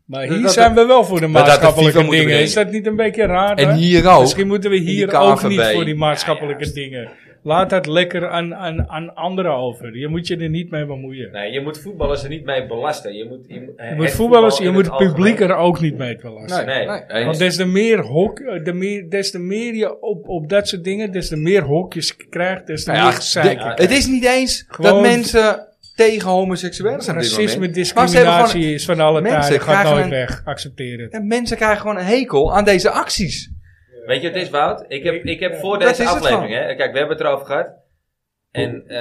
Maar
Dat-
hier
dat-
zijn we wel voor de
dat de
maatschappelijke
FIFA moeten
dingen. Is
brengen.
dat niet een beetje raar?
En
hè?
hier ook.
Misschien moeten we
die
hier ook
KNVB.
niet voor die maatschappelijke
Ja, juist.
dingen. Laat dat lekker aan, aan, aan anderen over. Je moet je er niet mee bemoeien.
Nee, je moet voetballers er niet mee belasten. Je moet, je,
Je moet voetballers, je moet het publiek er ook niet mee belasten.
Nee,
Nee.
nee.
Want des te meer, hok, eh, de meer, des te meer je op, op dat soort dingen, des te meer hokjes krijgt, des te
Nou ja,
meer gezeik.
de- het is niet eens dat
Gewoon-
mensen tegen homoseksuelen zijn. op dit
Racisme,
moment. Maar ze hebben gewoon-
discriminatie is van alle
mensen
tijden, gaat
krijgen
nooit
een-
weg. Accepteer het.
Ja, mensen krijgen gewoon een hekel aan deze acties.
Weet je wat het is, Wout? Ik heb, ik heb voor
Dat
deze
is het
aflevering, hè, kijk, we hebben het erover gehad. En eh,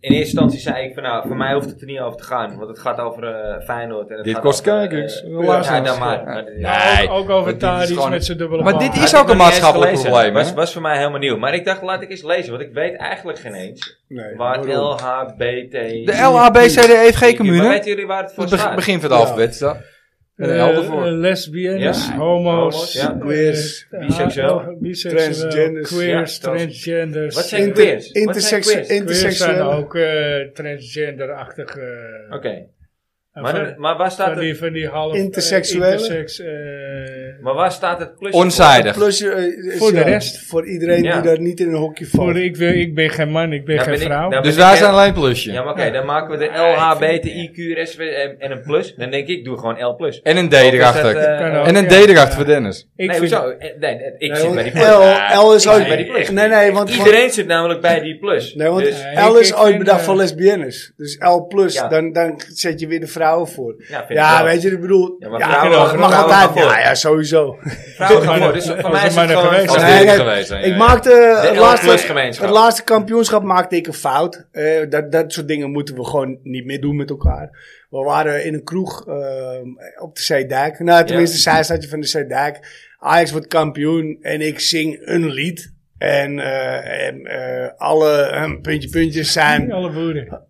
in eerste instantie zei ik van nou, voor mij hoeft het er niet over te gaan. Want het gaat over eh, Feyenoord. En het
Dit
gaat
kost
over, eh,
kijkers.
eh, ja,
Luisteraars.
dan maar.
Ja.
Maar dit-
Ja.
Had
Maar
Nee,
ook, ook over
want dit is
Tadic
gewoon-
met zijn dubbele
Maar
paal.
dit
ik
is
nog
ook een
niet eens
maatschappelijk
gelezen.
probleem, hè?
Was, was voor mij helemaal nieuw. Maar ik dacht, laat ik eens lezen. Want ik weet eigenlijk geen eens
Nee,
waar
waarom?
LHBT...
De LHBCDEFG-commune.
Maar weten jullie waar het voor
Het
staat?
beg- begin van het
Ja.
alfabet is dat.
Eh,
Een helder voor.
eh, lesbiennes,
Ja.
homo's,
Homo's, ja.
eh,
Queers,
eh,
biseksueel,
ah, biseksueel,
transgenders.
queers,
Ja, dat is-
transgenders.
Wat zijn
Inter-
queers? Wat zijn
intersex-
queers?
Queers zijn
Interseksueel.
ook eh, transgenderachtige. eh,
Oké.
Nou,
en
Maar,
van-
dan- maar waar staat
van
het...
die, van die half, eh,
Interseksuele?
intersex, eh,
Maar waar staat het plusje voor?
Onzijdig.
Plus, eh, is
Voor de
ja,
rest.
Voor iedereen
Ja.
die daar niet in een hokje valt.
voor, ik, wil, ik ben geen man, ik ben
Ja,
geen
ben ik-
vrouw.
daar-
Dus
ben ik
wij
echt-
zijn alleen plusje.
Ja, maar oké, dan maken we de LHBTIQ, SV en, en een plus. Dan denk ik, doe gewoon L plus.
En een D
Of is dat,
erachter.
eh,
Kan ook.
En een D
Ja,
erachter
ja.
voor Dennis.
ik
nee,
vind,
hoezo? Eh, Nee, nee, ik
Nee,
zit
want
bij die plus.
L, L is
Ik
ook...
zit bij die plus.
Nee, nee, want... want-
Iedereen zit namelijk bij die plus.
Nee, want
Dus,
Nee,
L
ik-
is
ik
ooit
vind,
bedacht
eh,
voor lesbiennes. Dus L plus,
Ja.
dan, dan zet je weer de vrouwen voor.
ja, vind ik
Ja,
wel.
weet je, ik bedoel...
Ja, maar
ja,
vrouwen-
mag- mag
vrouwen
altijd.
gaan voor.
Ja, ja, sowieso.
Vrouwen gaan
maar-
voor, dus voor
als
mij
er
is
maar
het
een
gewoon...
geweest
Als-
Nee, nee,
geweest zijn, ja,
Ik
ja.
maakte eh,
De
het
L+
laatste,
gemeenschap.
het laatste kampioenschap maakte ik een fout. Eh, dat, dat soort dingen moeten we gewoon niet meer doen met elkaar. We waren in een kroeg ehm, op de Zeedijk. Nou, tenminste, zij zijstadje van de Zeedijk. Ajax wordt kampioen en ik zing een lied. En, eh, en, eh, alle eh, puntje puntjes
niet
zijn,
alle boeren.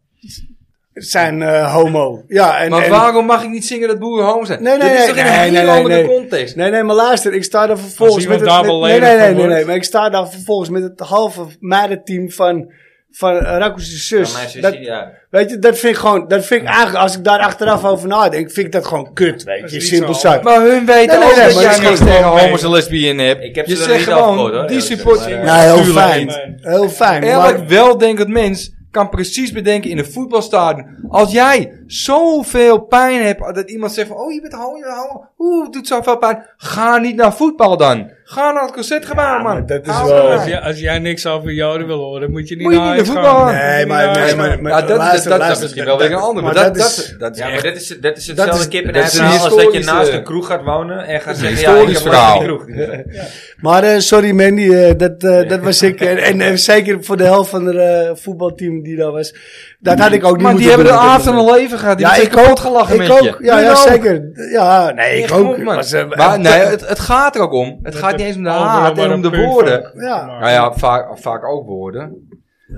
zijn eh, homo. Ja, en,
Maar
en-
waarom mag ik niet zingen dat boeren homo zijn?
Nee, nee,
Dit is
nee,
toch in
nee,
een
nee,
hele
nee,
andere
nee.
context.
Nee, nee, maar luister, ik sta daar
Als
vervolgens met
iemand
het...
daar
met-
wel
nee, nee,
lelijk
nee,
van
nee, nee,
wordt.
maar ik sta daar vervolgens met het halve meidenteam van, van eh, Rako's zus.
Van mijn zusje,
dat,
ja.
Weet je, dat vind ik gewoon, dat vind ik eigenlijk, als ik daar achteraf over nadenk, vind ik dat gewoon kut, weet
is
je,
niet
simpel
zo
zat.
Maar hun weten
Nee, nee,
ook
nee,
dat
maar
jij
dat is
niks
gewoon
tegen
mee.
homo's en lesbienen hebt.
Ik heb
je
ze er
zegt
niet
gewoon,
afgegooid, hoor,
die
eerlijk
support
gezegd.
Nou, heel
Tuurlijk
fijn,
niet.
heel fijn.
Elk
Maar,
weldenkend mens kan precies bedenken in een voetbalstadion. Als jij zoveel pijn hebt dat iemand zegt van... Oh, je bent homo, je bent homo. Oeh, het doet zoveel pijn. Ga niet naar voetbal dan. Ga naar het concertgebouw, man.
maar dat is
Haal
wel-
elkaar.
Als, jij- als jij niks over Joden wil horen, moet je niet
Moet je
naar huis
niet naar voetbal.
gaan. Moet je
nee, maar,
niet naar
nee,
huis
maar,
gaan.
maar-
Ja, dat, dat,
luister,
dat is
luister,
misschien wel weer een ander. Maar, dat, dat, dat, is
Ja, maar
echt-
dat is, dat is
dat
hetzelfde
is-
kip en
dat is
ei
een
verhaal als dat je
historische-
naast een kroeg gaat wonen en gaat zeggen, ja, ik
historisch
heb
verhaal.
laatst een kroeg.
Maar eh, sorry Mandy, eh, dat, eh, dat was ik. En, en, eh, zeker voor de helft van het eh, voetbalteam die daar was. Dat had ik ook niet
maar die
moeten
hebben de
doen op dit
avond van
moment.
hun leven gehad. Die
Ja,
hebben
ik
kapot
ook.
gelachen
Ik
met
ook,
je.
ja,
Hun
ja
ook.
zeker. Ja, nee, ik
Echt
ook.
goed, man.
Was, eh,
Maar nee,
dat-
het, het gaat er ook om. Het gaat
Dat
niet eens om de
overal
haat
maar
en om
een
de
punt
woorden.
van
Ja.
gemaakt.
Nou ja, vaak, vaak ook woorden.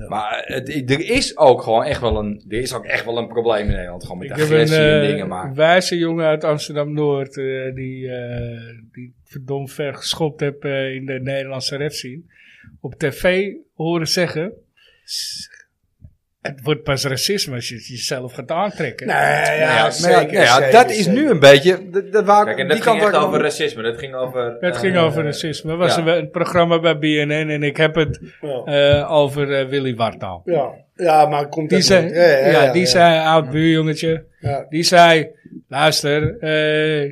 Maar het, er is ook gewoon echt wel een, er is ook echt wel een probleem in Nederland. Gewoon met
Ik heb een
agressie en
eh,
dingen. Maar
wijze jongen uit Amsterdam-Noord eh, die, eh, die verdomd ver geschopt heb eh, in de Nederlandse rap scene. Op tv horen zeggen, "S- het wordt pas racisme als je het jezelf gaat aantrekken.
Nee, ja,
Nou ja,
zeker,
nou ja,
zeker,
dat is
zeker.
nu een beetje. Dat, dat waar,
Kijk, en dat
die
ging
kant
echt
waar ik-
over racisme. Dat ging over...
Het
eh,
ging over racisme. Het was
ja.
een, een programma bij BNN en ik heb het
Ja.
eh, over eh, Willy Wartaal.
Ja. ja, maar komt
Die
dat
zei,
niet?
ja, die
ja.
zei, oud buurjongetje,
Ja.
die zei, luister, eh,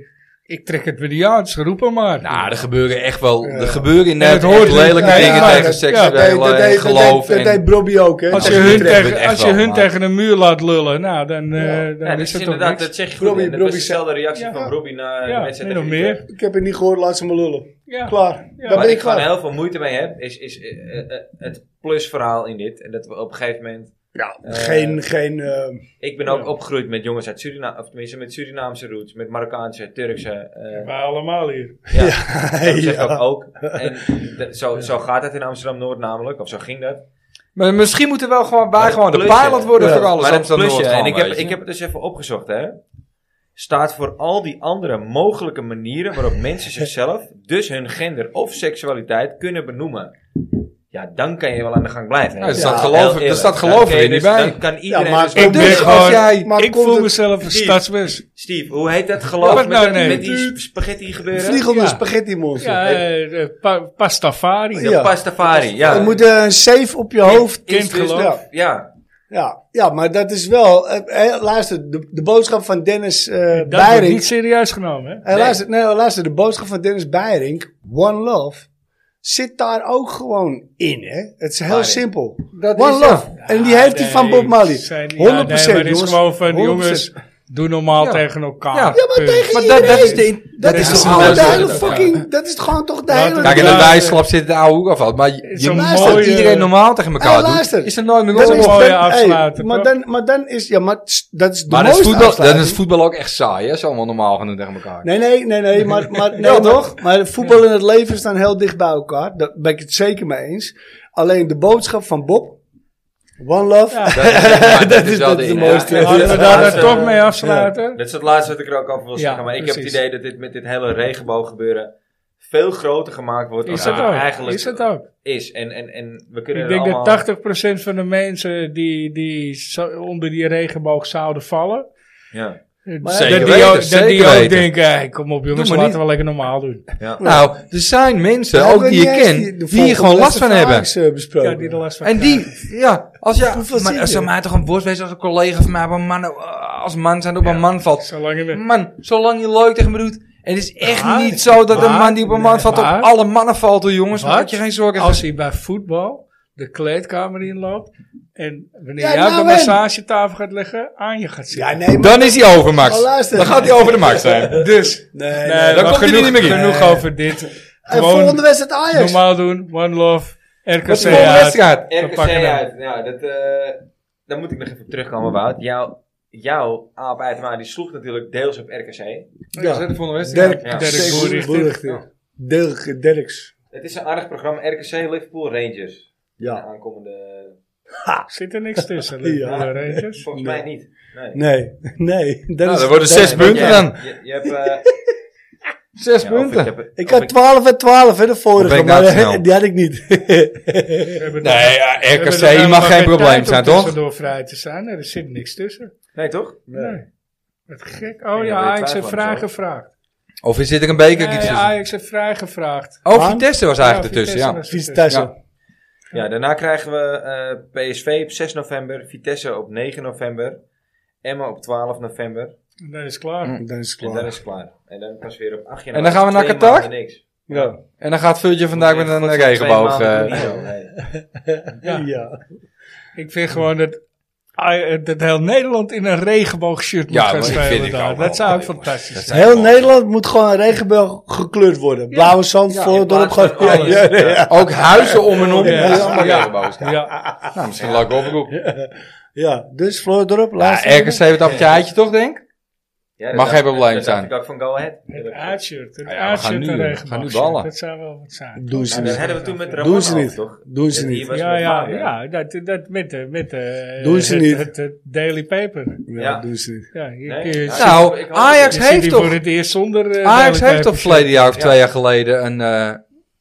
ik trek het weer niet aan, dus roep hem maar.
Nou, er gebeuren echt wel. Er
Ja.
gebeuren in
het
Nederland
hoort
echt
niet.
lelijke
Nee,
dingen
ja,
tegen
dat-
Nee,
seksuele eh,
dat deed- dat
geloof.
deed- Dat
en,
deed Brobby ook, hè?
als
Ja,
je
die
hun,
trekken
tegen,
het echt
als je
wel,
hun
maar-
tegen een muur laat lullen, nou, dan, eh, dan
Ja, dat
is
is
het toch
inderdaad,
niks.
dat zeg je goed.
Robbie-
en dat was
Robbie zei-
dezelfde reactie
Ja.
van Robbie naar
Ja,
de wedstrijd.
min of
tegen
meer.
Utrecht.
Ik heb het niet gehoord, laat ze maar lullen.
Ja.
Klaar.
Ja.
Daar
Waar
ben
ik
ik
gewoon
klaar.
heel veel moeite mee heb, is, is eh, eh, eh, het plusverhaal in dit. En dat we op een gegeven moment...
Ja, geen, geen, eh,
Ik ben ook opgegroeid met jongens uit Suriname, of tenminste met Surinaamse roots, met Marokkaanse, Turkse. eh,
Wij allemaal hier.
dat zeg ik
ja.
ook. En dat- zo, zo gaat het in Amsterdam-Noord namelijk, of zo ging dat.
maar misschien moeten we wel gewoon, wij gewoon de
plusje-
pilot worden
Ja.
voor alles.
Maar dat
Amsterdam
plusje,
Noord
en
gewoon,
ik heb,
weet je.
ik heb het dus even opgezocht, hè. Staat voor al die andere mogelijke manieren waarop mensen zichzelf, dus hun gender of seksualiteit, kunnen benoemen. Ja, dan kan je wel aan de gang blijven. hè.
Ja, er staat
Ja,
geloof
heel
ik- er
eerlijk.
staat
Dan
geloof
kun
ik
je
niet
dus-
bij.
Dan kan iedereen
maar
dus
kom-
ook-
Ik ben
dus als
gewoon,
jij-
maar dus-
ik
komt
voel
het-
mezelf een
Steve.
stadsbus.
Steve, hoe heet dat geloof
Wat
met,
nou,
dat-
nee.
met die sp- spaghetti gebeuren?
Vliegelende
Ja.
spaghetti monster.
Ja, eh, eh, pa- pastafari.
De
Ja.
pastafari, ja.
Je moet eh, een safe op je hoofd.
Is dus
kindgeloof.
dat- Ja.
Ja, ja, maar dat is wel. eh, eh, luister, de, de boodschap van Dennis eh
Dat wordt
Beiring.
niet serieus genomen, hè?
Eh, luister, nee, luister, de boodschap van Dennis Beiring, One Love, zit daar ook gewoon in. Hè? Het is heel
Beiring.
simpel.
Dat
One
is-
Love. en die heeft hij
Nee,
van Bob Marley. 100%.
zijn- ja, nee, maar het is
jongens.
gewoon van,
100%.
jongens, doe normaal
Ja.
tegen elkaar.
Ja.
Ja, maar
Punt.
tegen
Maar dat, dat is
iedereen.
de. in-
Dat
dat
is toch
is de
gewoon de
alles.
hele
Ja.
fucking. Dat is gewoon toch de
Ja,
hele.
Kijk, en dat
Ja,
wij
eh,
slap zitten de oude hoer af. Maar je, je
zo'n
moet
mooie-
dat iedereen normaal tegen
Hey,
elkaar doet.
luister.
Is er nooit meer
Dat
een
is
oorlog.
mooie
dan- hey,
afsluiter,
maar,
toch?
dan, maar dan is. Ja, maar s- dat is de
Maar dan is,
mooiste
voetbal, dan
afsluiting.
is voetbal ook echt saai, hè? Zo allemaal normaal gaan doen tegen elkaar.
Nee, nee, nee, nee. Maar, maar, nee, maar-
toch?
Maar voetbal en het leven staan heel dicht bij elkaar. Daar ben ik het zeker mee eens. Alleen de boodschap van Bob. One love.
Ja.
Dat is- maar
dat, is,
wel
dat
de
is de
ene.
mooiste.
Ja,
Laten we daar
laatste-
dan toch mee afsluiten.
Dat is het laatste wat ik er ook over wil
Ja,
zeggen. Maar ik heb het
precies.
idee dat dit met dit hele regenboog gebeuren veel groter gemaakt wordt dan
Is dat
het
ook?
eigenlijk
Is dat ook?
is. En, en, en we kunnen
Ik
er
denk
allemaal...
dat 80% van de mensen die, die zo- onder die regenboog zouden vallen, eh,
Ja,
Zeker
dat die
weten,
ook, dat die
zeker
ook
weten.
denken, hey, kom op jongens,
Doe maar
laten
niet.
we lekker normaal doen.
ja.
Nou, er zijn mensen,
Hebben
ook
we
die je
niet eens
kent,
de
die
volgende
hier gewoon last van hebben.
vraag, eh, besproken.
Ja, die er last van
En die, ja, als je,
Hoeveel zie
maar
je?
als zou mij toch een worst wezen als een collega van mij, maar man, eh, als man zijn op een man valt.
Zolang je met-
Man, zolang je leuk tegen me doet. En het is echt
Maar-
niet zo dat een
maar-
man die op een man valt
maar-
op alle mannen valt, hoor, jongens.
Wat?
Maak je geen zorgen.
Als hij bij voetbal de kleedkamer inloopt en wanneer
Ja,
jij
nou
op de
en?
massagetafel gaat liggen, aan je gaat zitten.
Ja, nee, maar.
Dan is hij over, Max.
Oh, luister.
Dan gaat hij over de Max zijn.
Dus,
Nee, nee,
nee,
dan
maar
komt hij
genoeg,
er niet meer in.
genoeg
Nee.
over dit.
En
Gewoon
volgende wedstrijd Ajax.
normaal doen, one love, RKC
Dat is de volgende
uit.
wedstrijd.
We
RKC
pakken hem.
uit. Ja, dat, eh, daar moet ik nog even op terugkomen, Wout. Jouw, jouw Aap Eitema, die sloeg natuurlijk deels op RKC.
Dat is de volgende wedstrijd.
Dirk,
Ja.
ja.
Dirk Boerichter.
Dirk, Dirks.
Het is een aardig programma. RKC, Liverpool, Rangers. De
Ja.
aankomende...
Zit er niks tussen,
Ja.
Liverpool en Rangers?
Volgens
Nee.
mij niet. Nee.
Nee, nee. Dat
Nou,
is,
dat worden
dat-
zes punten
Jij-
dan.
Je, je hebt... eh,
Zes
Ja, of
punten.
Ik, heb,
Ik
of
had 12 en 12 hè, de
ben
vorige,
ik
maar
nou
eh,
snel?
die had ik niet.
hebben
Nee,
er-
ja,
we hebben
RKC
er nou
mag
nog tijd
geen probleem
om
zijn, toch?
tussendoor vrij te zijn. Nee, er zit niks tussen.
Nee, toch?
Nee. Wat gek. Oh
ben je
ja, Ajax heeft
twijfelend,
vrij
zo.
gevraagd.
Of is dit er een beker
Nee,
iets tussen?
Ajax heeft vrij gevraagd.
Oh, Vitesse was eigenlijk ertussen, ja.
Visitatie.
Ja.
Ja, daarna krijgen we eh, PSV op 6 november, Vitesse op 9 november, Emma op 12 november.
Dat is het klaar.
Mm.
Dan is het
En dan
klaar.
is het klaar. En dan pas weer op 8 januari.
En dan gaan we naar
Twee
Qatar?
maanden niks.
Ja.
En dan gaat Vultje vandaag met een regenboog. eh,
Ja.
Ik vind gewoon dat, Aj- dat heel Nederland in een regenboogshirt moet
Ja,
gaan
maar ik vind
spelen
ik
daar.
ook
Dat
wel.
zou ook fantastisch zijn.
Heel Nederland moet gewoon een regenboog gekleurd worden. Blauwe zand, voor het dorp.
plaats van
gewoon- Ja,
alles.
ja, ja, ja.
Ook huizen om en om.
Ja.
Ja, allemaal regenboogstijl.
Ja,
Nou, misschien een leuke oproep.
Ja, dus Florendorp,
Ja,
laatste.
RKC heeft dat appeltje toch, denk ik? Mag geen probleem zijn.
Dus Ik ook van Go Ahead. Nou,
het aardshirt. Het
Ja, ja, we gaan
aardshirt
nu-
en
we gaan nu
regenboogshirt.
ballen.
Dat zou wel wat zijn.
Doen ze
Nou, dat
niet.
hadden we toen met Ramon
Doen ze
ook,
niet.
toch?
Doen ze
Dat hier
niet.
was
Ja,
met
ja,
Mario.
ja, dat, dat met de, met de,
Doen ze
het,
niet.
Het, het Daily Paper.
Ja, dus, eh,
Ja.
doen ze niet.
Ja, je,
Nee.
je
Ja.
ziet-
ik
Nou,
hoop
Ajax
je ziet
heeft
die
toch...
voor het eerst zonder eh,
Ajax
Daily
heeft toch
Paper.
verleden jaar of
Ja.
twee jaar geleden een, eh,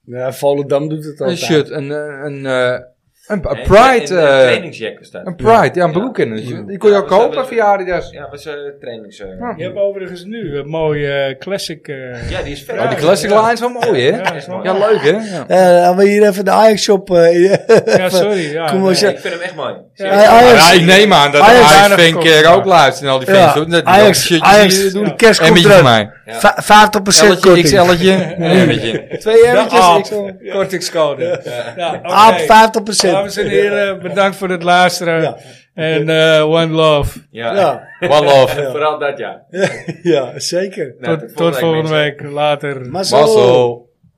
Ja, Volendam doet het
een
altijd.
shirt, een, eh, een, eh, een, een
En-
pride...
en- en
eh,
trainingsjack was dat.
Een pride, ja, een
Ja.
broek in. een shirt. Die kon je ook kopen via Adidas.
Ja, was eh trainings... eh.
Ja.
Je hebt overigens nu een mooie classic. eh,
Ja, die is vet.
Oh, die classic
Ja.
line is wel mooi, hè?
Ja, is mooi.
Ja, leuk, hè? Ja.
Eh, laten we hier even de Ajax-shop... eh,
ja, sorry. Ja,
Kom maar
nee.
Ja, ik vind hem echt mooi.
Ja.
Serieus.
Ajax-
Ah, Ja, ik neem aan dat
Ajax-
Ajax
Ajax-
Fink eh, ook luistert en al die fans.
Ja,
doen. Dat die ook
Ajax,
shirtjes
Ajax,
hier doen.
de kerst
Emmetje
komt
van
eruit.
mij.
Ja.
Va- 50%
Elletje,
korting.
XL'tje, een emmetje. Twee
Ja,
emmetjes, XL.
Kortingscode. Ja, oké.
Aap, 50%.
Dames en heren, bedankt voor het luisteren.
Ja.
En eh, one love.
Ja.
Ja,
One love.
Vooral dat, ja.
ja, zeker.
Nou,
tot, tot volgende
mensen.
week. Later.
Maar zo-
Basel.